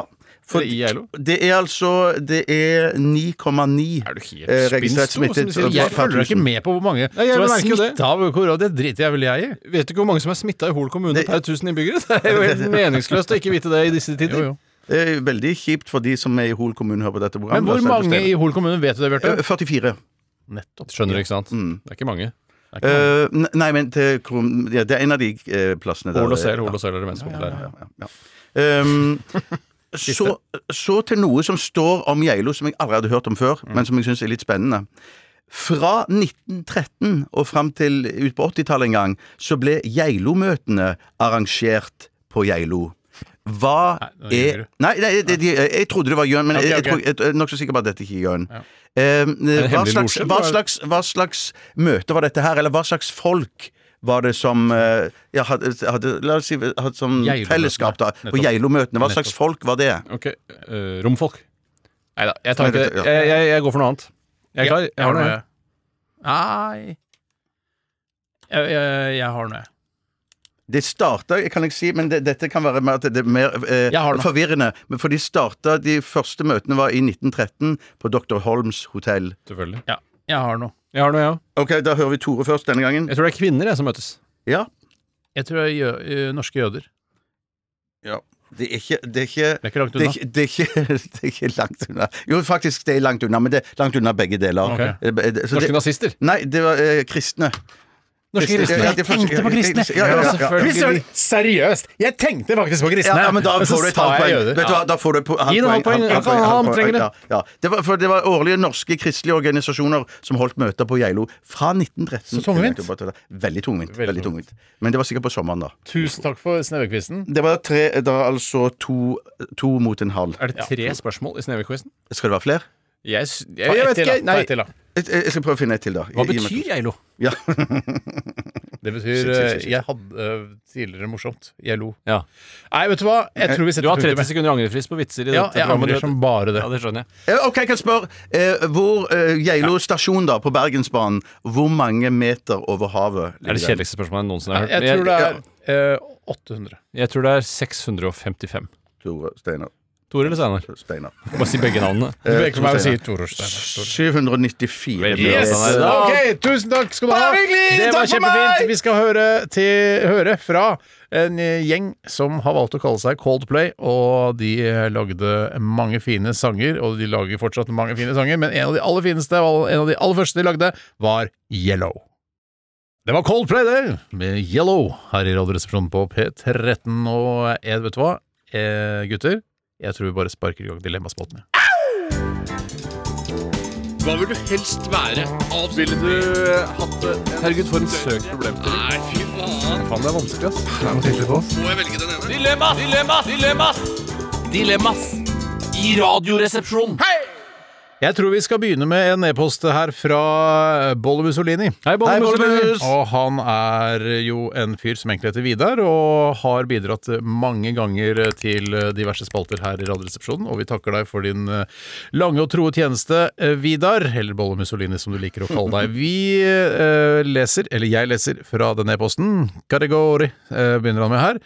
G: for
F: Eller i Geilo.
G: det er altså Det er 9,9
F: Er du helt
G: eh, registrert
F: spinst, nå, som
G: smittet.
F: du sier?
D: Jeg
G: per
D: følger
G: 1000.
D: ikke med på hvor mange
F: Nei, jeg
D: som er
F: merker jo det.
D: smitta av korona. Det driter jeg vel jeg i.
F: Vet du ikke hvor mange som er smitta i Hol kommune
G: Det-
F: per 1000 innbyggere? Det er jo helt meningsløst å ikke vite det i disse tider.
D: Jo, jo.
G: Det er veldig kjipt for de som er i Hol kommune hører på dette programmet. altså,
D: Men hvor mange i Hol kommune vet du det, Bjarte?
G: Eh, 44.
D: Nettopp.
F: Skjønner du, ikke sant? Det er ikke mange.
G: Eh, n- nei, men til, kom- ja, det er en av de eh, plassene der.
F: Hol og Sel, Hol og Sel er det mest
G: Ja,
F: populære.
G: ja, ja. Ehm, så, så til noe som står om Geilo som jeg aldri hadde hørt om før,
D: Mm.
G: men som jeg syns er litt spennende. Fra 1913 og fram til ut på 80-tallet en gang, så ble Geilo-møtene arrangert på Geilo. Hva
D: Nei, nå ljuger
G: er
D: du.
G: Nei, nei det, det, jeg trodde det var Jørn, men
D: Ok,
G: jeg, jeg,
D: ok.
G: tror- jeg, jeg er nokså sikker på at dette ikke er Jørn. Ehm,
F: det
G: hva,
F: hemmelig
G: slags,
F: losje,
G: hva,
F: eller?
G: slags, hva slags møte var dette her, eller hva slags folk var det som eh, ja, hadde, hadde, La oss si hadde som
D: Geilo-møtene.
G: Mm. fellesskap da, på
D: Nettopp.
G: Geilo-møtene. Hva slags folk var det?
F: Ok, eh, Romfolk. Nei da, jeg tar ikke det.
G: Ja.
F: Jeg, jeg, jeg går for noe annet. Jeg er klar. Jeg har noe. jeg.
D: jeg. Nei jeg, jeg, jeg har noe, jeg.
G: Det starta, kan jeg si, men det, dette kan være mer, at det er mer eh,
D: Jeg har det.
G: forvirrende. Men for de starta De første møtene var i 1913 på Dr. Holms hotell.
F: Selvfølgelig.
D: Ja, jeg har noe.
F: Jeg har noe, jeg òg.
G: Ok, da hører vi Tore først denne gangen.
F: Jeg tror det er kvinner jeg som møtes.
G: Ja.
D: Jeg tror jeg gjør eh, norske jøder.
G: Det er ikke Det er ikke
D: Det er ikke langt
G: det er,
D: unna.
G: ikke, det, er ikke, det er ikke langt unna. Jo, faktisk, det er langt unna, men det er langt unna begge deler.
D: Ok.
G: Eh, det- så
F: Norske
G: det,
F: nazister.
G: nei, det var eh, kristne.
F: Norske kristne.
G: Ja, det er første-
D: tenkte på kristne.
G: Ja, ja, ja, ja.
F: Selvfølgelig.
D: Søren, Seriøst! Jeg tenkte faktisk på kristne,
G: Ja, ja, men da
D: men så
G: får du et
D: sa
G: halvt
D: jeg
G: poeng.
D: jøder.
G: Vet du hva, da får du et po- halvt
F: Gi den halvt poeng.
G: halvt
F: Ja,
G: halvt
F: han trenger det.
G: Ja, ja. Det, var, for det var årlige norske kristelige organisasjoner som holdt møter på Geilo fra 1913.
D: Så tungvint.
G: Veldig tungvint. Veldig tungvint. Men det var sikkert på sommeren, da.
D: Tusen takk for Snevekvisten.
G: Det var tre, da altså to, to mot en halv.
F: Er det tre spørsmål i Snevequizen?
G: Skal det være flere?
F: Jeg, s- jeg,
D: Ta
F: jeg
D: ett
F: vet
D: til, da.
F: ikke.
D: Ta
F: Nei.
D: ett til, da.
G: Jeg, jeg jeg skal prøve å finne et til, da. I- i
F: Hva
G: og med-
F: betyr Geilo?
G: Ja.
D: Det
G: Shit,
D: betyr
G: shit, shit,
D: eh,
G: shit.
D: Jeg hadde eh, tidligere morsomt. Jeg lo.
F: Ja.
D: Nei, vet du hva? Jeg tror vi
F: Du
D: setter
F: har
D: punktum,
F: 30
D: jeg.
F: sekunder angrefrist på vitser i
D: Ja,
F: dette
D: jeg angrer
F: programmet.
D: som bare det.
F: Ja, det skjønner jeg.
G: Eh, OK, jeg kan spørre. Eh, hvor eh, Geilo stasjon, da, på Bergensbanen, hvor mange meter over havet
F: Det er det kjedeligste spørsmålet jeg noensinne har hørt.
D: Jeg tror det er eh, 800.
F: jeg tror det er 655.
G: Tore Steinar.
F: Tore eller Steinar?
G: Steinar.
F: Bare si begge navnene.
D: Du vet ikke hva
G: Torstein,
D: jeg sier, Tororstein.
G: 794
F: Veldig bra, Steinar. Da-
D: Ok, tusen takk skal du ha!
F: Bare hyggelig!
D: Det var
F: Takk for meg!
D: kjempefint. Vi skal høre, til, høre fra en gjeng som har valgt å kalle seg Coldplay, og de lagde mange fine sanger, og de lager fortsatt mange fine sanger, men en av de aller fineste, og en av de aller første de lagde, var Yellow. Det var Coldplay, det, med Yellow her i Radioresepsjonen på P13. Og jeg, vet du hva, eh, gutter? Jeg tror vi bare sparker i gang dilemmaspalten. Hva vil du helst være? Ville du hatt Herregud, for en søk problemstilling. Nei, fy faen. Faen, det er vanskelig, ass. Må jeg velge den ene? Dilemmas! Dilemmas! Dilemmas! Dilemmas! I Radioresepsjonen. Jeg tror vi skal begynne med en e-post her fra Bolle Mussolini.
F: Hei, Bolle Mussolini.
D: Og han er jo en fyr som egentlig heter Vidar, og har bidratt mange ganger til diverse spalter her i Radioresepsjonen. Og vi takker deg for din eh, lange og troe tjeneste, eh, Vidar, eller Bolle Mussolini som du liker å kalle deg. Vi eh, leser, eller jeg leser, fra denne e-posten. Kategori eh, begynner han med her.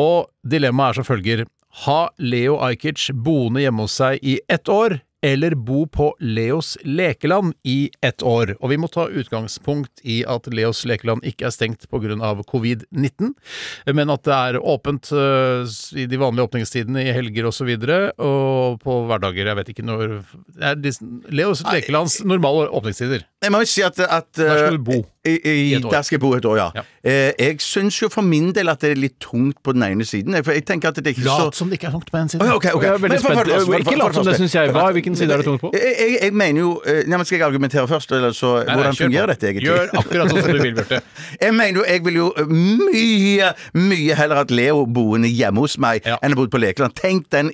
D: Og dilemmaet er som følger. Ha Leo Ajkic boende hjemme hos seg i ett år, eller bo på Leos lekeland i ett år. Og vi må ta utgangspunkt i at Leos lekeland ikke er stengt pga. covid-19, men at det er åpent øh, i de vanlige åpningstidene i helger osv. Og, så videre, og på hverdager. Jeg vet ikke når det er disse- Leos lekelands normale åpningstider.
G: Jeg må jo si at, at
D: Der skal du bo.
G: I, i,
D: et år.
G: der skal jeg bo et år, ja. Eh, jeg syns jo for min del at det er litt tungt på den ene siden. jeg- For jeg tenker at det er ikke så
D: Lat som det ikke er langt på den
G: Å,
D: siden.
G: ja, ok, ok.
F: Jeg er veldig
G: Men for- for-
F: spent.
G: for- for- for-
F: Ikke lat som det, synes jeg. Hva- hvilken side er det tungt på?
G: Jeg, jeg, jeg mener jo eh, Nei, men Skal jeg argumentere først, eller så
D: Nei, nei,
G: Hvordan
D: kjør på.
G: fungerer dette egentlig?
D: Gjør akkurat sånn som du vil, Bjarte.
G: Jeg mener jo, jeg vil jo eh, mye, mye heller at Leo boende hjemme hos meg
D: Ja.
G: enn å bo på Lekeland. Tenk den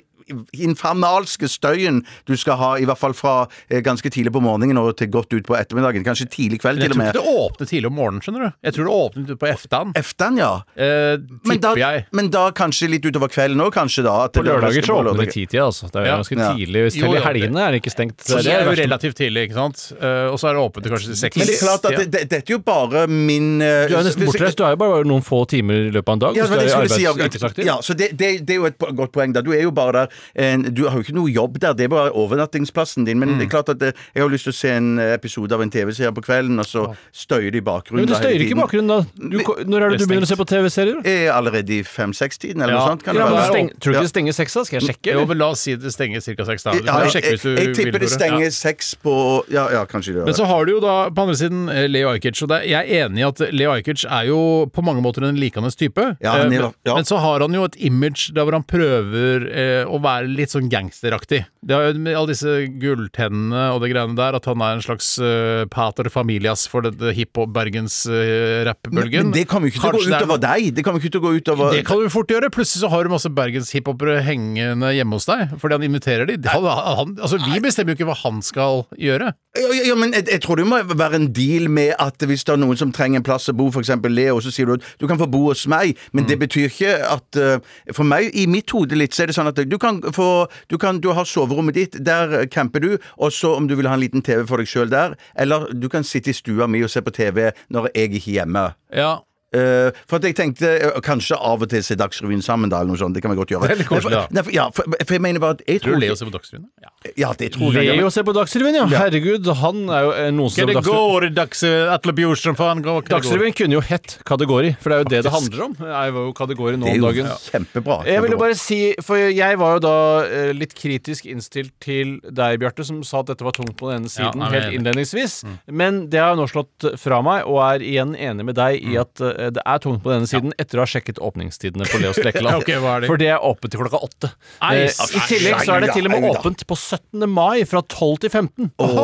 G: infernalske støyen du skal ha, i hvert fall fra eh, ganske tidlig på morgenen og til godt ut på ettermiddagen. Kanskje tidlig kveld,
D: Jeg
G: til og
D: tror
G: med.
D: ikke det åpner tidlig om morgenen, skjønner du. Jeg tror det åpner på eftan.
G: Eftan, ja.
D: Eh,
G: Men da,
D: tipper jeg.
G: men da kanskje litt utover kvelden òg, kanskje da. at
F: På
G: det-
F: lørdager så
G: på
F: åpner de
G: lørdager.
F: titida, altså. Det er jo
D: Ja.
F: ganske
G: Ja.
F: tidlig. Hvis
D: Jo,
F: Selv i
D: jo, det-
F: helgene er det ikke stengt.
D: Så det er jo
F: verst.
D: relativt tidlig, ikke sant? Eh, og så er det åpent til kanskje til seks.
G: Men det er klart at det, det, dette er jo bare min eh,
F: Du er jo nesten bortreist. Du er jo bare noen få timer i løpet av en dag.
G: Ja, det
F: hvis
G: var
F: du
G: det
F: er
G: jeg
F: i
G: skulle si.
F: arbeids-
G: Jakob.
F: yrkesaktiv.
G: Ja, så det, det, det er jo et po- godt poeng. da Du er jo bare der eh, Du har jo ikke noe jobb der, det er bare overnattingsplassen din. Men
F: Mm.
G: det er klart at eh, jeg har lyst til å se en eh, episode av en TV-serie på kvelden, og så støyer det i
F: Men
G: bakgrunnen.
F: det
G: da hele
F: støyer ikke i
G: tiden.
F: bakgrunnen da. Du, ko- når er det du begynner å se på TV-serier? da?
G: Eh, Allerede i fem-seks-tiden, eller
D: Ja.
G: noe sånt? Kan
D: Ja,
G: det
D: men
G: være?
F: Steng, tror du
G: Ja.
F: ikke det stenger seks, da? Skal jeg sjekke?
D: Jo,
F: eller?
D: men la oss si det stenger ca. seks. da. Du
G: Ja,
D: kan jo
G: jeg,
D: sjekke
G: jeg,
D: hvis du
G: jeg
D: vil,
G: tipper det
D: Tore.
G: stenger
D: Ja.
G: seks på Ja, ja, kanskje det gjør
D: Men
G: det.
D: så har du jo da på andre siden eh, Leo Ajkic, og det, jeg er enig i at Leo Ajkic er jo på mange måter en likandes type.
G: Ja, han er-
D: Eh, men,
G: ja.
D: men så har han jo et image der hvor han prøver eh, å være litt sånn gangsteraktig. Det er jo med alle disse gulltennene og det greiene der, at han er en slags eh, pater familias for dette eh, hiphop-bergens-rappbølgen.
G: Men det kommer jo ikke til å gå utover deg. Det kommer jo ikke til å gå utover
D: Det kan du fort gjøre. Plutselig så har du masse bergenshiphopere hengende hjemme hos deg fordi han inviterer de. Han, han, altså, vi bestemmer jo ikke hva han skal gjøre.
G: Ja, ja, ja, men jeg, jeg tror det må være en deal med at hvis det er noen som trenger en plass å bo, f.eks. Leo, så sier du at du kan få bo hos meg, men
D: Mm.
G: det betyr ikke at eh, For meg, i mitt hode litt, så er det sånn at du kan få Du, kan, du har soverommet ditt, der camper du, og så om du vil ha en liten TV for deg sjøl der, eller du kan sitte i stua mi og se på TV når jeg er ikke hjemme.
D: Ja.
G: Eh, for at jeg tenkte eh, kanskje av og til se Dagsrevyen sammen, da, eller noe sånt. Det kan vi godt gjøre.
D: Det er litt koselig, da.
G: Nei, for, ja, for, for jeg mener bare at jeg
D: Tror
G: tror
D: du Leo ser på Dagsrevyen? Ja.
G: Ja, det tror jeg.
F: Leo ser på Dagsrevyen, ja. Herregud, han er jo eh, noen som ser på Dagsrevyen.
D: i eh, Dagsrevyen, faen?
F: Dagsrevyen kunne jo hett Kategori, for det er jo det det handler om. Det er jo kategori nå
G: Det er
F: om
G: jo
F: dagen.
G: kjempebra.
F: Jeg ville
G: kjempebra.
F: bare si, for jeg var jo da eh, litt kritisk innstilt til deg, Bjarte, som sa at dette var tungt på den ene
D: Ja,
F: siden
D: nei, men Mm.
F: helt
D: jeg er
F: innledningsvis. Men det har jeg nå slått fra meg, og er igjen enig med deg
D: Mm.
F: i at eh, det er tungt på den ene siden etter å ha sjekket åpningstidene på Leos Lekeland.
D: Ok, hva er det?
F: For det er åpent til klokka åtte.
D: Nei, altså,
F: Eh, I
D: nei,
F: tillegg så er det til og med
G: nei, da.
F: åpent på 17. mai fra 12 til 15.
G: Åh,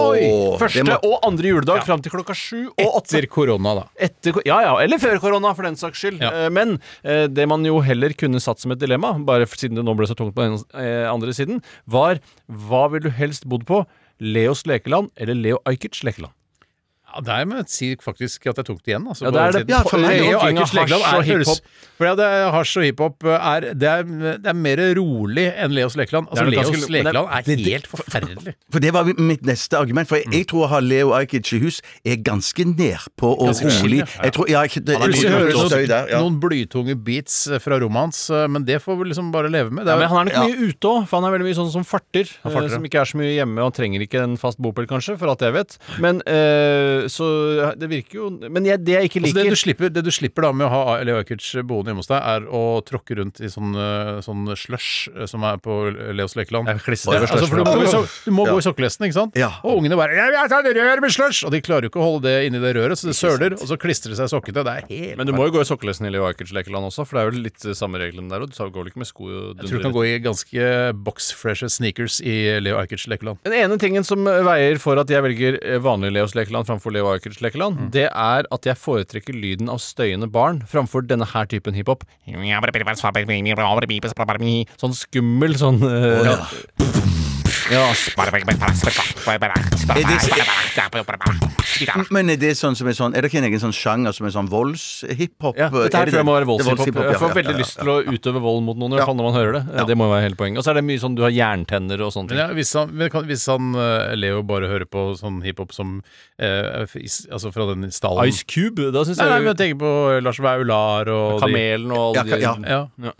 F: Første
G: det må-
F: og andre juledag fram til klokka sju og åtte.
D: Etter korona, da.
F: Etter, ja, ja, eller før korona, for den saks skyld.
D: Ja.
F: Eh, Men eh, det man jo heller kunne satt som et dilemma, bare for- siden det nå ble så tungt på den eh, andre siden, var hva ville du helst bodd på? Leos lekeland eller Leo Ajkic lekeland?
D: Ja, der må jeg si faktisk at jeg tok det igjen. Altså,
F: Ja,
D: på
F: det er
D: den
F: det.
D: siden.
F: Ja, for meg er det
D: Leo
F: jo ting av
D: Ajkic Lekeland
F: hasj og
D: er- høres-
F: hiphop.
D: For ja, det er hasj og hiphop eh, er, det, er, det er mer rolig enn Leos Lekeland.
F: Det er
D: Altså,
F: nok
D: Leos
F: ganske- men det-
D: Lekeland er helt forferdelig.
G: For det var mitt neste argument.
F: Mm.
G: For jeg, jeg tror å ha Leo Ajkic i hus er ganske nedpå og
D: Ganske chill,
G: rolig.
D: ja.
G: Jeg tror, ja, ikke- det, det,
D: Plutselig hører
G: det,
D: du
G: støy der,
D: noen,
G: ja.
D: noen blytunge beats eh, fra rommet hans, men det får vi liksom bare leve med. Det
F: Ja,
D: er,
F: men han er nok
G: ja.
F: mye ute òg, for han er veldig mye sånn som farter.
D: Han farter,
F: eh, som
D: ja.
F: ikke er så mye hjemme, og han trenger ikke en fast bopel, kanskje, for alt jeg vet. Men eh, så det virker jo Men jeg, det jeg ikke
D: altså,
F: liker
D: det, du slipper, det du slipper da med å ha Leo Ajkic boende hjemme hos deg, er å tråkke rundt i sånn, eh, sånn slush eh, som er på Leos Lekeland.
F: Jeg klisser
D: Ja,
F: over
D: altså, for du, må,
F: slush nå.
D: gå i sok- du må
G: Ja.
D: gå i sokkelesten, ikke sant?
G: Ja.
D: Og ungene bare «Jeg vil ha et rør med slush! Og de klarer jo ikke å holde det inni det røret, så det søler, og så klistrer det seg sokkete. Det er helt
F: Men du må jo gå i sokkelesten i Leo Ajkic lekeland også, for det er jo litt eh, samme reglene der. Og du går vel ikke med sko og
D: Jeg tror du kan gå i ganske boxfreshe sneakers i Leo Ajkic Lekeland.
F: Den ene tingen som veier for at jeg velger eh, vanlig Leos lekeland framfor Leo Ajkic lekeland,
D: Mm.
F: det er at jeg foretrekker lyden av støyende barn framfor denne her typen hiphop. Sånn skummel sånn eh,
G: Men er det sånn som er sånn Er det ikke en egen sånn sjanger som er sånn volds-hiphop?
F: Ja, dette her tror jeg må være voldshiphop. Jeg får veldig lyst til å
G: ut
F: utøve vold mot noen i hvert fall når man hører det. Det må jo være hele poenget. Og så er det mye sånn du har jerntenner og sånne
D: Men
F: ting.
D: ja, hvis han, men kan, hvis han eh, Leo bare hører på sånn hiphop som eh, f- is- Altså fra den stallen
F: Ice Cube, da syns
D: Nei, nei, men
F: jeg
D: jeg tenker på Lars Vaular og de-
F: Kamelen og
G: Ja,
F: alle
G: ja.
F: de
D: Ja.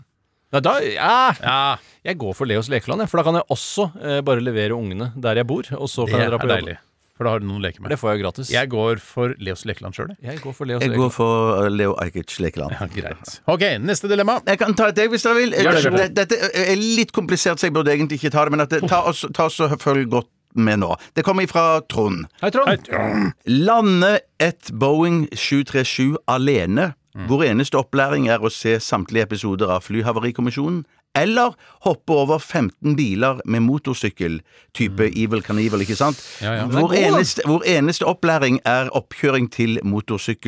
F: Nei, da ja.
D: ja.
F: Jeg går for Leos lekeland, jeg, for da kan jeg også eh, bare levere ungene der jeg bor, og så
D: Det
F: kan jeg
D: er
F: dra på jobb.
D: deilig. For da har du noen å leke med.
F: Det får jeg jo gratis.
D: Jeg går for Leos Lekeland sjøl, jeg.
F: Jeg går for Leos
G: Jeg
F: lekeland.
G: går for Leo Ajkic Lekeland.
D: Ja, greit. OK, neste dilemma.
G: Jeg kan ta et deg hvis dere vil.
D: Vær så
G: Dette-
D: god.
G: Dette er litt komplisert, så jeg burde egentlig ikke ta det. Men at det, ta oss, ta oss og følg godt med nå. Det kommer ifra Trond.
F: Hei, Trond.
G: Lande et Boeing 737 alene, hvor eneste opplæring er å se samtlige episoder av Flyhavarikommisjonen, eller hoppe over 15 biler med motorsykkel, type Evil Knievel, ikke sant?
D: Mm. ja.
G: Hvor, eneste, hvor eneste opplæring er oppkjøring til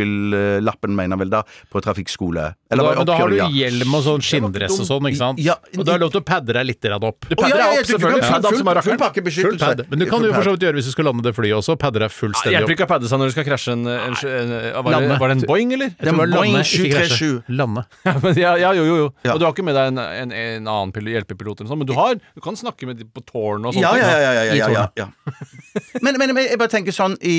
G: motorsykkellappen, mener han vel da, på trafikkskole. Eller
D: Da,
G: bare
D: men da har
G: oppkjøring,
D: du
G: ja.
D: hjelm og sånn skinndress og sånn, ikke sant?
G: Ja.
D: Og da er det lov til å padde deg litt grann opp.
G: Å, ja, ja, ja, du kan
F: selvfølgelig.
G: full-
F: Ja, de som har
G: full- full
F: rakkeren.
G: pakke
D: Full
G: beskyttelse.
D: pad. Men du kan
G: Full
D: jo for
G: pad.
D: så vidt gjøre hvis du skal lande det flyet også. Padde deg fullstendig
F: Hjelper
D: opp.
F: ikke å padde seg når du skal krasje en, en, en, var, det,
D: Lande.
F: var det en Boeing, eller?
D: Jeg tror det var
G: Boeing
D: lande, ikke krasje.
G: 737.
D: Lande.
F: Men ja, ja, jo, jo, jo.
G: Ja.
F: Og du har ikke med deg en, en, en annen pil- hjelpepilot, eller noe sånt, men du, har, du kan snakke med de på tårnet og sånt.
G: Ja, ja, ja. ja, ja,
F: I
G: ja, ja,
F: tårnet.
G: ja. Men, men, men jeg bare tenker sånn i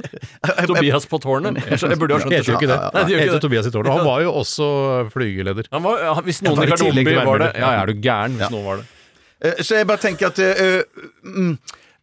F: Tobias på tårnet. Jeg skjønner- jeg burde jo ha skjønt
D: Heter jo ikke det.
F: Nei, det gjør
D: Heter
F: ikke det.
D: Tobias i tårnet. Han var jo også flygeleder.
F: Han var, ja, hvis noen
D: var
F: i
D: i tillegg
F: garderoben
D: til
F: var det
D: værmelder.
F: Ja, ja, er du gæren hvis noen var det.
G: Eh, Så jeg bare tenker at eh, mm,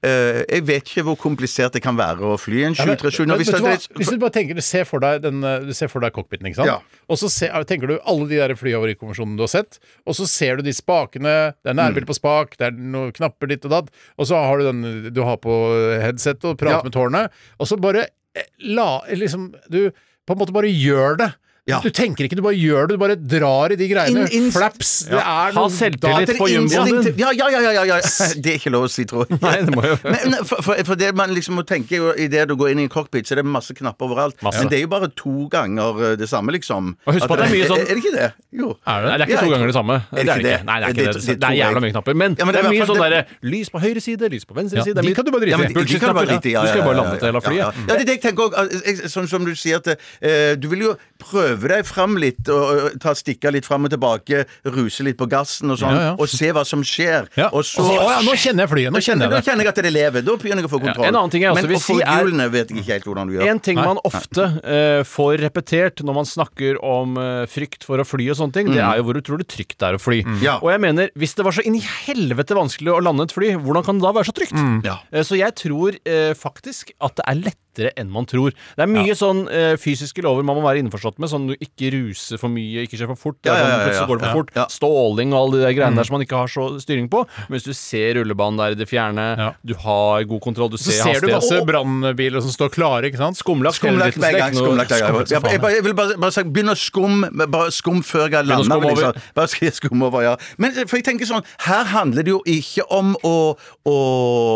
G: eh, Jeg vet ikke hvor komplisert det kan være å fly en 737. Nå,
D: Men
G: hvis
D: vet du hva?
G: det-
D: Hvis du bare tenker, du ser for deg, den, eh, du ser for deg cockpiten, ikke sant?
G: Ja.
D: Og så ser, tenker du alle de der flyhavarikommisjonene du har sett, og så ser du de spakene, det er
G: Mm.
D: nærbilde på spak, det er noen knapper ditt og datt, og så har du den du har på headset og
G: Ja.
D: prater med tårnet, og så bare eh, la liksom Du på en måte bare gjør det.
G: Ja.
D: Du tenker ikke, du bare gjør det. Du bare drar i de greiene.
G: Inn- inn-
D: Flaps. Det er
F: Ha
D: noe
F: selvtillit
D: dater-
F: på jumboen din.
G: Instinktiv- Ja, ja, ja, ja, ja, ja. Det er ikke lov å si, tror jeg.
F: Nei, det må jo-
G: Men, men, for, for, for det man liksom må tenke jo, i det du går inn i en cockpit, så er det masse knapper overalt.
F: Masse.
G: Men det er jo bare to ganger eh, det samme, liksom.
F: Og husk på at det er mye sånn-
G: Er, er det ikke det? Jo.
F: Er det? Nei, det
G: Ja,
F: er ikke to
G: jeg-
F: ganger det samme.
G: det
F: det
G: ikke
F: er
G: det?
F: Nei, det er ikke
G: Det-
F: det.
G: det-
F: Det er jævla mye knapper. Men,
G: Ja, men
F: det
G: i
F: er mye
G: hvert fall
F: sånn derre
G: det-
F: lys på høyre side, lys på venstre
D: Ja,
F: side. det er
D: de
F: mye-
D: kan du bare drite
F: Ja,
D: i.
F: men de- de kan du bare drite i, ja, Du skal jo bare
G: ja,
F: lande
G: ja,
F: til hele
G: ja, ja.
F: flyet.
G: Ja, det er det jeg tenker også, al- jeg- Sånn som du sier at eh, du vil jo prøve deg fram litt, og, og ta stikka litt fram og tilbake, ruse litt på gassen og sånn,
D: Ja, ja.
G: og se hva som skjer.
D: Ja.
G: Og så
D: Å ja, nå kjenner jeg flyet. Nå kjenner
G: Da
D: jeg det.
G: kjenner jeg at det lever. Da begynner jeg å få kontroll.
F: en annen ting jeg også
G: Men
F: vil
G: å få
F: si er-
G: hjulene vet jeg ikke helt hvordan du gjør.
F: En ting man ofte eh, får repetert når man snakker om eh, frykt for å fly og sånne ting, det er jo hvor utrolig trygt det er å fly.
G: Mm. Ja.
F: Og jeg mener, hvis det var så inn i helvete vanskelig å lande et fly, hvordan kan det da være så trygt?
G: Ja.
F: Eh, Så jeg tror eh, faktisk at det er lettere enn man tror. Det er mye sånn eh, fysiske lover man må være innforstått med, sånn du ikke ruser for mye, ikke kjør for fort, det er
G: Ja, ja,
F: sånn,
G: ja,
F: plutselig
G: ja,
F: går det for
G: ja,
F: fort,
G: ja. Mm.
F: ståling og alle de der greiene der som man ikke har så styring på. Men hvis du ser rullebanen der i det fjerne,
D: Ja.
F: du har god kontroll, du
D: Så
F: ser
D: ser du
F: hastighet.
D: masse
F: Å,
D: brannbiler som står klare, ikke sant?
F: Skumlagt hele
G: Skumlagt
F: dritten,
G: hver
F: så det er
G: gang.
F: ikke noe-
G: skumlagt hver gang.
F: Skumlagt som
G: Jeg, jeg,
F: faen.
G: bare- jeg vil bare, bare sagt, begynn å skum Bare skum før jeg
F: å
G: lander.
F: skumme
G: men
F: over.
G: liksom. Bare skal jeg skumme over, ja. Men eh, for jeg tenker sånn, her handler det jo ikke om å, å,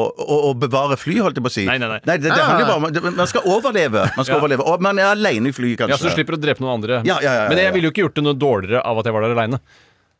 G: å, å bevare fly, holdt jeg på å si.
F: Nei, nei, Ah. nei.
G: det, det handler jo bare om det- Man skal overleve. Man skal overleve. Og man er aleine i fly, kanskje.
F: Ja, så du slipper å drepe noen andre.
G: Ja, ja, ja, ja, ja.
F: Men jeg ville jo ikke gjort det noe dårligere av at jeg var der aleine.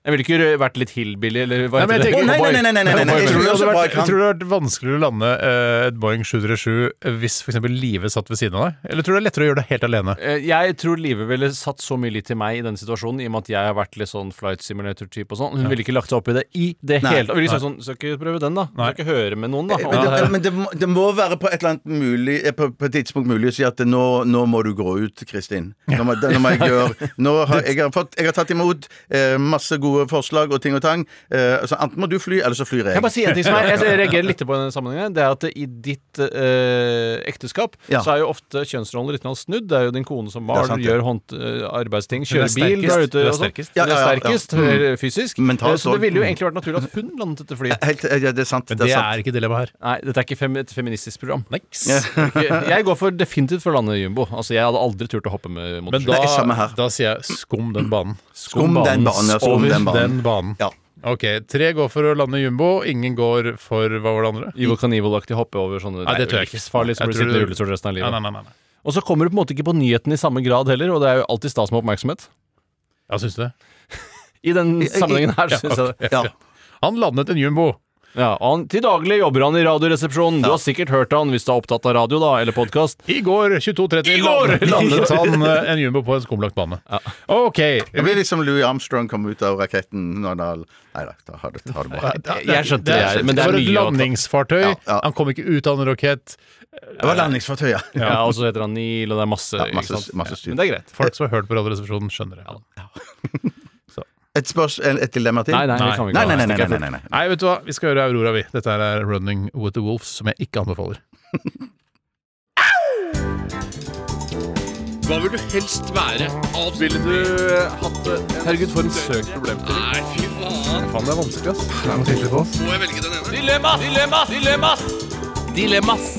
F: Jeg ville ikke rø- vært litt hillbilly eller
D: Nei,
F: hva
D: men
F: heter
D: jeg
F: det?
G: Å,
D: tenker-
G: nei, nei, nei, nei, nei, nei, nei, jeg
F: Cowboy,
D: Jeg
G: tror
D: tror,
F: cowboy.
D: det
G: også bare
D: hadde vært,
G: kan-
D: jeg tror det hadde vært vanskeligere å lande eh, et Boeing 737 eh, hvis f.eks. Live satt ved siden av deg? Eller tror du det er lettere å gjøre det helt alene?
F: Eh, Jeg tror Live ville satt så mye litt til meg i denne situasjonen, i og med at jeg har vært litt sånn flight simulator-type og sånn. Hun ville ikke lagt seg opp i det i det
G: Nei.
F: hele tatt. Ville sagt sånn Skal ikke prøve den, da. Skal ikke høre med noen, da.
G: Men,
F: Ja,
G: det, men det, må, det må være på et eller annet mulig eh, På, på et tidspunkt mulig å si at nå, nå må du gå ut, Kristin. Nå må, nå må jeg gjøre nå har, jeg, har fått, jeg har tatt imot eh, masse gode forslag og ting og tang. Eh, altså, enten må du fly, eller så flyr jeg.
F: Kan jeg bare si en ting som jeg, jeg reagerer litt på i denne sammenhengen. Det er at i ditt eh, ekteskap
G: Ja.
F: så er jo ofte kjønnsrollene litt snudd. Det er jo din kone som mal,
G: Det er sant, det.
F: gjør hånd, eh, arbeidsting,
D: Hun er
F: kjører bil.
D: sterkest.
F: drar ute
D: Hun er
F: og sånn.
D: sterkest.
F: Hun
G: Ja,
F: er
G: ja, ja, ja.
F: sterkest eh, fysisk.
G: Mentalt
F: Eh, så det
G: også.
F: ville jo egentlig vært naturlig at hun landet dette flyet.
G: Helt, eh, ja, det er sant.
D: Men
G: Det er sant.
D: er ikke dilemma her.
F: Nei, dette er ikke fem, et feministisk program.
D: Niks.
F: Jeg går for definitivt for landet jumbo. Altså, jeg hadde aldri turt å hoppe med
D: Men
F: motorsykkel.
D: da,
G: Nei, samme her.
D: Ah, da sier jeg skum den banen.
G: Skum den banen, ja, skum
D: Over
G: den banen. Ja.
D: Ok, tre går for å lande jumbo, ingen går for hva var det andre?
F: Evil Knievel-aktig hoppe over sånne
D: Nei, det tør jeg ikke.
F: livsfarlig som
D: Jeg
F: blir
D: tror
F: sittende i
D: det-
F: rullestol resten av
D: Nei,
F: livet.
D: nei, nei. nei.
F: Og så kommer du på en måte ikke på nyheten i samme grad heller, og det er jo alltid stas med oppmerksomhet.
D: Ja, syns du det?
F: I den sammenhengen her, syns jeg det.
G: Ja.
D: Han landet en jumbo.
F: Ja, og han, til daglig jobber han i Radioresepsjonen. Du har sikkert hørt han hvis du er opptatt av radio da, eller podkast.
D: I går 22.30 landet- landet han eh, en jumbo på en skumlagt bane. OK.
G: Det blir liksom Louis Armstrong kom ut av raketten når han Nei da, ta- ha det, ta det bra.
F: Jeg skjønte det, jeg, men det er
D: for et
F: mye å ta-
D: landingsfartøy.
G: Ja, ja.
D: Han kom ikke ut av en rakett.
G: Det var landingsfartøy, ja.
F: Ja, og så heter han Neil, og det er masse,
G: Ja, masse-
F: ikke sant?
G: masse styr.
F: Men det er greit.
D: Folk som har hørt på Radioresepsjonen, skjønner det.
G: Et, spørs, et dilemma til?
F: Nei, nei, vi kan vi ikke
G: Nei,
F: ha.
G: nei, nei, nei, nei, nei, nei.
D: Nei, vet du hva? Vi skal gjøre Aurora, vi. Dette her er Running with the Wolves, som jeg ikke anbefaler.
F: Dilemmas! Dilemmas! Dilemmas! Dilemmas!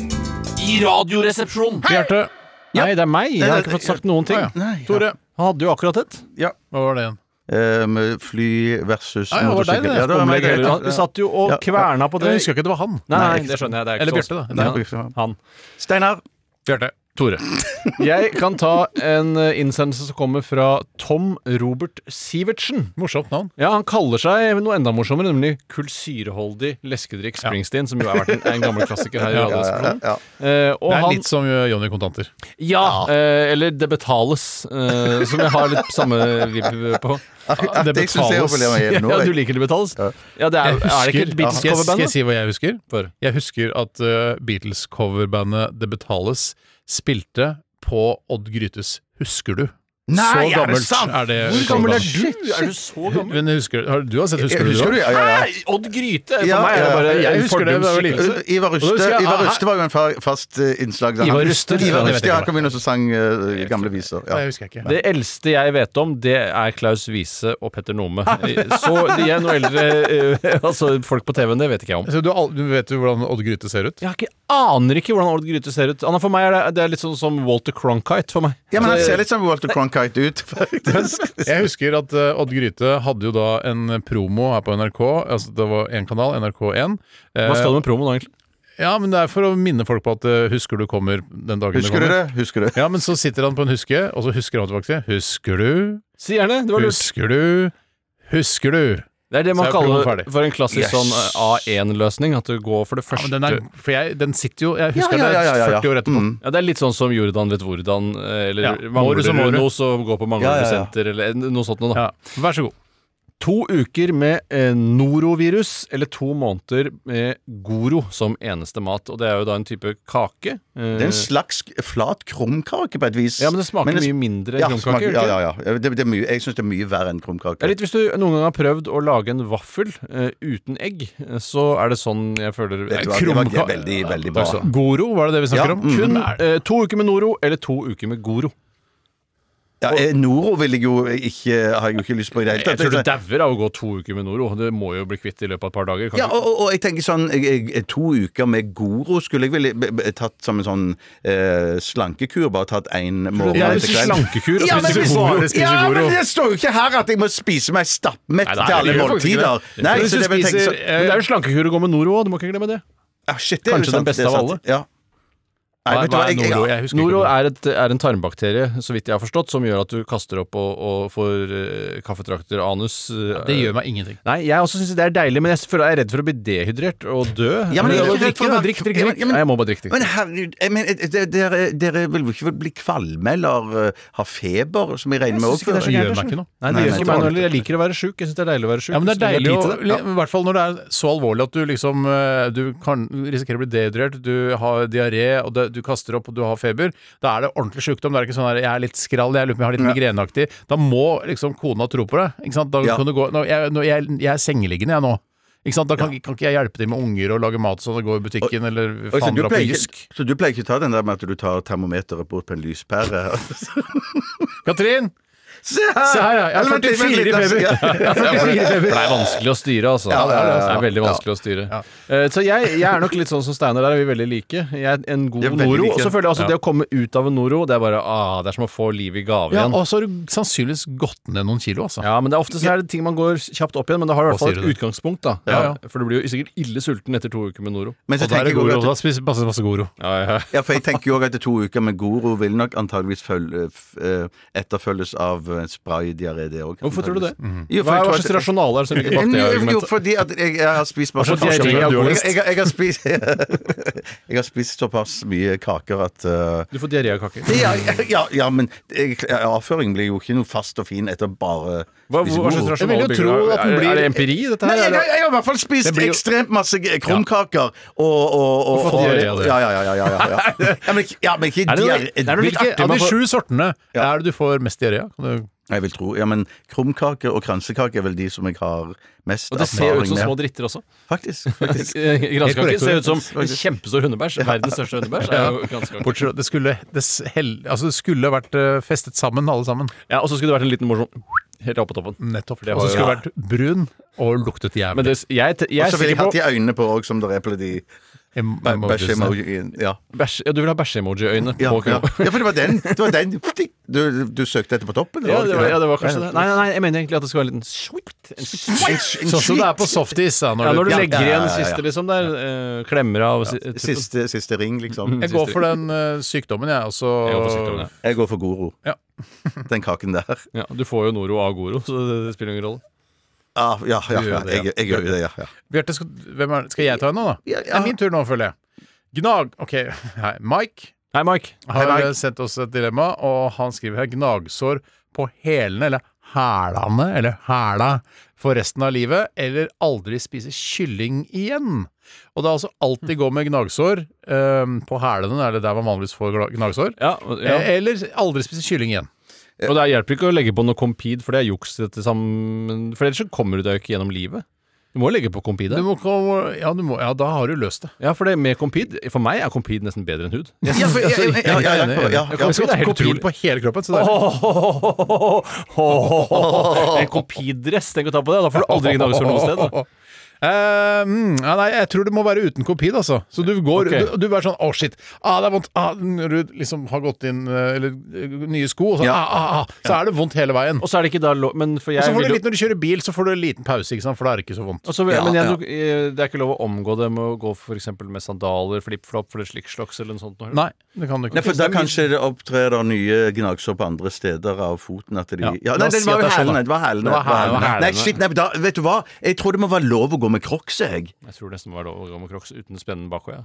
F: I Radioresepsjonen!
D: Bjarte.
F: Nei, det er meg. Jeg har ikke fått sagt noen ting.
D: Å, ja. Tore.
F: Han hadde jo akkurat et.
D: Hva var det igjen?
G: Ehm, fly versus
D: Ah, ja, det var deg,
G: motorsykkel.
D: det.
G: Ja, det var meg, det.
F: Han vi satt jo og
G: Ja, ja.
F: kverna på det.
D: Jeg husker ikke at det var han.
F: Nei,
G: Nei,
F: det skjønner jeg. Det er ikke
D: Eller
F: så-
D: Bjarte, da.
G: Nei,
F: Ja.
G: liksom.
F: Han.
G: Steinar.
D: Bjarte. Tore.
F: Jeg kan ta en eh, innsendelse som kommer fra Tom Robert Sivertsen.
D: Morsomt navn.
F: Ja, Han kaller seg noe enda morsommere, nemlig kullsyreholdig leskedrikk Springsteen, som jo har vært en, en gammel klassiker her i Radioresepsjonen.
G: Ja,
F: Eh, og
D: Det er
F: han
D: litt som eh, Johnny Kontanter.
F: Ja! Eh, eller Det betales, eh, som jeg har litt samme vibb på.
G: At jeg synes jeg overlever
F: Ja,
G: igjen nå.
F: du
G: jeg.
F: liker Det betales?
G: Ja.
F: Ja, det
D: Jeg
F: er, er det ikke
D: husker,
F: et Beatles
D: skal, skal
F: coverband?
D: jeg si hva jeg husker?
F: For.
D: Jeg husker at eh, Beatles-coverbandet Det Betales spilte på Odd Grytes Husker du?
G: Nei,
D: så
G: er det
D: gammelt
G: sant?
D: er det.
F: Hvor gammel er
D: coverbandet.
F: du? Er du så gammel?
D: Men husker, har, du har sett Husker,
G: Jeg Husker du?
D: du? da?
G: Ja, ja, ja.
F: Nei, Odd Gryte! For
G: Ja,
F: meg er det
G: ja,
F: bare
D: jeg
F: en
D: husker det da jeg var
F: fordumsskikkelse.
D: liten.
G: Ivar
D: Og da
G: Ruste,
D: husker jeg-
G: Ivar
D: ah,
G: Ruste var jo en fa- fast eh, innslag. da.
F: Ivar
G: Han-
F: Ruste?
G: Ivar
D: Ja, det vet
G: Ruste,
D: jeg
G: ja,
D: ikke.
G: Han kom inn og så sang eh, gamle viser.
D: Nei,
G: Ja.
D: jeg husker jeg ikke.
F: Det eldste jeg vet om, det er Klaus Wiese og Petter Nome. Så de er noe eldre eh, Altså, folk på TV-en, det vet ikke jeg om.
D: Så du, har al- du vet jo hvordan Odd Gryte ser ut?
F: Jeg har ikke, aner ikke hvordan Old Gryte ser ut. Anna, for meg er det, det er litt sånn som Walter Cronkite for meg.
G: ja, men han ser litt som Walter Cronkite ut, faktisk.
D: Jeg husker at eh, Odd Gryte hadde jo da en promo her på NRK. Altså det var én kanal, NRK1. Eh,
F: Hva skal du med promo nå, egentlig?
D: ja, men det er for å minne folk på at eh, Husker du kommer den dagen
G: Husker du
D: kommer.
G: det? Husker du det?
D: Ja, men så sitter han på en huske, og så husker han tilbake. Husker du?
F: Si gjerne. Det var lurt.
D: Husker du? Husker du?
F: Det er det man
D: Så er promoen
F: kaller
D: ferdig.
F: for en klassisk
G: Yes.
F: sånn eh, A1-løsning. At du går for det
D: Ja,
F: første
D: men den, er, for jeg, den sitter jo
G: Ja,
D: Jeg husker
G: ja, ja, ja, ja, ja.
D: det 40 år etterpå.
G: Mm.
F: Ja, Det er litt sånn som Jordan vet hvordan, eh, eller
D: Ja, må
F: mangler
D: du
F: du
D: så må du.
F: noe, så gå
G: Ja,
F: på
G: ja,
F: mangler du
G: ja.
F: senter, eller eh, noe sånt noe, da.
D: Ja. Vær så god.
F: To uker med eh, norovirus, eller to måneder med goro som eneste mat. Og det er jo da en type kake. Eh,
G: Det er en slags flat krumkake på et vis.
F: ja, men det smaker
G: det-
F: mye mindre
G: ja,
F: krumkake.
G: smaker-
F: gjør det
G: Ja,
F: ikke?
G: ja, ja. Det, det er mye, jeg syns det er mye verre enn krumkake.
F: Det er litt hvis du noen gang har prøvd å lage en vaffel eh, uten egg, eh, så er det sånn jeg føler
G: Vet du hva, det var det er veldig, veldig bra.
D: Goro, var det det vi
G: Ja,
D: snakker om?
G: mm.
D: Kun
F: Eh, to uker med noro, eller to uker med goro.
G: Ja, eh, Noro vil jeg jo ikke, har jeg jo ikke lyst på i det hele
F: Jeg tror du
G: tatt.
F: dauer av å gå to uker med noro. Det må jo bli kvitt i løpet av et par dager. kan
G: Ja,
F: du-
G: og, og, og jeg tenker sånn jeg, jeg, To uker med Goro skulle jeg ville b- b- tatt som en sånn eh, slankekur. Bare tatt én morgen
F: Ja,
G: etter
F: hvis du
G: kveld.
F: slankekur og
G: Ja, men
F: spiser
G: hvis-
F: Goro.
G: Ja, men det står jo ikke her at jeg må spise meg stappmett
F: Nei, nei,
G: til alle
F: det gjør faktisk ikke
G: måltider.
F: det.
G: Nei,
D: Men hvis
G: så
D: du
G: det vil jeg tenke
D: spiser
G: sånn
F: Men
D: eh,
F: det er jo slankekur å gå med noro òg, du må ikke glemme det.
G: ah, shit, det er jo
F: kanskje den
G: sant,
F: beste
G: det er
F: av
G: sant.
F: alle.
G: Ja. Nei,
F: Hva,
G: vet du hva,
F: hva er
G: jeg,
D: Noro?
G: jeg,
D: Jeg husker ikke.
F: Noro
D: hva det
F: er, et, er en tarmbakterie, så vidt jeg har forstått, som gjør at du kaster opp og, og får eh, kaffetrakter, anus eh,
D: var. Det gjør meg ingenting.
F: Nei, jeg også syns det er deilig, men jeg føler jeg er redd for å bli dehydrert og dø.
G: Ja, men jeg er ikke redd for å
F: Drikke,
G: være-
F: drikk, drikk,
G: Ja, men-
F: drikk. Nei, jeg må bare
G: men
F: drikke. drikke.
G: herregud, jeg mener, eh, dere- dere, dere vil jo ikke bli kvalme eller eh, ha feber, som jeg regner med
F: synes ikke det er så
G: òg?
D: Det
F: gærent,
D: gjør
F: kanskje.
D: meg ikke noe.
F: Nei, det
G: Nei,
F: gjør
G: nei,
F: ikke
G: det
F: meg
G: var
F: noe heller. Jeg liker å være sjuk. Jeg syns det er deilig å være sjuk.
D: Ja, men det er
F: Så jeg
D: deilig, å,
F: biter det.
D: i hvert fall når det er så alvorlig at du liksom eh, Du kan risikerer å bli dehydrert, du har diaré, og det, du kaster opp og du har feber. Da er det ordentlig sjukdom. Det er ikke sånn her 'jeg er litt skrall, jeg lurer på om jeg har litt migreneaktig'. Da må liksom kona tro på deg. Ikke sant? Da
G: Ja.
D: kan du gå nå, jeg, nå, jeg, jeg er sengeliggende, jeg nå. Ikke sant? Da kan, kan ikke jeg hjelpe til med unger og lage mat sånn og gå i butikken eller
G: Oi, så,
D: faen
G: du
D: dra på
G: pleier,
D: Jysk.
G: ikke- så du pleier ikke å ta den der med at du tar termometeret bort på en lyspære?
D: Katrin!
G: Se her!
D: Se her, ja. Jeg er
G: Eller vent litt, vent
D: 44
G: litt, altså.
D: i feber.
G: Ja.
F: Ja, for det, for det er vanskelig å styre, altså.
G: Ja, det er det, altså.
F: Det er veldig vanskelig å styre. Eh, Så jeg, jeg er nok litt sånn som Steinar der, er vi veldig like. Jeg er en god
G: Vi er veldig
F: noro.
G: like.
F: Og så føler jeg altså det å komme ut av en noro, det er bare ah, det er som å få livet i gave
D: Ja,
F: igjen.
D: og så har du sannsynligvis gått ned noen kilo, altså.
F: Ja, men det er ofte så er det ting man går kjapt opp igjen, men det har i
D: Hva
F: hvert fall
D: sier du
F: et
D: det?
F: utgangspunkt, da.
D: Ja, ja.
F: For du blir jo sikkert ille sulten etter to uker med Noro.
G: Men så
D: Og da er
G: tenker jeg
D: det goro.
G: også
D: Da
G: at,
D: spiser masse, masse goro.
F: Ja, ja.
G: ja, for jeg tenker jo også at to uker med Goro vil nok antageligvis følge, f- eh, etterfølges av for en spraydiaré, det òg.
F: Hvorfor tror du det?
G: Mm.
F: Mhm.
G: Jo, for
F: Hva
G: jeg
F: er
G: tror at-
F: hva
G: Eh,
F: slags rasjonale er det som ligger bak det
G: Jo, Jo,
F: argumentet?
G: fordi at jeg, jeg har spist bare
F: Hva slags
G: såpass-
F: diaré har du
G: jeg,
F: lyst?
G: jeg, jeg, har spist, jeg har spist såpass mye kaker at eh,
F: Du får diaré av kaker.
G: ja, ja, ja, men jeg, avføringen blir jo ikke noe fast og fin etter bare
F: Hva,
G: disse
F: hva slags
G: godene.
D: Jeg vil
F: rasjonale
D: jo tro
F: bygger-
D: at den
F: er-
D: blir-
F: Er det empiri, dette
G: Nei,
F: her?
G: jeg,
F: Er det-
G: jeg, jeg har i hvert fall spist
D: Det blir jo-
G: ekstremt masse g- krumkaker og, og, og,
D: fått diaré av det.
G: Ja, ja, ja. ja, ja, ja. ja, men, ikke- ja men ikke
F: Er det noe-
G: diaré
F: er det noe
G: Litt
F: like-
G: artig,
D: Av
G: man
D: de
G: får-
D: sju sortene, er det du får mest diaré av? Kan du-
G: Jeg vil tro, ja, men Krumkake og kransekake er vel de som jeg har mest
F: Og det ser jo ut
G: erfaring
F: som små
G: med.
F: dritter også.
G: Faktisk. faktisk.
F: Granskaker
D: korrekt,
F: Eh, ser ut
D: Tore.
F: som en kjempestor hundebæsj. Verdens største hundebæsj er jo granskaker.
D: Bortsett fra det skulle, det, s- hell, altså det skulle vært eh, festet sammen, alle sammen.
F: Ja, og så skulle det vært en liten morsom helt opp på toppen.
D: Nettopp.
F: Det
D: Og så
F: var jo-
D: skulle det vært brun og luktet jævlig.
F: Men det, jeg, jeg
G: Og
F: er
G: så vil jeg
F: sikker
G: ha
F: på
G: de øynene på òg, som det er på de
D: Jeg må- jeg må bare si det.
G: bæsje-emojien. Ja.
F: bæsj, ja, Du vil ha bæsje-emoji-øyne
G: Ja,
F: på
G: ja.
F: kroppen.
G: ja, for det var den. Det var den. Du, du søkte etter på toppen?
F: Ja, det var, ja, det var
G: Ja.
F: kanskje det. Nei, nei, nei, jeg mener egentlig at det skal være en liten sweet. En
G: En- en
D: Sånn som
G: slik-
D: det er på softis. Da, når
F: Ja, når du
D: du,
G: legger
F: legger
G: igjen
F: igjen
G: siste,
F: siste, liksom, der klemmer av eh,
G: Siste, siste ring,
F: Mm.
G: liksom.
D: jeg
G: Siste-
D: går for den eh, sykdommen, jeg. Og så
F: Jeg går for sykdommen, ja.
G: Jeg går for Goro.
D: Ja.
G: Den kaken der.
F: Ja, Du får jo Noro av Goro, så det, det spiller ingen rolle.
G: Ah, ja, ja,
D: Du
G: ja.
D: gjør det, ja.
G: Jeg, jeg gjør jo det, ja. ja.
D: Bjarte, skal, hvem er, skal jeg ta en nå, da?
G: Ja, ja.
D: Det er min tur nå, føler jeg. Gnag... OK, hei. Mike
F: Hei, Mike.
D: har
G: Hei, Mike.
D: eh, sendt oss et dilemma, og han skriver her gnagsår på hælene, eller hælene, eller hæla, for resten av livet, eller aldri spise kylling igjen. Og det er altså alltid gå med gnagsår eh, på hælene, er det der man vanligvis får gla- gnagsår?
F: Ja, og- ja.
D: Eh, Eller aldri spise kylling igjen.
F: Og det hjelper ikke å legge på noe Compede, for det er juks. dette sammen For ellers så kommer du deg jo ikke gjennom livet. Du må jo legge på Compede.
D: Du må, komme- ja, du må, ja, da har du løst det.
F: Ja, for det med Compede For meg er Compede nesten bedre enn hud.
G: Ja, for- ja, ja, ja, Altså, ja, ja, ja, ja, ja.
F: Compede er helt
D: Kopil
F: utrolig.
D: på hele kroppen. Så det er
F: En Compede-dress, tenk å ta på det. Da får du aldri gnagsår noe sted. Da.
D: Eh, mm, ja, nei, jeg tror det må være uten kopid, altså. Så du går
F: Ok.
D: du, du er sånn 'Å, shit. Ah, det er vondt.' Ah, når du liksom har gått inn eh, Eller eh, nye sko, og så,
G: Ja.
D: ah, ah, ah, så er det vondt hele veien.
F: Og så er det ikke da lov Men for
D: Og
F: jeg
D: så får
F: vil
D: du
F: jo-
D: litt når du kjører bil, så får du en liten pause, ikke sant? for da er det ikke så vondt.
F: Og så vil- men jeg,
G: ja.
F: tror- eh, det er ikke lov å omgå det med å gå for eksempel med sandaler, flipflop eller slikkslokks eller noe sånt. noe.
D: Nei, det kan du ikke.
G: Nei, for Da kanskje det opptrer da nye gnagsår på andre steder av foten. At de, ja. nei,
D: La oss
G: det
D: si
G: var
D: at
G: jo
D: det er sånn,
G: hælene.
D: da.
G: Det var hælene.
F: Det var
G: det var
F: hælene.
G: hælene. Nei, shit, nei, men da, vet du hva? Jeg tror det må være lov å gå med crocs, jeg.
F: Jeg tror nesten det var lov å gå med crocs uten spennen bakpå. Ja.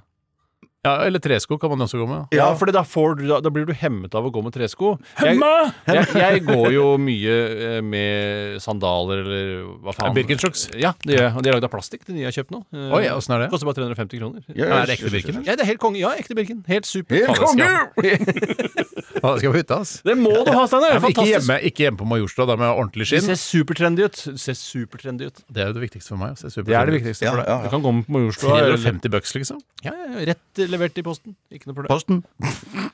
D: Ja, eller tresko kan man også gå med.
F: Ja, for da, får du- da, da blir du hemmet av å gå med tresko. Jeg, jeg, jeg går jo mye eh, med sandaler eller hva faen.
D: Birkenstocks.
F: Ja, det gjør jeg. Og de er lagd av plastikk, de nye jeg har kjøpt nå. Eh,
D: Oi, ja, åssen er det?
F: Koster bare 350 kroner.
D: Er det ekte Birken?
F: Ja, det er helt konge. Ja, ekte Birken. Helt super.
G: Helt
F: Faen, det skal-
D: Ja, det skal på hytta, ass.
F: Det må du ha, Steinar!
D: Ja, men ikke,
F: Fantastisk.
D: hjemme, ikke hjemme på Majorstua, da med ordentlig
F: Det
D: skinn.
F: ser supertrendy ut. Det ser supertrendy ut.
D: Det er jo det viktigste for meg. å se
F: Det er det
D: superhelt.
F: viktigste
G: Ja,
F: for deg.
G: ja, ja.
F: Du kan gå med på Majorstua. eller-
D: 350 bucks, liksom.
F: Ja, ja, ja, rett levert i posten. Ikke noe problem.
G: Posten.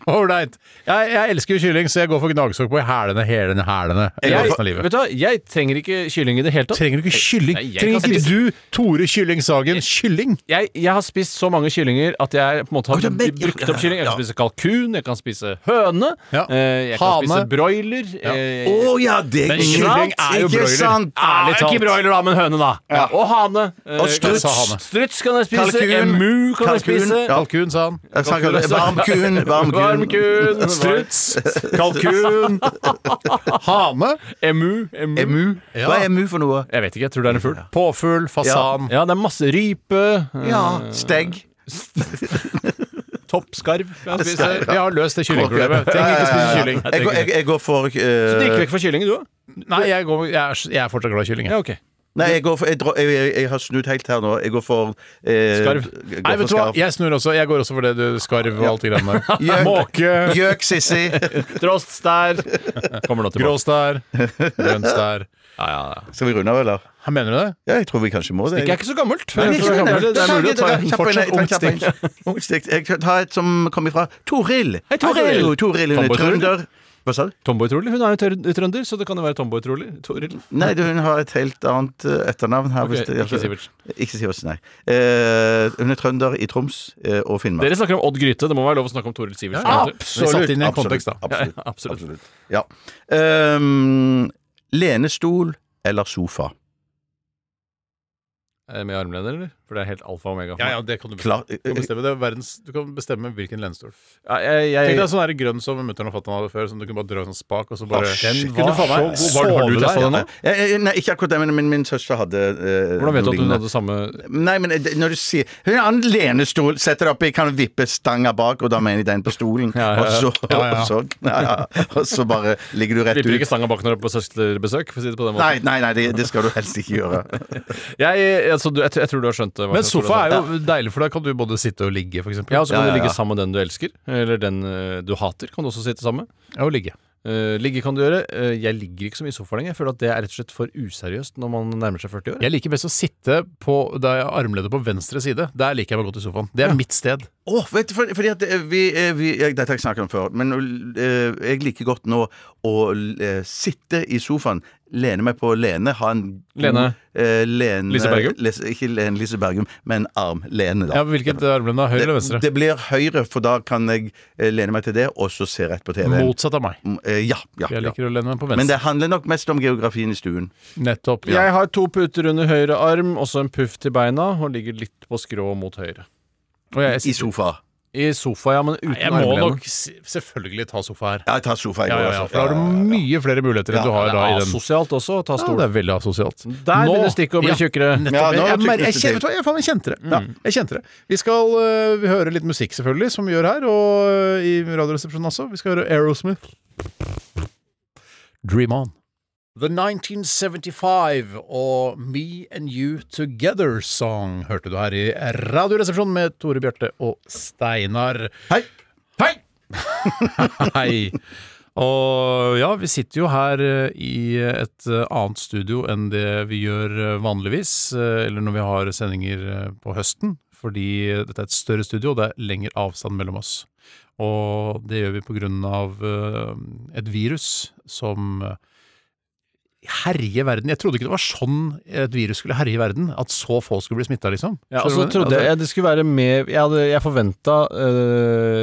D: Ålreit. Jeg, jeg elsker jo kylling, så jeg går for gnagsår på hælene, hælene, hælene.
F: Jeg,
D: Resten av livet.
F: vet du hva, jeg trenger ikke kylling i det hele tatt.
D: Trenger du ikke kylling?
F: Nei, jeg
D: Trenger
F: kan
D: ikke
F: spise-
D: du, Tore Kylling Sagen, kylling?
F: Jeg, jeg har spist så mange kyllinger at jeg på en måte har
G: Oi, du har med-
F: brukt
G: ja, ja,
F: opp kylling. Jeg
G: ja.
F: kan spise kalkun, jeg kan spise høne,
D: Ja.
F: eh, jeg kan
D: Hane.
F: spise broiler.
G: Å
F: eh,
G: ja, det
D: Men kylling er jo
G: Ikke
D: broiler.
G: sant?
F: Ærlig talt. Ikke broiler, da, men høne, da. Og hane. eh,
G: Og struts.
F: sa hane. Struts kan jeg spise.
G: Kalkun.
F: Emu kan jeg
G: Kalkun.
F: spise.
G: Ja.
D: Kalkun, sa han.
G: Jeg snakker om varmkun, varmkun.
F: Varmkun.
D: Struts.
F: Kalkun.
D: Hane.
F: Emu. emu.
G: Emu. Hva er emu for noe?
F: Jeg vet ikke, jeg tror det er en fugl.
D: Påfugl. Fasan.
F: Ja, det er masse rype. eh,
G: Ja, Stegg.
F: Toppskarv kan jeg spise.
D: Vi har løst det kyllingproblemet. Trenger ikke spise kylling.
G: Jeg går, jeg, jeg går for eh,
F: Du gikk vekk fra kylling, du òg?
D: Nei, jeg, går, jeg, er, jeg er fortsatt glad i kylling. jeg.
F: Ja, ok.
G: Nei, jeg går for jeg, dro- jeg, jeg, jeg har snudd helt her nå. Jeg går for eh,
F: Skarv.
G: jeg går for
D: Nei, vet du hva,
G: skarv.
D: jeg snur også. Jeg går også for det du skarv og alt det greiene der.
G: Gjøk.
D: Måke.
G: Gjøk, Sissi.
F: Droststær. Kommer nå tilbake.
D: Gråstær. Grønstær.
F: Ja, ja, ja.
G: Skal vi runde av, eller?
D: Mener du det?
G: Ja, jeg tror vi kanskje må det.
F: Stikk er ikke så gammelt.
G: Nei,
F: Jeg tror
G: ikke
F: det, er gammelt.
G: det.
F: det er mulig å ta
G: Kjapp
F: en
G: inn,
F: fortsatt
G: kjapp inn,
F: ung
G: kjapp inn.
F: stikk.
G: Ung stikk. Jeg kan ta et som kommer fra Toril.
F: Hei, Toril.
G: Hallo, Toril hun er
F: Tomboy Toril.
G: trønder. Hva sa du?
F: Tomboy Troll, hun er jo tør- trønder, så det kan jo være Tomboy Troll. Toril.
G: Nei, du, hun har et helt annet eh, etternavn her. Mm, hvis det-
F: ikke Sivertsen.
G: Ikke Sivertsen, nei. Eh, hun er trønder i Troms eh, og Finnmark.
F: Dere snakker om Odd Grythe, det må være lov å snakke om Toril Sivertsen.
D: Vi satt inn i en kontekst, da.
G: Absolutt.
F: Ja, ja, absolutt.
G: absolutt. Ja. Ehm, lenestol eller sofa?
F: eh, med armlener, eller? For det er helt alfa og omega. for
D: Ja,
F: meg.
D: ja, det kan du bestemme.
G: Klar-
D: Du kan bestemme, det. er verdens, du kan bestemme hvilken lenestol.
F: Ja, jeg, jeg,
D: Tenk deg sånn her grønn som mutter'n og fatter'n hadde før, som du kunne bare dra i sånn spak, og så bare
G: shit,
D: Den var
F: faen meg
D: så god. Var det- Har du
F: sove
D: testet
F: der,
D: den nå?
F: ja.
G: Eh, eh, Nei, ikke akkurat det, men min, min søster hadde eh,
F: Hvordan vet du
G: noe
F: at hun
G: lignende.
F: hadde samme
G: Nei, men eh, det- når du sier Hun har en lenestol, setter opp i, kan vippe stanga bak, og da mener jeg den på stolen.
F: Ja,
G: Og,
F: ja, ja.
G: så,
D: Ja, ja.
G: Og, så, ja, ja. og så bare ligger du rett
F: Vipper ikke
G: ut.
F: stanga bak når du er på søsterbesøk, for å si det på den måten.
G: Nei, nei, nei, det, det skal du helst ikke gjøre.
F: Jeg, altså, du, jeg, tr- jeg tror du har skjønt det.
D: Men sofa er sånn- jo deilig, for da kan du både sitte og ligge, f.eks.
F: Ja, og så kan
G: Ja, ja,
F: du ligge
G: ja.
F: sammen med den du elsker, eller den eh, du hater. Kan du også sitte sammen.
D: Ja, og ligge.
F: Eh, ligge kan du gjøre. Eh, jeg ligger ikke så mye i sofaen lenger. Jeg føler at det er rett og slett for useriøst når man nærmer seg 40 år.
D: Jeg liker best å sitte på der jeg har armleddet på venstre side. Der liker jeg meg godt i sofaen. Det er mitt sted.
G: Åh, vet du, for, fordi at eh, vi, eh, vi jeg, Dette har jeg snakket om før, men eh, jeg liker godt nå å eh, sitte i sofaen, lene meg på Lene, ha en god,
F: Lene?
G: eh, lene
F: Lise Bergum?
G: Les, ikke Lene Lise Bergum, men arm-Lene, da.
D: Ja, Hvilket armledd? da? Høyre eller venstre?
G: det, det blir høyre, for da kan jeg eh, lene meg til det, og så se rett på TV.
D: Motsatt av meg.
G: Mm, eh, ja, ja,
D: Jeg
G: ja.
D: liker å lene meg på
G: Men
D: venstre.
G: det handler nok mest om geografien i stuen.
D: Nettopp.
F: Jeg har to puter under høyre arm, også en puff til beina, og ligger litt på skrå mot høyre.
D: Og jeg,
G: I sofa.
F: I sofa, ja, men uten
D: jeg må
F: armlene.
D: nok s- selvfølgelig ta sofa her.
G: Ja, jeg tar sofa. Jeg
D: Ja, ja,
G: går,
D: ja,
G: altså.
D: for da har du mye flere muligheter enn
G: Ja,
D: du har
F: Det
D: da i
F: er
D: den.
F: asosialt også å ta
D: Ja,
F: stol.
D: det er veldig asosialt.
F: Der begynner stikket å bli tjukkere.
D: nettopp.
G: Ja, nå har
D: jeg, jeg,
G: tykkelsen
D: mer- jeg, kjen-
G: til.
D: vet du hva, jeg, faen, jeg kjente det. Jeg kjente det. Vi skal øh, vi høre litt musikk, selvfølgelig, som vi gjør her, og øh, i Radioresepsjonen også. Vi skal høre Aerosmith. Dream On. The 1975 og Me and You Together Song hørte du her i Radioresepsjonen med Tore Bjarte og Steinar.
G: Hei.
D: Hei! Hei. Og ja, vi sitter jo her eh, i et eh, annet studio enn det vi gjør eh, vanligvis, eh, eller når vi har sendinger eh, på høsten, fordi eh, dette er et større studio, og det er lengre avstand mellom oss. Og det gjør vi på grunn av eh, et virus som eh, herjer verden. Jeg trodde ikke det var sånn et virus skulle herje verden, at så få skulle bli smitta, liksom.
F: Ja,
D: Skjønner
F: og
D: du
F: så
D: hva jeg mener?
F: trodde jeg det skulle være mer Jeg, hadde- jeg forventa eh,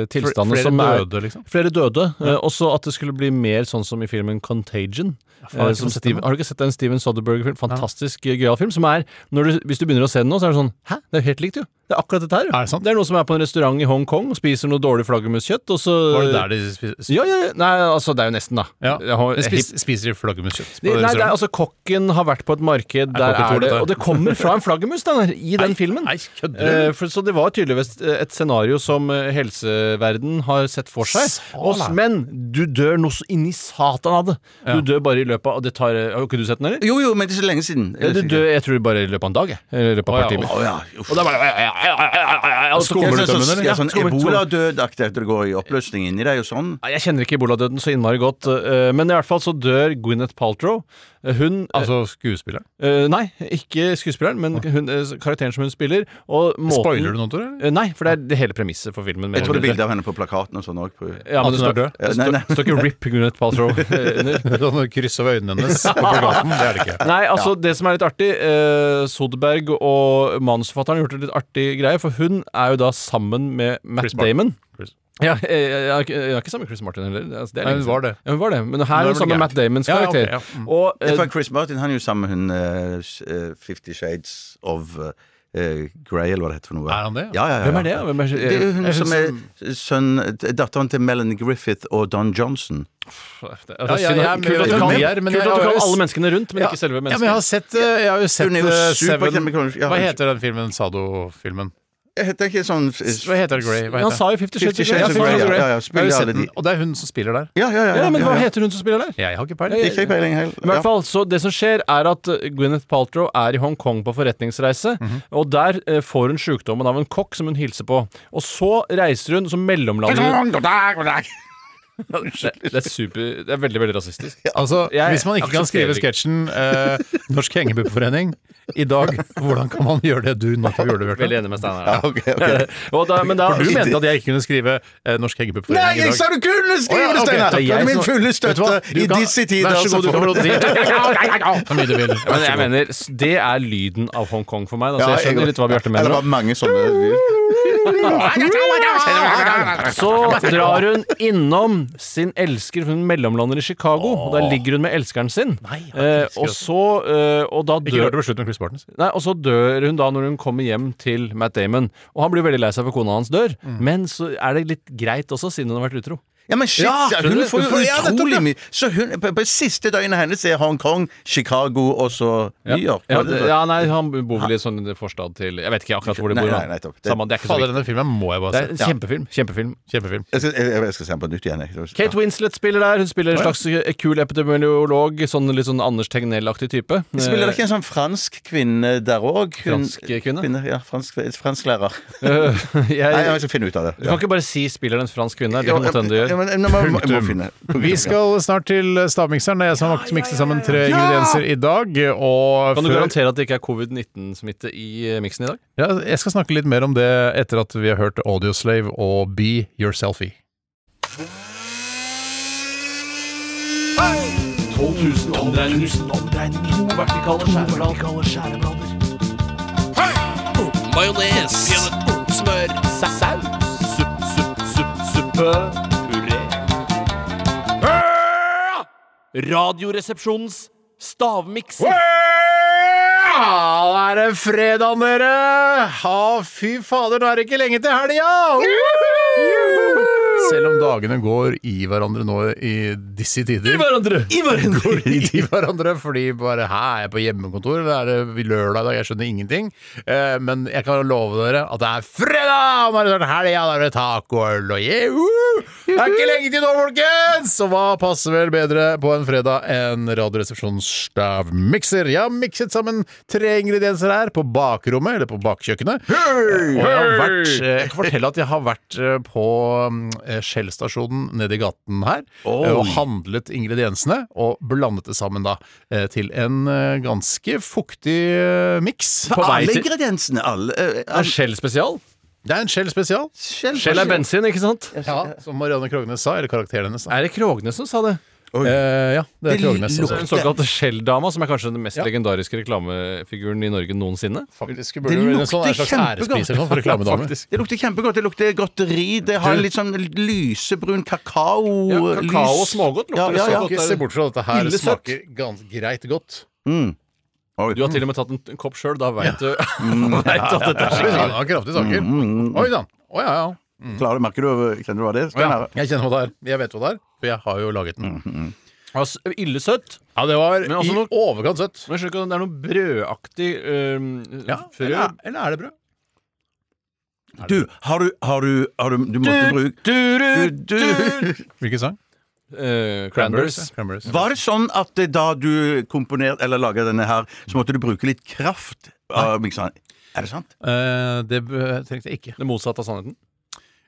D: Altså,
F: tilstander
D: flere
F: som er
D: døde, liksom.
F: Flere døde, eh, også at det skulle bli mer sånn som i filmen Contagion.
D: faen, jeg har
F: eh,
D: ikke
F: som
D: fått sett
F: Steven,
D: den.
F: har du ikke sett den Steven Soderberg-filmen? Fantastisk eh, gøyal film. Som er, når du, hvis du begynner å se den nå, så er det sånn Hæ, det er jo helt likt, jo. Det er akkurat dette her, jo.
D: Er det sant?
F: er noen som er på en restaurant i Hongkong og spiser noe dårlig flaggermuskjøtt, og så
D: Var det der de spiste?
F: ja, ja, ja. Nei, altså, det er jo nesten, da.
D: Ja.
F: Jeg har-
D: Men spis, spiser de flaggermuskjøtt?
F: Nei, nei, det er, altså Kokken har vært på et marked, der
D: kokken tror
F: er det
D: dette.
F: Og det kommer fra en flaggermus da, i den filmen.
D: nei, kødder du?
F: Eh, for, så det var tydeligvis et scenario som eh, helseverden har sett for seg.
D: Sala.
F: Og, s- men du dør noe så inni satan av det. Du dør bare i løpet av det tar, eh, Har ikke du sett den, eller?
G: Jo, jo, men det er så lenge siden.
F: Ja, du dør, jeg tror bare i løpet av en dag. jeg. Eller i løpet av et par timer.
G: Å, ja. Uff.
F: Og da bare Og
G: Det
F: så kommer
G: er sånn,
F: du dømmen,
G: sånn,
F: eller?
G: ja, sånn
F: Ja, skummelt, skummelt.
G: Ebola-dødaktig at det går i oppløsning inni deg og sånn.
F: Nei, Jeg kjenner ikke Ebola-døden så innmari godt, eh, men i hvert fall så dør Gwyneth Paltrow. Eh, Hun eh,
D: Altså skuespilleren?
F: Eh, nei, ikke skuespilleren, men hun, eh, karakteren som hun spiller. Og måten,
D: Spoiler du noe, Tore? eller?
F: Eh, nei, for det er det hele premisset for filmen.
G: Jeg tror det er bilde av henne på plakaten og sånn òg.
F: Ja,
D: At hun
F: men det
D: er
F: står,
D: død?
F: det
G: Nei,
F: står,
G: nei.
F: det står ikke RIP Gwyneth Paltrow. Eh,
D: Sånn kryss over øynene hennes på plakaten? Det er det ikke.
F: Nei, altså det som er litt artig eh, Soderberg og manusforfatteren har gjort en litt artig greie, for hun er jo da sammen med Matt
D: Chris Martin.
F: Damon.
D: Chris.
F: Ja, eh, jeg, er ikke- jeg er ikke sammen med Chris Martin heller. Altså, det er
D: Nei,
F: lenge
D: hun var det.
F: siden. Ja, hun var det. Men
D: er
F: her er
D: det
F: hun sammen med
D: gærent.
F: Matt Damons
D: Ja, ja,
F: karakter.
D: ok, ja. Mm.
F: Og eh,
G: For Chris Martin han er jo sammen med hun eh, s- eh, Fifty Shades of eh, Grey, eller hva det heter for noe.
D: Er han det?
G: Ja, ja, ja, ja.
F: hvem er det? da? Hvem er,
G: Det er jo hun
D: Jeg
G: som er
D: synes-
G: sønn Datteren til Melanie Griffith og Don Johnson.
D: Ja, ja, jeg er med-
F: kult at du
D: jeg er
F: kan,
D: med, men jeg
F: kult at du
D: har jo
F: kan alle
D: s-
F: menneskene rundt, men
D: Ja.
F: ikke selve
D: Ja, men jeg har
F: mennesket.
D: sett, eh, jeg har jo sett
G: Hun er jo
D: eh, Seven
G: superkjemikonisk. Ja,
D: Hva heter den filmen? Sado-filmen?
G: Jeg heter ikke sånn
D: Hva heter Grey? Hva
F: Han
D: heter?
F: sa jo 'Fifty Shades
G: Fifty
F: of Grey'.
G: Shades of
F: Ja,
G: Grey. Ja, ja,
F: Fifty Shades of Grey.
G: ja.
D: Jeg har
G: Spiller
D: jo
G: alle
D: sett
G: de
D: den, og det er hun som spiller der.
G: Ja, ja, ja.
F: Ja, men
G: ja,
F: hva
G: ja.
F: heter hun som spiller der?
D: Jeg har ikke
F: Jeg-
D: peiling.
G: Ikke peiling
F: I hvert
G: helt.
F: fall, så Det som skjer, er at eh, Gwyneth Paltrow er i Hongkong på forretningsreise.
G: Mhm.
F: Og der eh, får hun sjukdommen av en kokk som hun hilser på. Og så reiser hun som mellomlander det, det er super Det er veldig, veldig rasistisk.
D: Altså,
F: Jeg
D: Hvis man ikke kan
F: aksepterer
D: skrive
F: ikke.
D: sketsjen eh, 'Norsk hengepuppforening' i dag, hvordan kan man gjøre det du nettopp gjorde,
F: Veldig
D: Bjarte?
F: enig med Steinar.
G: Ja, ok, ok.
F: Og da, men da,
D: For du mente at jeg ikke kunne skrive eh, 'Norsk hengepuppforening'
G: Nei,
D: i dag.
G: jeg sa du kunne
D: Å, ja,
G: skrive
D: ok.
G: det, Steinar!
D: Det er jeg
G: Det er min
D: som-
G: fulle
D: Vet du
G: støtte
D: hva? Du
G: i
D: kan-
G: disse tider.
D: Vær så god, du
G: altså,
D: kan
G: for-
D: råde det. Så mye du vil.
F: Men jeg mener, s- det er lyden av Hongkong for meg. Da, så
G: Ja,
F: jeg skjønner litt hva Bjarte
G: Eller
F: mener.
G: bare mange sånne
F: Så drar hun innom sin elsker, for hun mellomlander i Chicago. Og der ligger hun med elskeren sin.
D: Nei,
F: Eh,
D: elsker
F: og
D: også.
F: så eh, Og da
D: Ikke rør
F: dør
D: det på slutten av Chris Barton.
F: Nei, og så dør hun da når hun kommer hjem til Matt Damon. Og han blir veldig lei seg for kona hans dør,
D: Mm.
F: men så er det litt greit også, siden hun har vært utro.
G: Ja, men shit,
D: Ja,
G: ja,
D: skjønner
G: hun
D: du?
G: får
D: Hun
G: jo
D: får utrolig
G: utrolig mye Så hun, på, på siste døgnet hennes er Hongkong, Chicago og så New York.
F: Ja,
G: Var det det?
F: ja, nei, han bor vel i sånn forstad til Jeg vet ikke akkurat hvor de
G: Nei,
F: bor.
G: nei,
F: men
G: nettopp. Det-
F: Samme, det er ikke så
D: Fader,
F: viktig.
D: denne filmen må jeg
F: Det
D: bare
F: er en
D: se.
F: kjempefilm. kjempefilm
D: Kjempefilm.
G: Jeg skal, jeg, jeg skal se den på nytt igjen. jeg.
F: Kate Winslet spiller der. Hun spiller en slags eh, kul epidemiolog. Sånn Litt sånn Anders Tegnell-aktig type. Eh,
G: Ja. Spiller det ikke en sånn fransk kvinne der òg?
F: Fransk kvinne?
G: ja, fransk, Fransklærer.
F: Eh, jeg,
G: Nei, jeg skal finne ut av det.
F: Du kan ikke bare si 'spiller en fransk kvinne'. her, Det kan godt hende du
G: Ja,
F: gjør.
G: men- men- men- jeg må finne
D: Vi skal snart til stavmikseren. Det er jeg som har mikset sammen tre ingredienser i dag. Og
F: Kan du
D: før
F: garantere at det ikke er covid-19-smitte i eh, miksen i dag?
D: ja, Jeg skal snakke litt mer om det etter at vi har hørt Audioslave og Be Your Selfie.
C: 12 000 omdreininger. To vertikale skjæreblader. Majones. Smør. Saus. Supp, supp, supp, suppe. Puré. Radioresepsjonens stavmikser.
D: Da er det fredag, dere! Ha, fy fader, nå er det ikke lenge til helga! Selv om dagene går i hverandre nå i disse tider. I hverandre! I hverandre! Går i, i hverandre fordi bare Hæ, er jeg på hjemmekontor, eller er det lørdag i dag? Jeg skjønner ingenting. Eh, men jeg kan love dere at det er fredag! Og nå er det snart helga, da er det taco og øl og juhu! Det er ikke lenge til nå, folkens! Så hva passer vel bedre på en fredag enn Radioresepsjonens stavmikser? Jeg har mikset sammen tre ingredienser her på bakrommet, eller på bakkjøkkenet. og jeg har vært eh, Jeg kan fortelle at jeg har vært eh, på mm, eh, Shell-stasjonen nede i gaten her eh, og handlet ingrediensene og blandet det sammen da eh, til en eh, ganske fuktig eh, miks.
F: På vei
G: Alle
F: til-
G: ingrediensene. Alle, eh,
F: Det
G: alle,
F: er Shell spesial.
D: Det er en Shell spesial,
G: Shell-
F: Shell er bensin, ikke sant?
D: som Marianne Krognes sa, eller karakteren hennes. da.
F: Er det Krognes som sa det?
D: Eh, ja, det
G: Det
D: er Krognes.
F: Så-
D: altså.
F: Den såkalte Shell-dama, som er kanskje den mest
D: Ja.
F: legendariske reklamefiguren i Norge noensinne.
D: Faktisk
G: Det
D: burde det være en
G: lukter
D: sånn en slags
G: kjempegodt.
D: ærespiser sånn, for reklamedamer.
F: Faktisk.
G: Det lukter kjempegodt. Det lukter godteri. Det har
D: Du-
G: litt sånn lysebrun kakao. eh,
F: Ja, kakao og
G: lys.
F: smågodt lukter
G: ja,
F: det
G: ja,
F: så
G: ja.
F: godt.
D: Ikke se bort fra at dette her
F: Ille søtt.
D: smaker gans greit godt.
G: Oi.
F: Du har til og med tatt en, en kopp sjøl, da veit du
D: Mm.
F: vet du at dette er
D: Det
F: skikkelig.
D: var kraftige saker. Oi sann. Å ja, ja.
G: Klarer du, merker du, kjenner du hva det er? Skal
D: Å, ja.
G: jeg lære?
D: Jeg kjenner hva det er. Jeg vet hva det er, for jeg har jo laget den.
F: Altså, Ille søtt.
D: Ja, det var
F: Men også
D: i
F: noe-
D: overkant søtt.
F: Men jeg skjønner ikke om det er noe brødaktig øhm,
D: Ja,
F: frø.
D: eller, eller er det brød?
G: Du, har du, har du, har du, du måtte bruke
F: Du, du, du.
D: Hvilken sang?
F: Eh, Cranberries.
D: Cranberries.
G: Var det sånn at eh, da du komponerte eller laga denne her, så måtte du bruke litt kraft? av mikseren? Er det sant?
D: Eh, det b- trengte jeg ikke.
F: Det motsatte av sannheten.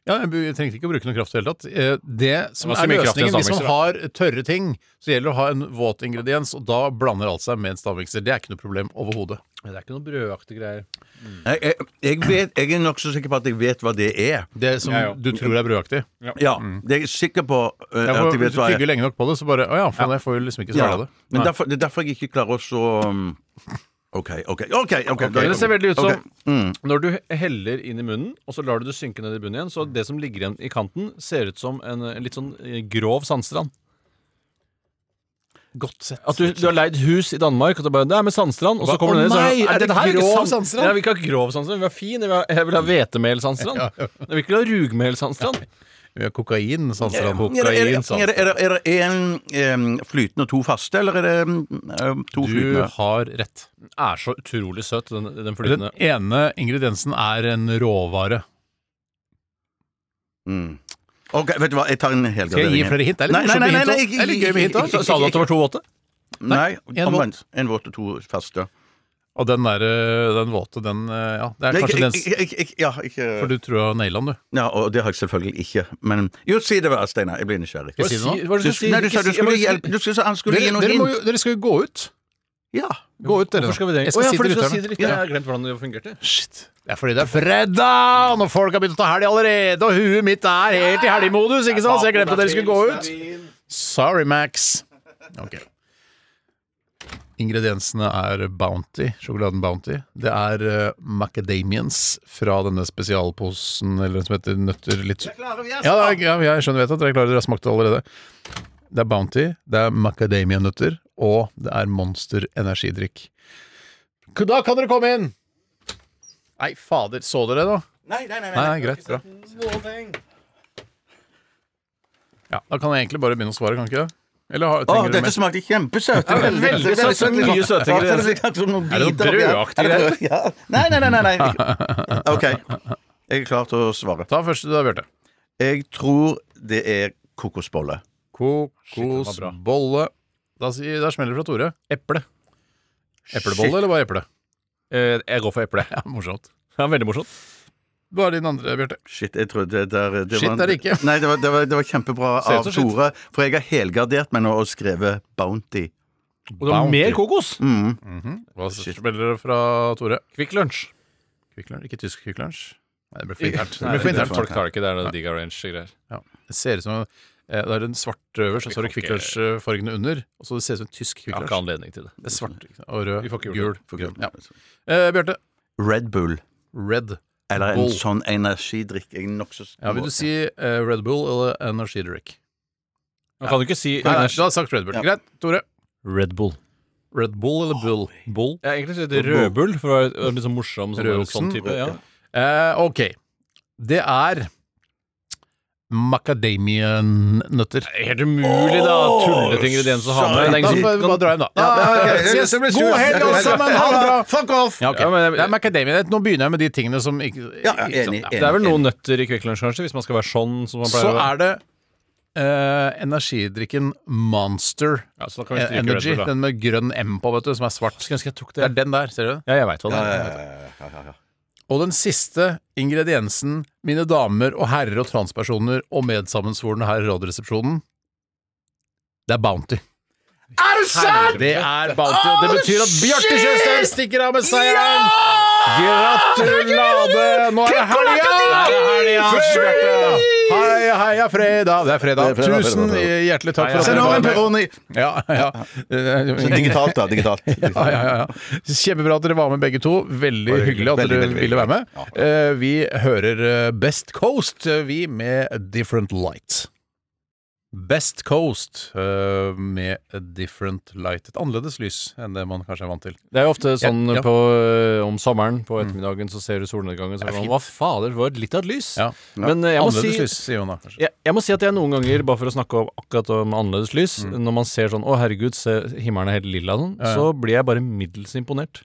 D: Ja, jeg bu- trengte ikke å bruke noe kraft i det hele tatt. Eh, Det som
F: Det
D: er
F: var så mye kraft i en
D: løsningen hvis man
F: stavmikser,
D: har tørre ting, så gjelder det å ha en våt ingrediens, og da blander alt seg med en stavmikser. Det er ikke noe problem overhodet.
F: Det er ikke noe brødaktig greier.
G: Jeg, jeg, jeg, vet, jeg er nokså sikker på at jeg vet hva det er.
D: Det som
F: Ja, ja.
D: du tror er brødaktig.
G: Ja,
F: Mm.
G: det er jeg sikker på eh,
D: Ja,
G: at jeg
D: for hvis
G: vet
D: du
G: hva
D: tygger
G: jeg
D: lenge nok på det, så bare Å ja, faen, jeg får jo liksom ikke
G: ja,
D: svelga det.
G: Men derfor, det er derfor jeg ikke klarer å så um, OK, OK. ok, ok, ok.
F: Det ser veldig ut som
G: Ok. Mm.
F: når du heller inn i munnen, og så lar du det synke ned i bunnen igjen, så det som ligger igjen i kanten, ser ut som en, eh, litt sånn eh, grov sandstrand.
D: Godt sett.
F: At du, du har leid hus i Danmark, og det er bare, det er med sandstrand, og så
D: Hva?
F: kommer
D: Å
F: du ned og
D: nei,
F: sånn
D: er det
F: dette her ikke
D: grov
F: sand-
D: sandstrand?
F: Nei, vi vil ikke ha grov sandstrand, vi vil ha fin, jeg vil ha, jeg vil ha hvetemelsandstrand. Jeg vil ikke ha rugmelsandstrand.
D: Vi har kokain, Sandstrand.
G: Er det- er det-
D: Kokain,
G: er det- er det- er det én em, flytende og to faste, eller er det em, em, to
D: Du
G: flytende?
D: har rett.
F: Den er så utrolig søt, den, den
D: Den
F: flytende.
D: ene ingrediensen er en råvare.
G: Mm. Ok, vet du hva, jeg tar en helgardering.
D: Skal jeg gi flere hint? Det er litt
G: Nei, nei,
D: morsomt med
G: nei,
D: hint
G: nei,
D: også.
G: ikke-
D: Det er litt gøy med hint
G: ikke-
D: også.
G: ikke-
F: Sa du at det var to våte?
G: Nei,
D: en
G: omvendt. En våt og to faste.
D: Og den der, eh, den våte, den eh, Ja, det er
G: Nei,
D: kanskje
G: ikke-
D: den
G: ikke- ikke- ikke- ja, ikke-
D: For du tror jeg har naila den, du.
G: ja, og det har jeg selvfølgelig ikke. Men jo, si det, hva, Steinar. Jeg blir nysgjerrig.
D: Skal jeg si det nå?
F: Hva er det du skal si?
G: Nei, du sa du
F: Ikke si- jeg må
G: skulle
F: si-
G: hjelpe Du skulle sa han skulle gi
D: Dere,
G: noe
D: dere, må jo,
G: hint.
D: dere skal jo gå ut.
G: Ja.
D: Gå ut, dere.
F: Hvorfor skal vi det?
D: Jeg skal
F: Å ja,
D: si
F: for
D: det
F: du
D: til
F: skal si
D: lytterne.
F: det litt. Jeg har glemt hvordan det fungerte.
D: Shit. Det er fordi det er fredag, og folk har begynt å ta helg allerede, og huet mitt er helt i helgemodus, ikke sant? Så jeg glemte at dere skulle gå ut. Sorry, Max. Ok. Ingrediensene er Bounty, sjokoladen Bounty. Det er eh, macadamians fra denne spesialposen eller den som heter Nøtter litt Ja, det er, ja, jeg skjønner vet at dere klarer det. Dere har smakt det allerede. Det er Bounty, det er macadamia-nøtter, og det er Monster energidrikk. Da kan dere komme inn! Nei, fader. Så dere, da?
G: Nei, nei, nei.
D: Nei, nei greit. Bra. Ja, Da kan jeg egentlig bare begynne å svare, kan ikke jeg? Eller har,
G: Å,
D: trenger dere
G: dette
D: mer?
G: smakte kjempesøt. Veldig, veldig, veldig søt.
E: Mye søtere.
G: Ja, sånn det er sånn som noen
D: Er det noe
G: biter oppi her.
D: brødaktig
G: Er det brød? Ja. Nei, nei, nei, nei, nei. OK. Jeg er klar til å svare.
D: Ta første du har, Bjarte.
G: Jeg tror det er kokosbolle.
F: var bra.
D: Kokosbolle. Da, sier- da smeller det fra Tore. Eple. Eplebolle eller bare eple?
F: Eh, Jeg går for eple.
D: Ja, morsomt.
F: Det er veldig morsomt.
D: Bare din andre, Bjarte.
G: Shit, jeg trodde det der det
D: Shit
G: var,
D: er det ikke.
G: Nei, det var, det var, det var kjempebra
D: Ser ut
G: av
D: som shit.
G: Tore, for jeg har helgardert meg nå og skrevet Bounty.
F: Og det var mer kokos.
G: Mm.
D: Hva smeller det fra Tore?
F: Kvikk Lunsj.
D: Kvikk Lunsj? Ikke tysk Kvikk Lunsj? Nei, Det ble for internt. Det
F: Nei,
D: ble for
F: det-
D: internt.
G: folk
F: Folk tar det ikke, det er noe digg orange-greier.
D: Ja. Det ser ut som eh, Det er en svart øverst, og så har du
F: Vi
D: Kvikk
F: kan
D: Lunsj-fargene under. Og så det ser ut som en tysk Kvikk
F: Har ikke
D: Lunsj.
F: anledning til det.
D: Det er svart ikke sant? og rød,
F: Vi får ikke
D: gul.
F: gjort
G: For eksempel.
D: Ja. Eh, Bjarte.
G: Red Bull.
D: Red.
G: Eller en
D: Bull.
G: sånn energidrikk. Jeg er nokså
D: Ja, vil du si eh, Red Bull eller Energy Drink?
F: Man kan jo ikke si
D: Nei, nei, du har sagt Red Bull.
G: Ja.
D: Greit. Tore.
F: Red Bull.
D: Red Bull eller Bull? Bull.
F: Jeg har egentlig sagt rødbull, for å være være litt sånn morsom. Sånn,
D: Rødoksen.
F: sånn type, ja.
D: Eh, ok. Det er macadamia-nøtter.
F: Helt umulig, da! Tullete ingredienser å ha med. Det er
D: Da
F: ingen som-
D: får vi bare dra hjem, da.
G: ja, ok.
D: Ses.
G: Det blir
D: God
G: surt.
D: helg, alle sammen! Ha det bra!
G: Fuck off!
D: Ja, ok.
F: Ja, men jeg-
D: det er macadamia. Nå begynner jeg med de tingene som ikke,
G: Ja, ja,
D: ikke sant,
G: enig,
D: ja.
F: Det er vel noen nøtter i Kvikk Lunsj, kanskje, hvis man skal være sånn som man pleier
D: Så
F: å være.
D: er det eh, energidrikken Monster
F: Ja, så da kan vi stryke
D: Eh, Energy.
F: Red Bull, da.
D: Den med grønn M på, vet du, som er svart. Skulle ønske jeg tok det. Det er den der, ser du den?
F: Ja, jeg veit hva det er.
D: Og den siste ingrediensen, mine damer og herrer og transpersoner og medsammensvorne her i Radioresepsjonen, det er Bounty.
G: Er det sant?!
D: Det er Bounty, og det betyr at Bjarte
G: shit!
D: Tjøstheim stikker av med seieren! Gratulade! Nå er det helga! Det er helga, Bjarte. Heia, heia, fredag. Det er fredag.
G: Det er fredag, fredag,
D: Tusen
G: fredag.
D: hjertelig takk for at
G: Send
D: dere
G: over
D: var
G: en pepperoni!
D: med. Ja, ja.
G: Digitalt, da. Digitalt.
D: Ja, ja, ja, ja. Kjempebra at dere var med begge to. Veldig hyggelig at
G: Veldig,
D: dere
G: veldig,
D: ville være med.
G: veldig.
D: Eh, Vi hører eh, Best Coast, eh, vi, med A Different Light. Best Coast eh, med A Different Light. Et annerledes lys enn det man kanskje er vant til.
F: Det er jo ofte sånn
D: Ja, ja.
F: På, ø, om sommeren på ettermiddagen så ser du solnedgangen så
D: Det er
F: er man,
D: fint.
F: Hva fader, det var litt av et lys.
D: Ja.
F: Men ø, jeg må,
D: Annerledes
F: si,
D: lys, sier man da kanskje.
F: jeg, jeg må si at jeg noen ganger, bare for å snakke om, akkurat om annerledes lys, når man ser sånn Å, herregud, se, himmelen er helt lilla sånn,
D: Mm. ja.
F: så blir jeg bare middels imponert.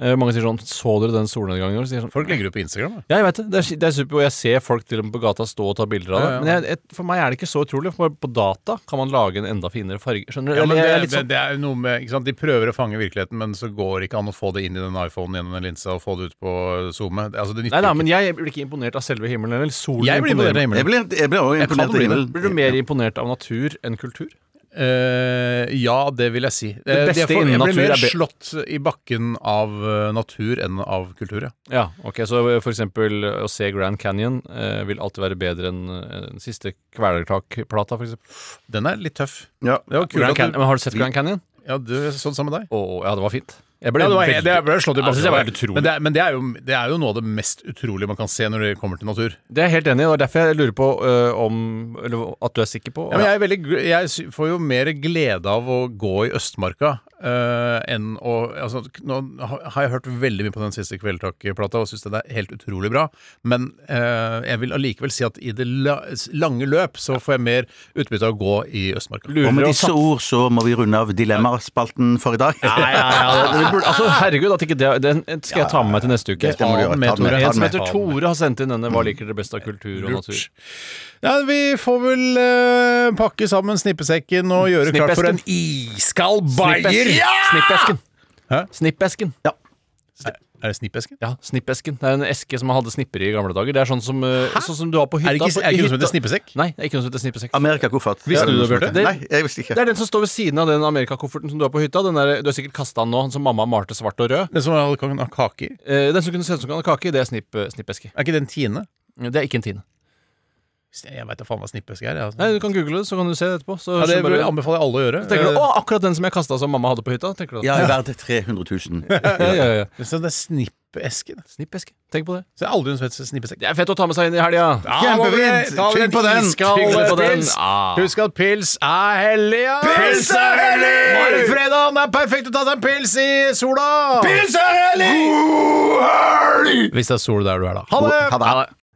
F: Eh, mange sier sånn Så dere den solnedgangen? Og så sier jeg sånn,
D: Folk legger det ut på Instagram. da.
F: ja, jeg vet det. Det er, det er super, og jeg ser folk til og med på gata stå og ta bilder av
D: Ja,
F: det.
D: ja.
F: Men jeg, et, for meg er det ikke så utrolig. For på data kan man lage en enda finere farge. Skjønner du?
D: Ja, men
F: Eller
D: det,
F: jeg er litt
D: det,
F: sånn-
D: det er jo noe med, ikke sant? De prøver å fange virkeligheten, men så går det ikke an å få det inn i den iPhonen gjennom den linsa og få det ut på SoMe. Altså, det
F: Nei
D: nytter
F: da,
D: ikke.
F: men jeg blir ikke imponert av selve himmelen. Eller solen
D: Jeg blir imponert av himmelen.
G: Jeg blir, jeg blir også
D: Jeg kan
G: imponert.
D: bli det.
G: Ingvild.
F: Blir du mer imponert av natur enn kultur?
D: Eh, ja, det vil jeg si. Eh,
F: beste
D: det er for-
F: innen
D: Jeg
F: natur
D: blir
F: er
D: mer
F: be-
D: slått i bakken av eh, natur enn av kultur, ja.
F: Ja, ok, Så for eksempel eh, å se Grand Canyon eh, vil alltid være bedre enn eh, den siste Kvelertak-plata, for eksempel.
D: Den er litt tøff.
G: Ja.
D: Det var kul
F: Grand
D: at
F: Canyon.
D: du,
F: Men har du sett Grand Canyon?
D: ja, du jeg så det sammen med deg.
F: Å, ja, det var fint. Jeg
D: Ja, det var,
F: veldig-
D: det ble slått i
F: Ja, det synes jeg var helt
D: bakken.
F: utrolig.
D: Men, det er, men det, er jo, det er jo noe av det mest utrolige man kan se når det kommer til natur.
F: Det er jeg helt enig i, og det er derfor jeg lurer på ø, om Eller at du er sikker på
D: Ja, men jeg, er veldig, gl- jeg sy- får jo mer glede av å gå i Østmarka eh, enn å altså, k- Nå ha- har jeg hørt veldig mye på den siste Kvelertak-plata og syns den er helt utrolig bra, men eh, jeg vil allikevel si at i det la, s- lange løp så får jeg mer utbytte av å gå i Østmarka.
G: Og med
F: lurer
G: disse ord så må vi runde av Dilemmaspalten for i dag.
F: Nei, ja, ja, det, det burde, altså, herregud, at ikke det Den skal jeg ta med meg til neste uke.
G: Det må du gjøre.
D: med,
G: Ta den med,
D: Tore.
G: ta
F: En
G: den
F: som
G: med.
F: heter Tore har sendt inn denne 'Hva liker dere best av kultur og natur'?
D: Lurt. Ja, vi får vel eh, pakke sammen snippesekken og gjøre klart for en iskald bayer.
F: Snippesken. Snippesken.
D: Hæ?
F: Snippesken.
D: Er det snippesken?
F: Ja, snippesken. Det er en eske som man hadde snipper i i gamle dager. Det er sånn som, eh, sånn som du har på hytta.
D: Er det ikke, er
F: på-
D: det
F: i
D: ikke noe som
F: hytta-
D: heter snippesekk?
F: Nei, det er ikke noe som heter snippesekk.
G: Amerikakoffert.
D: Visste du det, Bjarte?
G: Nei, jeg visste ikke.
F: Det er den som står ved siden av den amerikakofferten som du har på hytta. Den der, du har sikkert kasta den nå, den som mamma malte svart og rød.
D: Den som har kan ha kake i?
F: Eh, Den som kunne se ut som en kake, det er snipp, snippeske.
D: Er ikke den tiende?
F: Det er ikke en tiende.
D: Jeg veit da faen hva snippeske er. jeg, Altså.
F: Nei, Du kan google det, så kan du se det etterpå. Så,
D: Ja, det
F: så bare-
D: anbefaler jeg alle å gjøre.
F: tenker du,
D: Eh,
F: å, akkurat den som jeg kasta som mamma hadde på hytta. tenker du da?
G: Ja, verdt 300 000.
F: Ja, ja, ja.
D: Så det er snippeesken.
F: Snippeske. Tenk på det.
D: Så jeg har aldri sett snippesekk.
F: Det er fett å ta med seg inn i helga.
G: Kjempefint! Tygg på den!
F: Tygg på den.
D: Pils.
F: Ah.
D: Husk at pils er hellig, ja!
G: Pils er hellig!
D: Nå er det fredag, det er perfekt å ta seg en pils i sola! Hvis det er sol der du er, da. Ha det!
G: Ha det.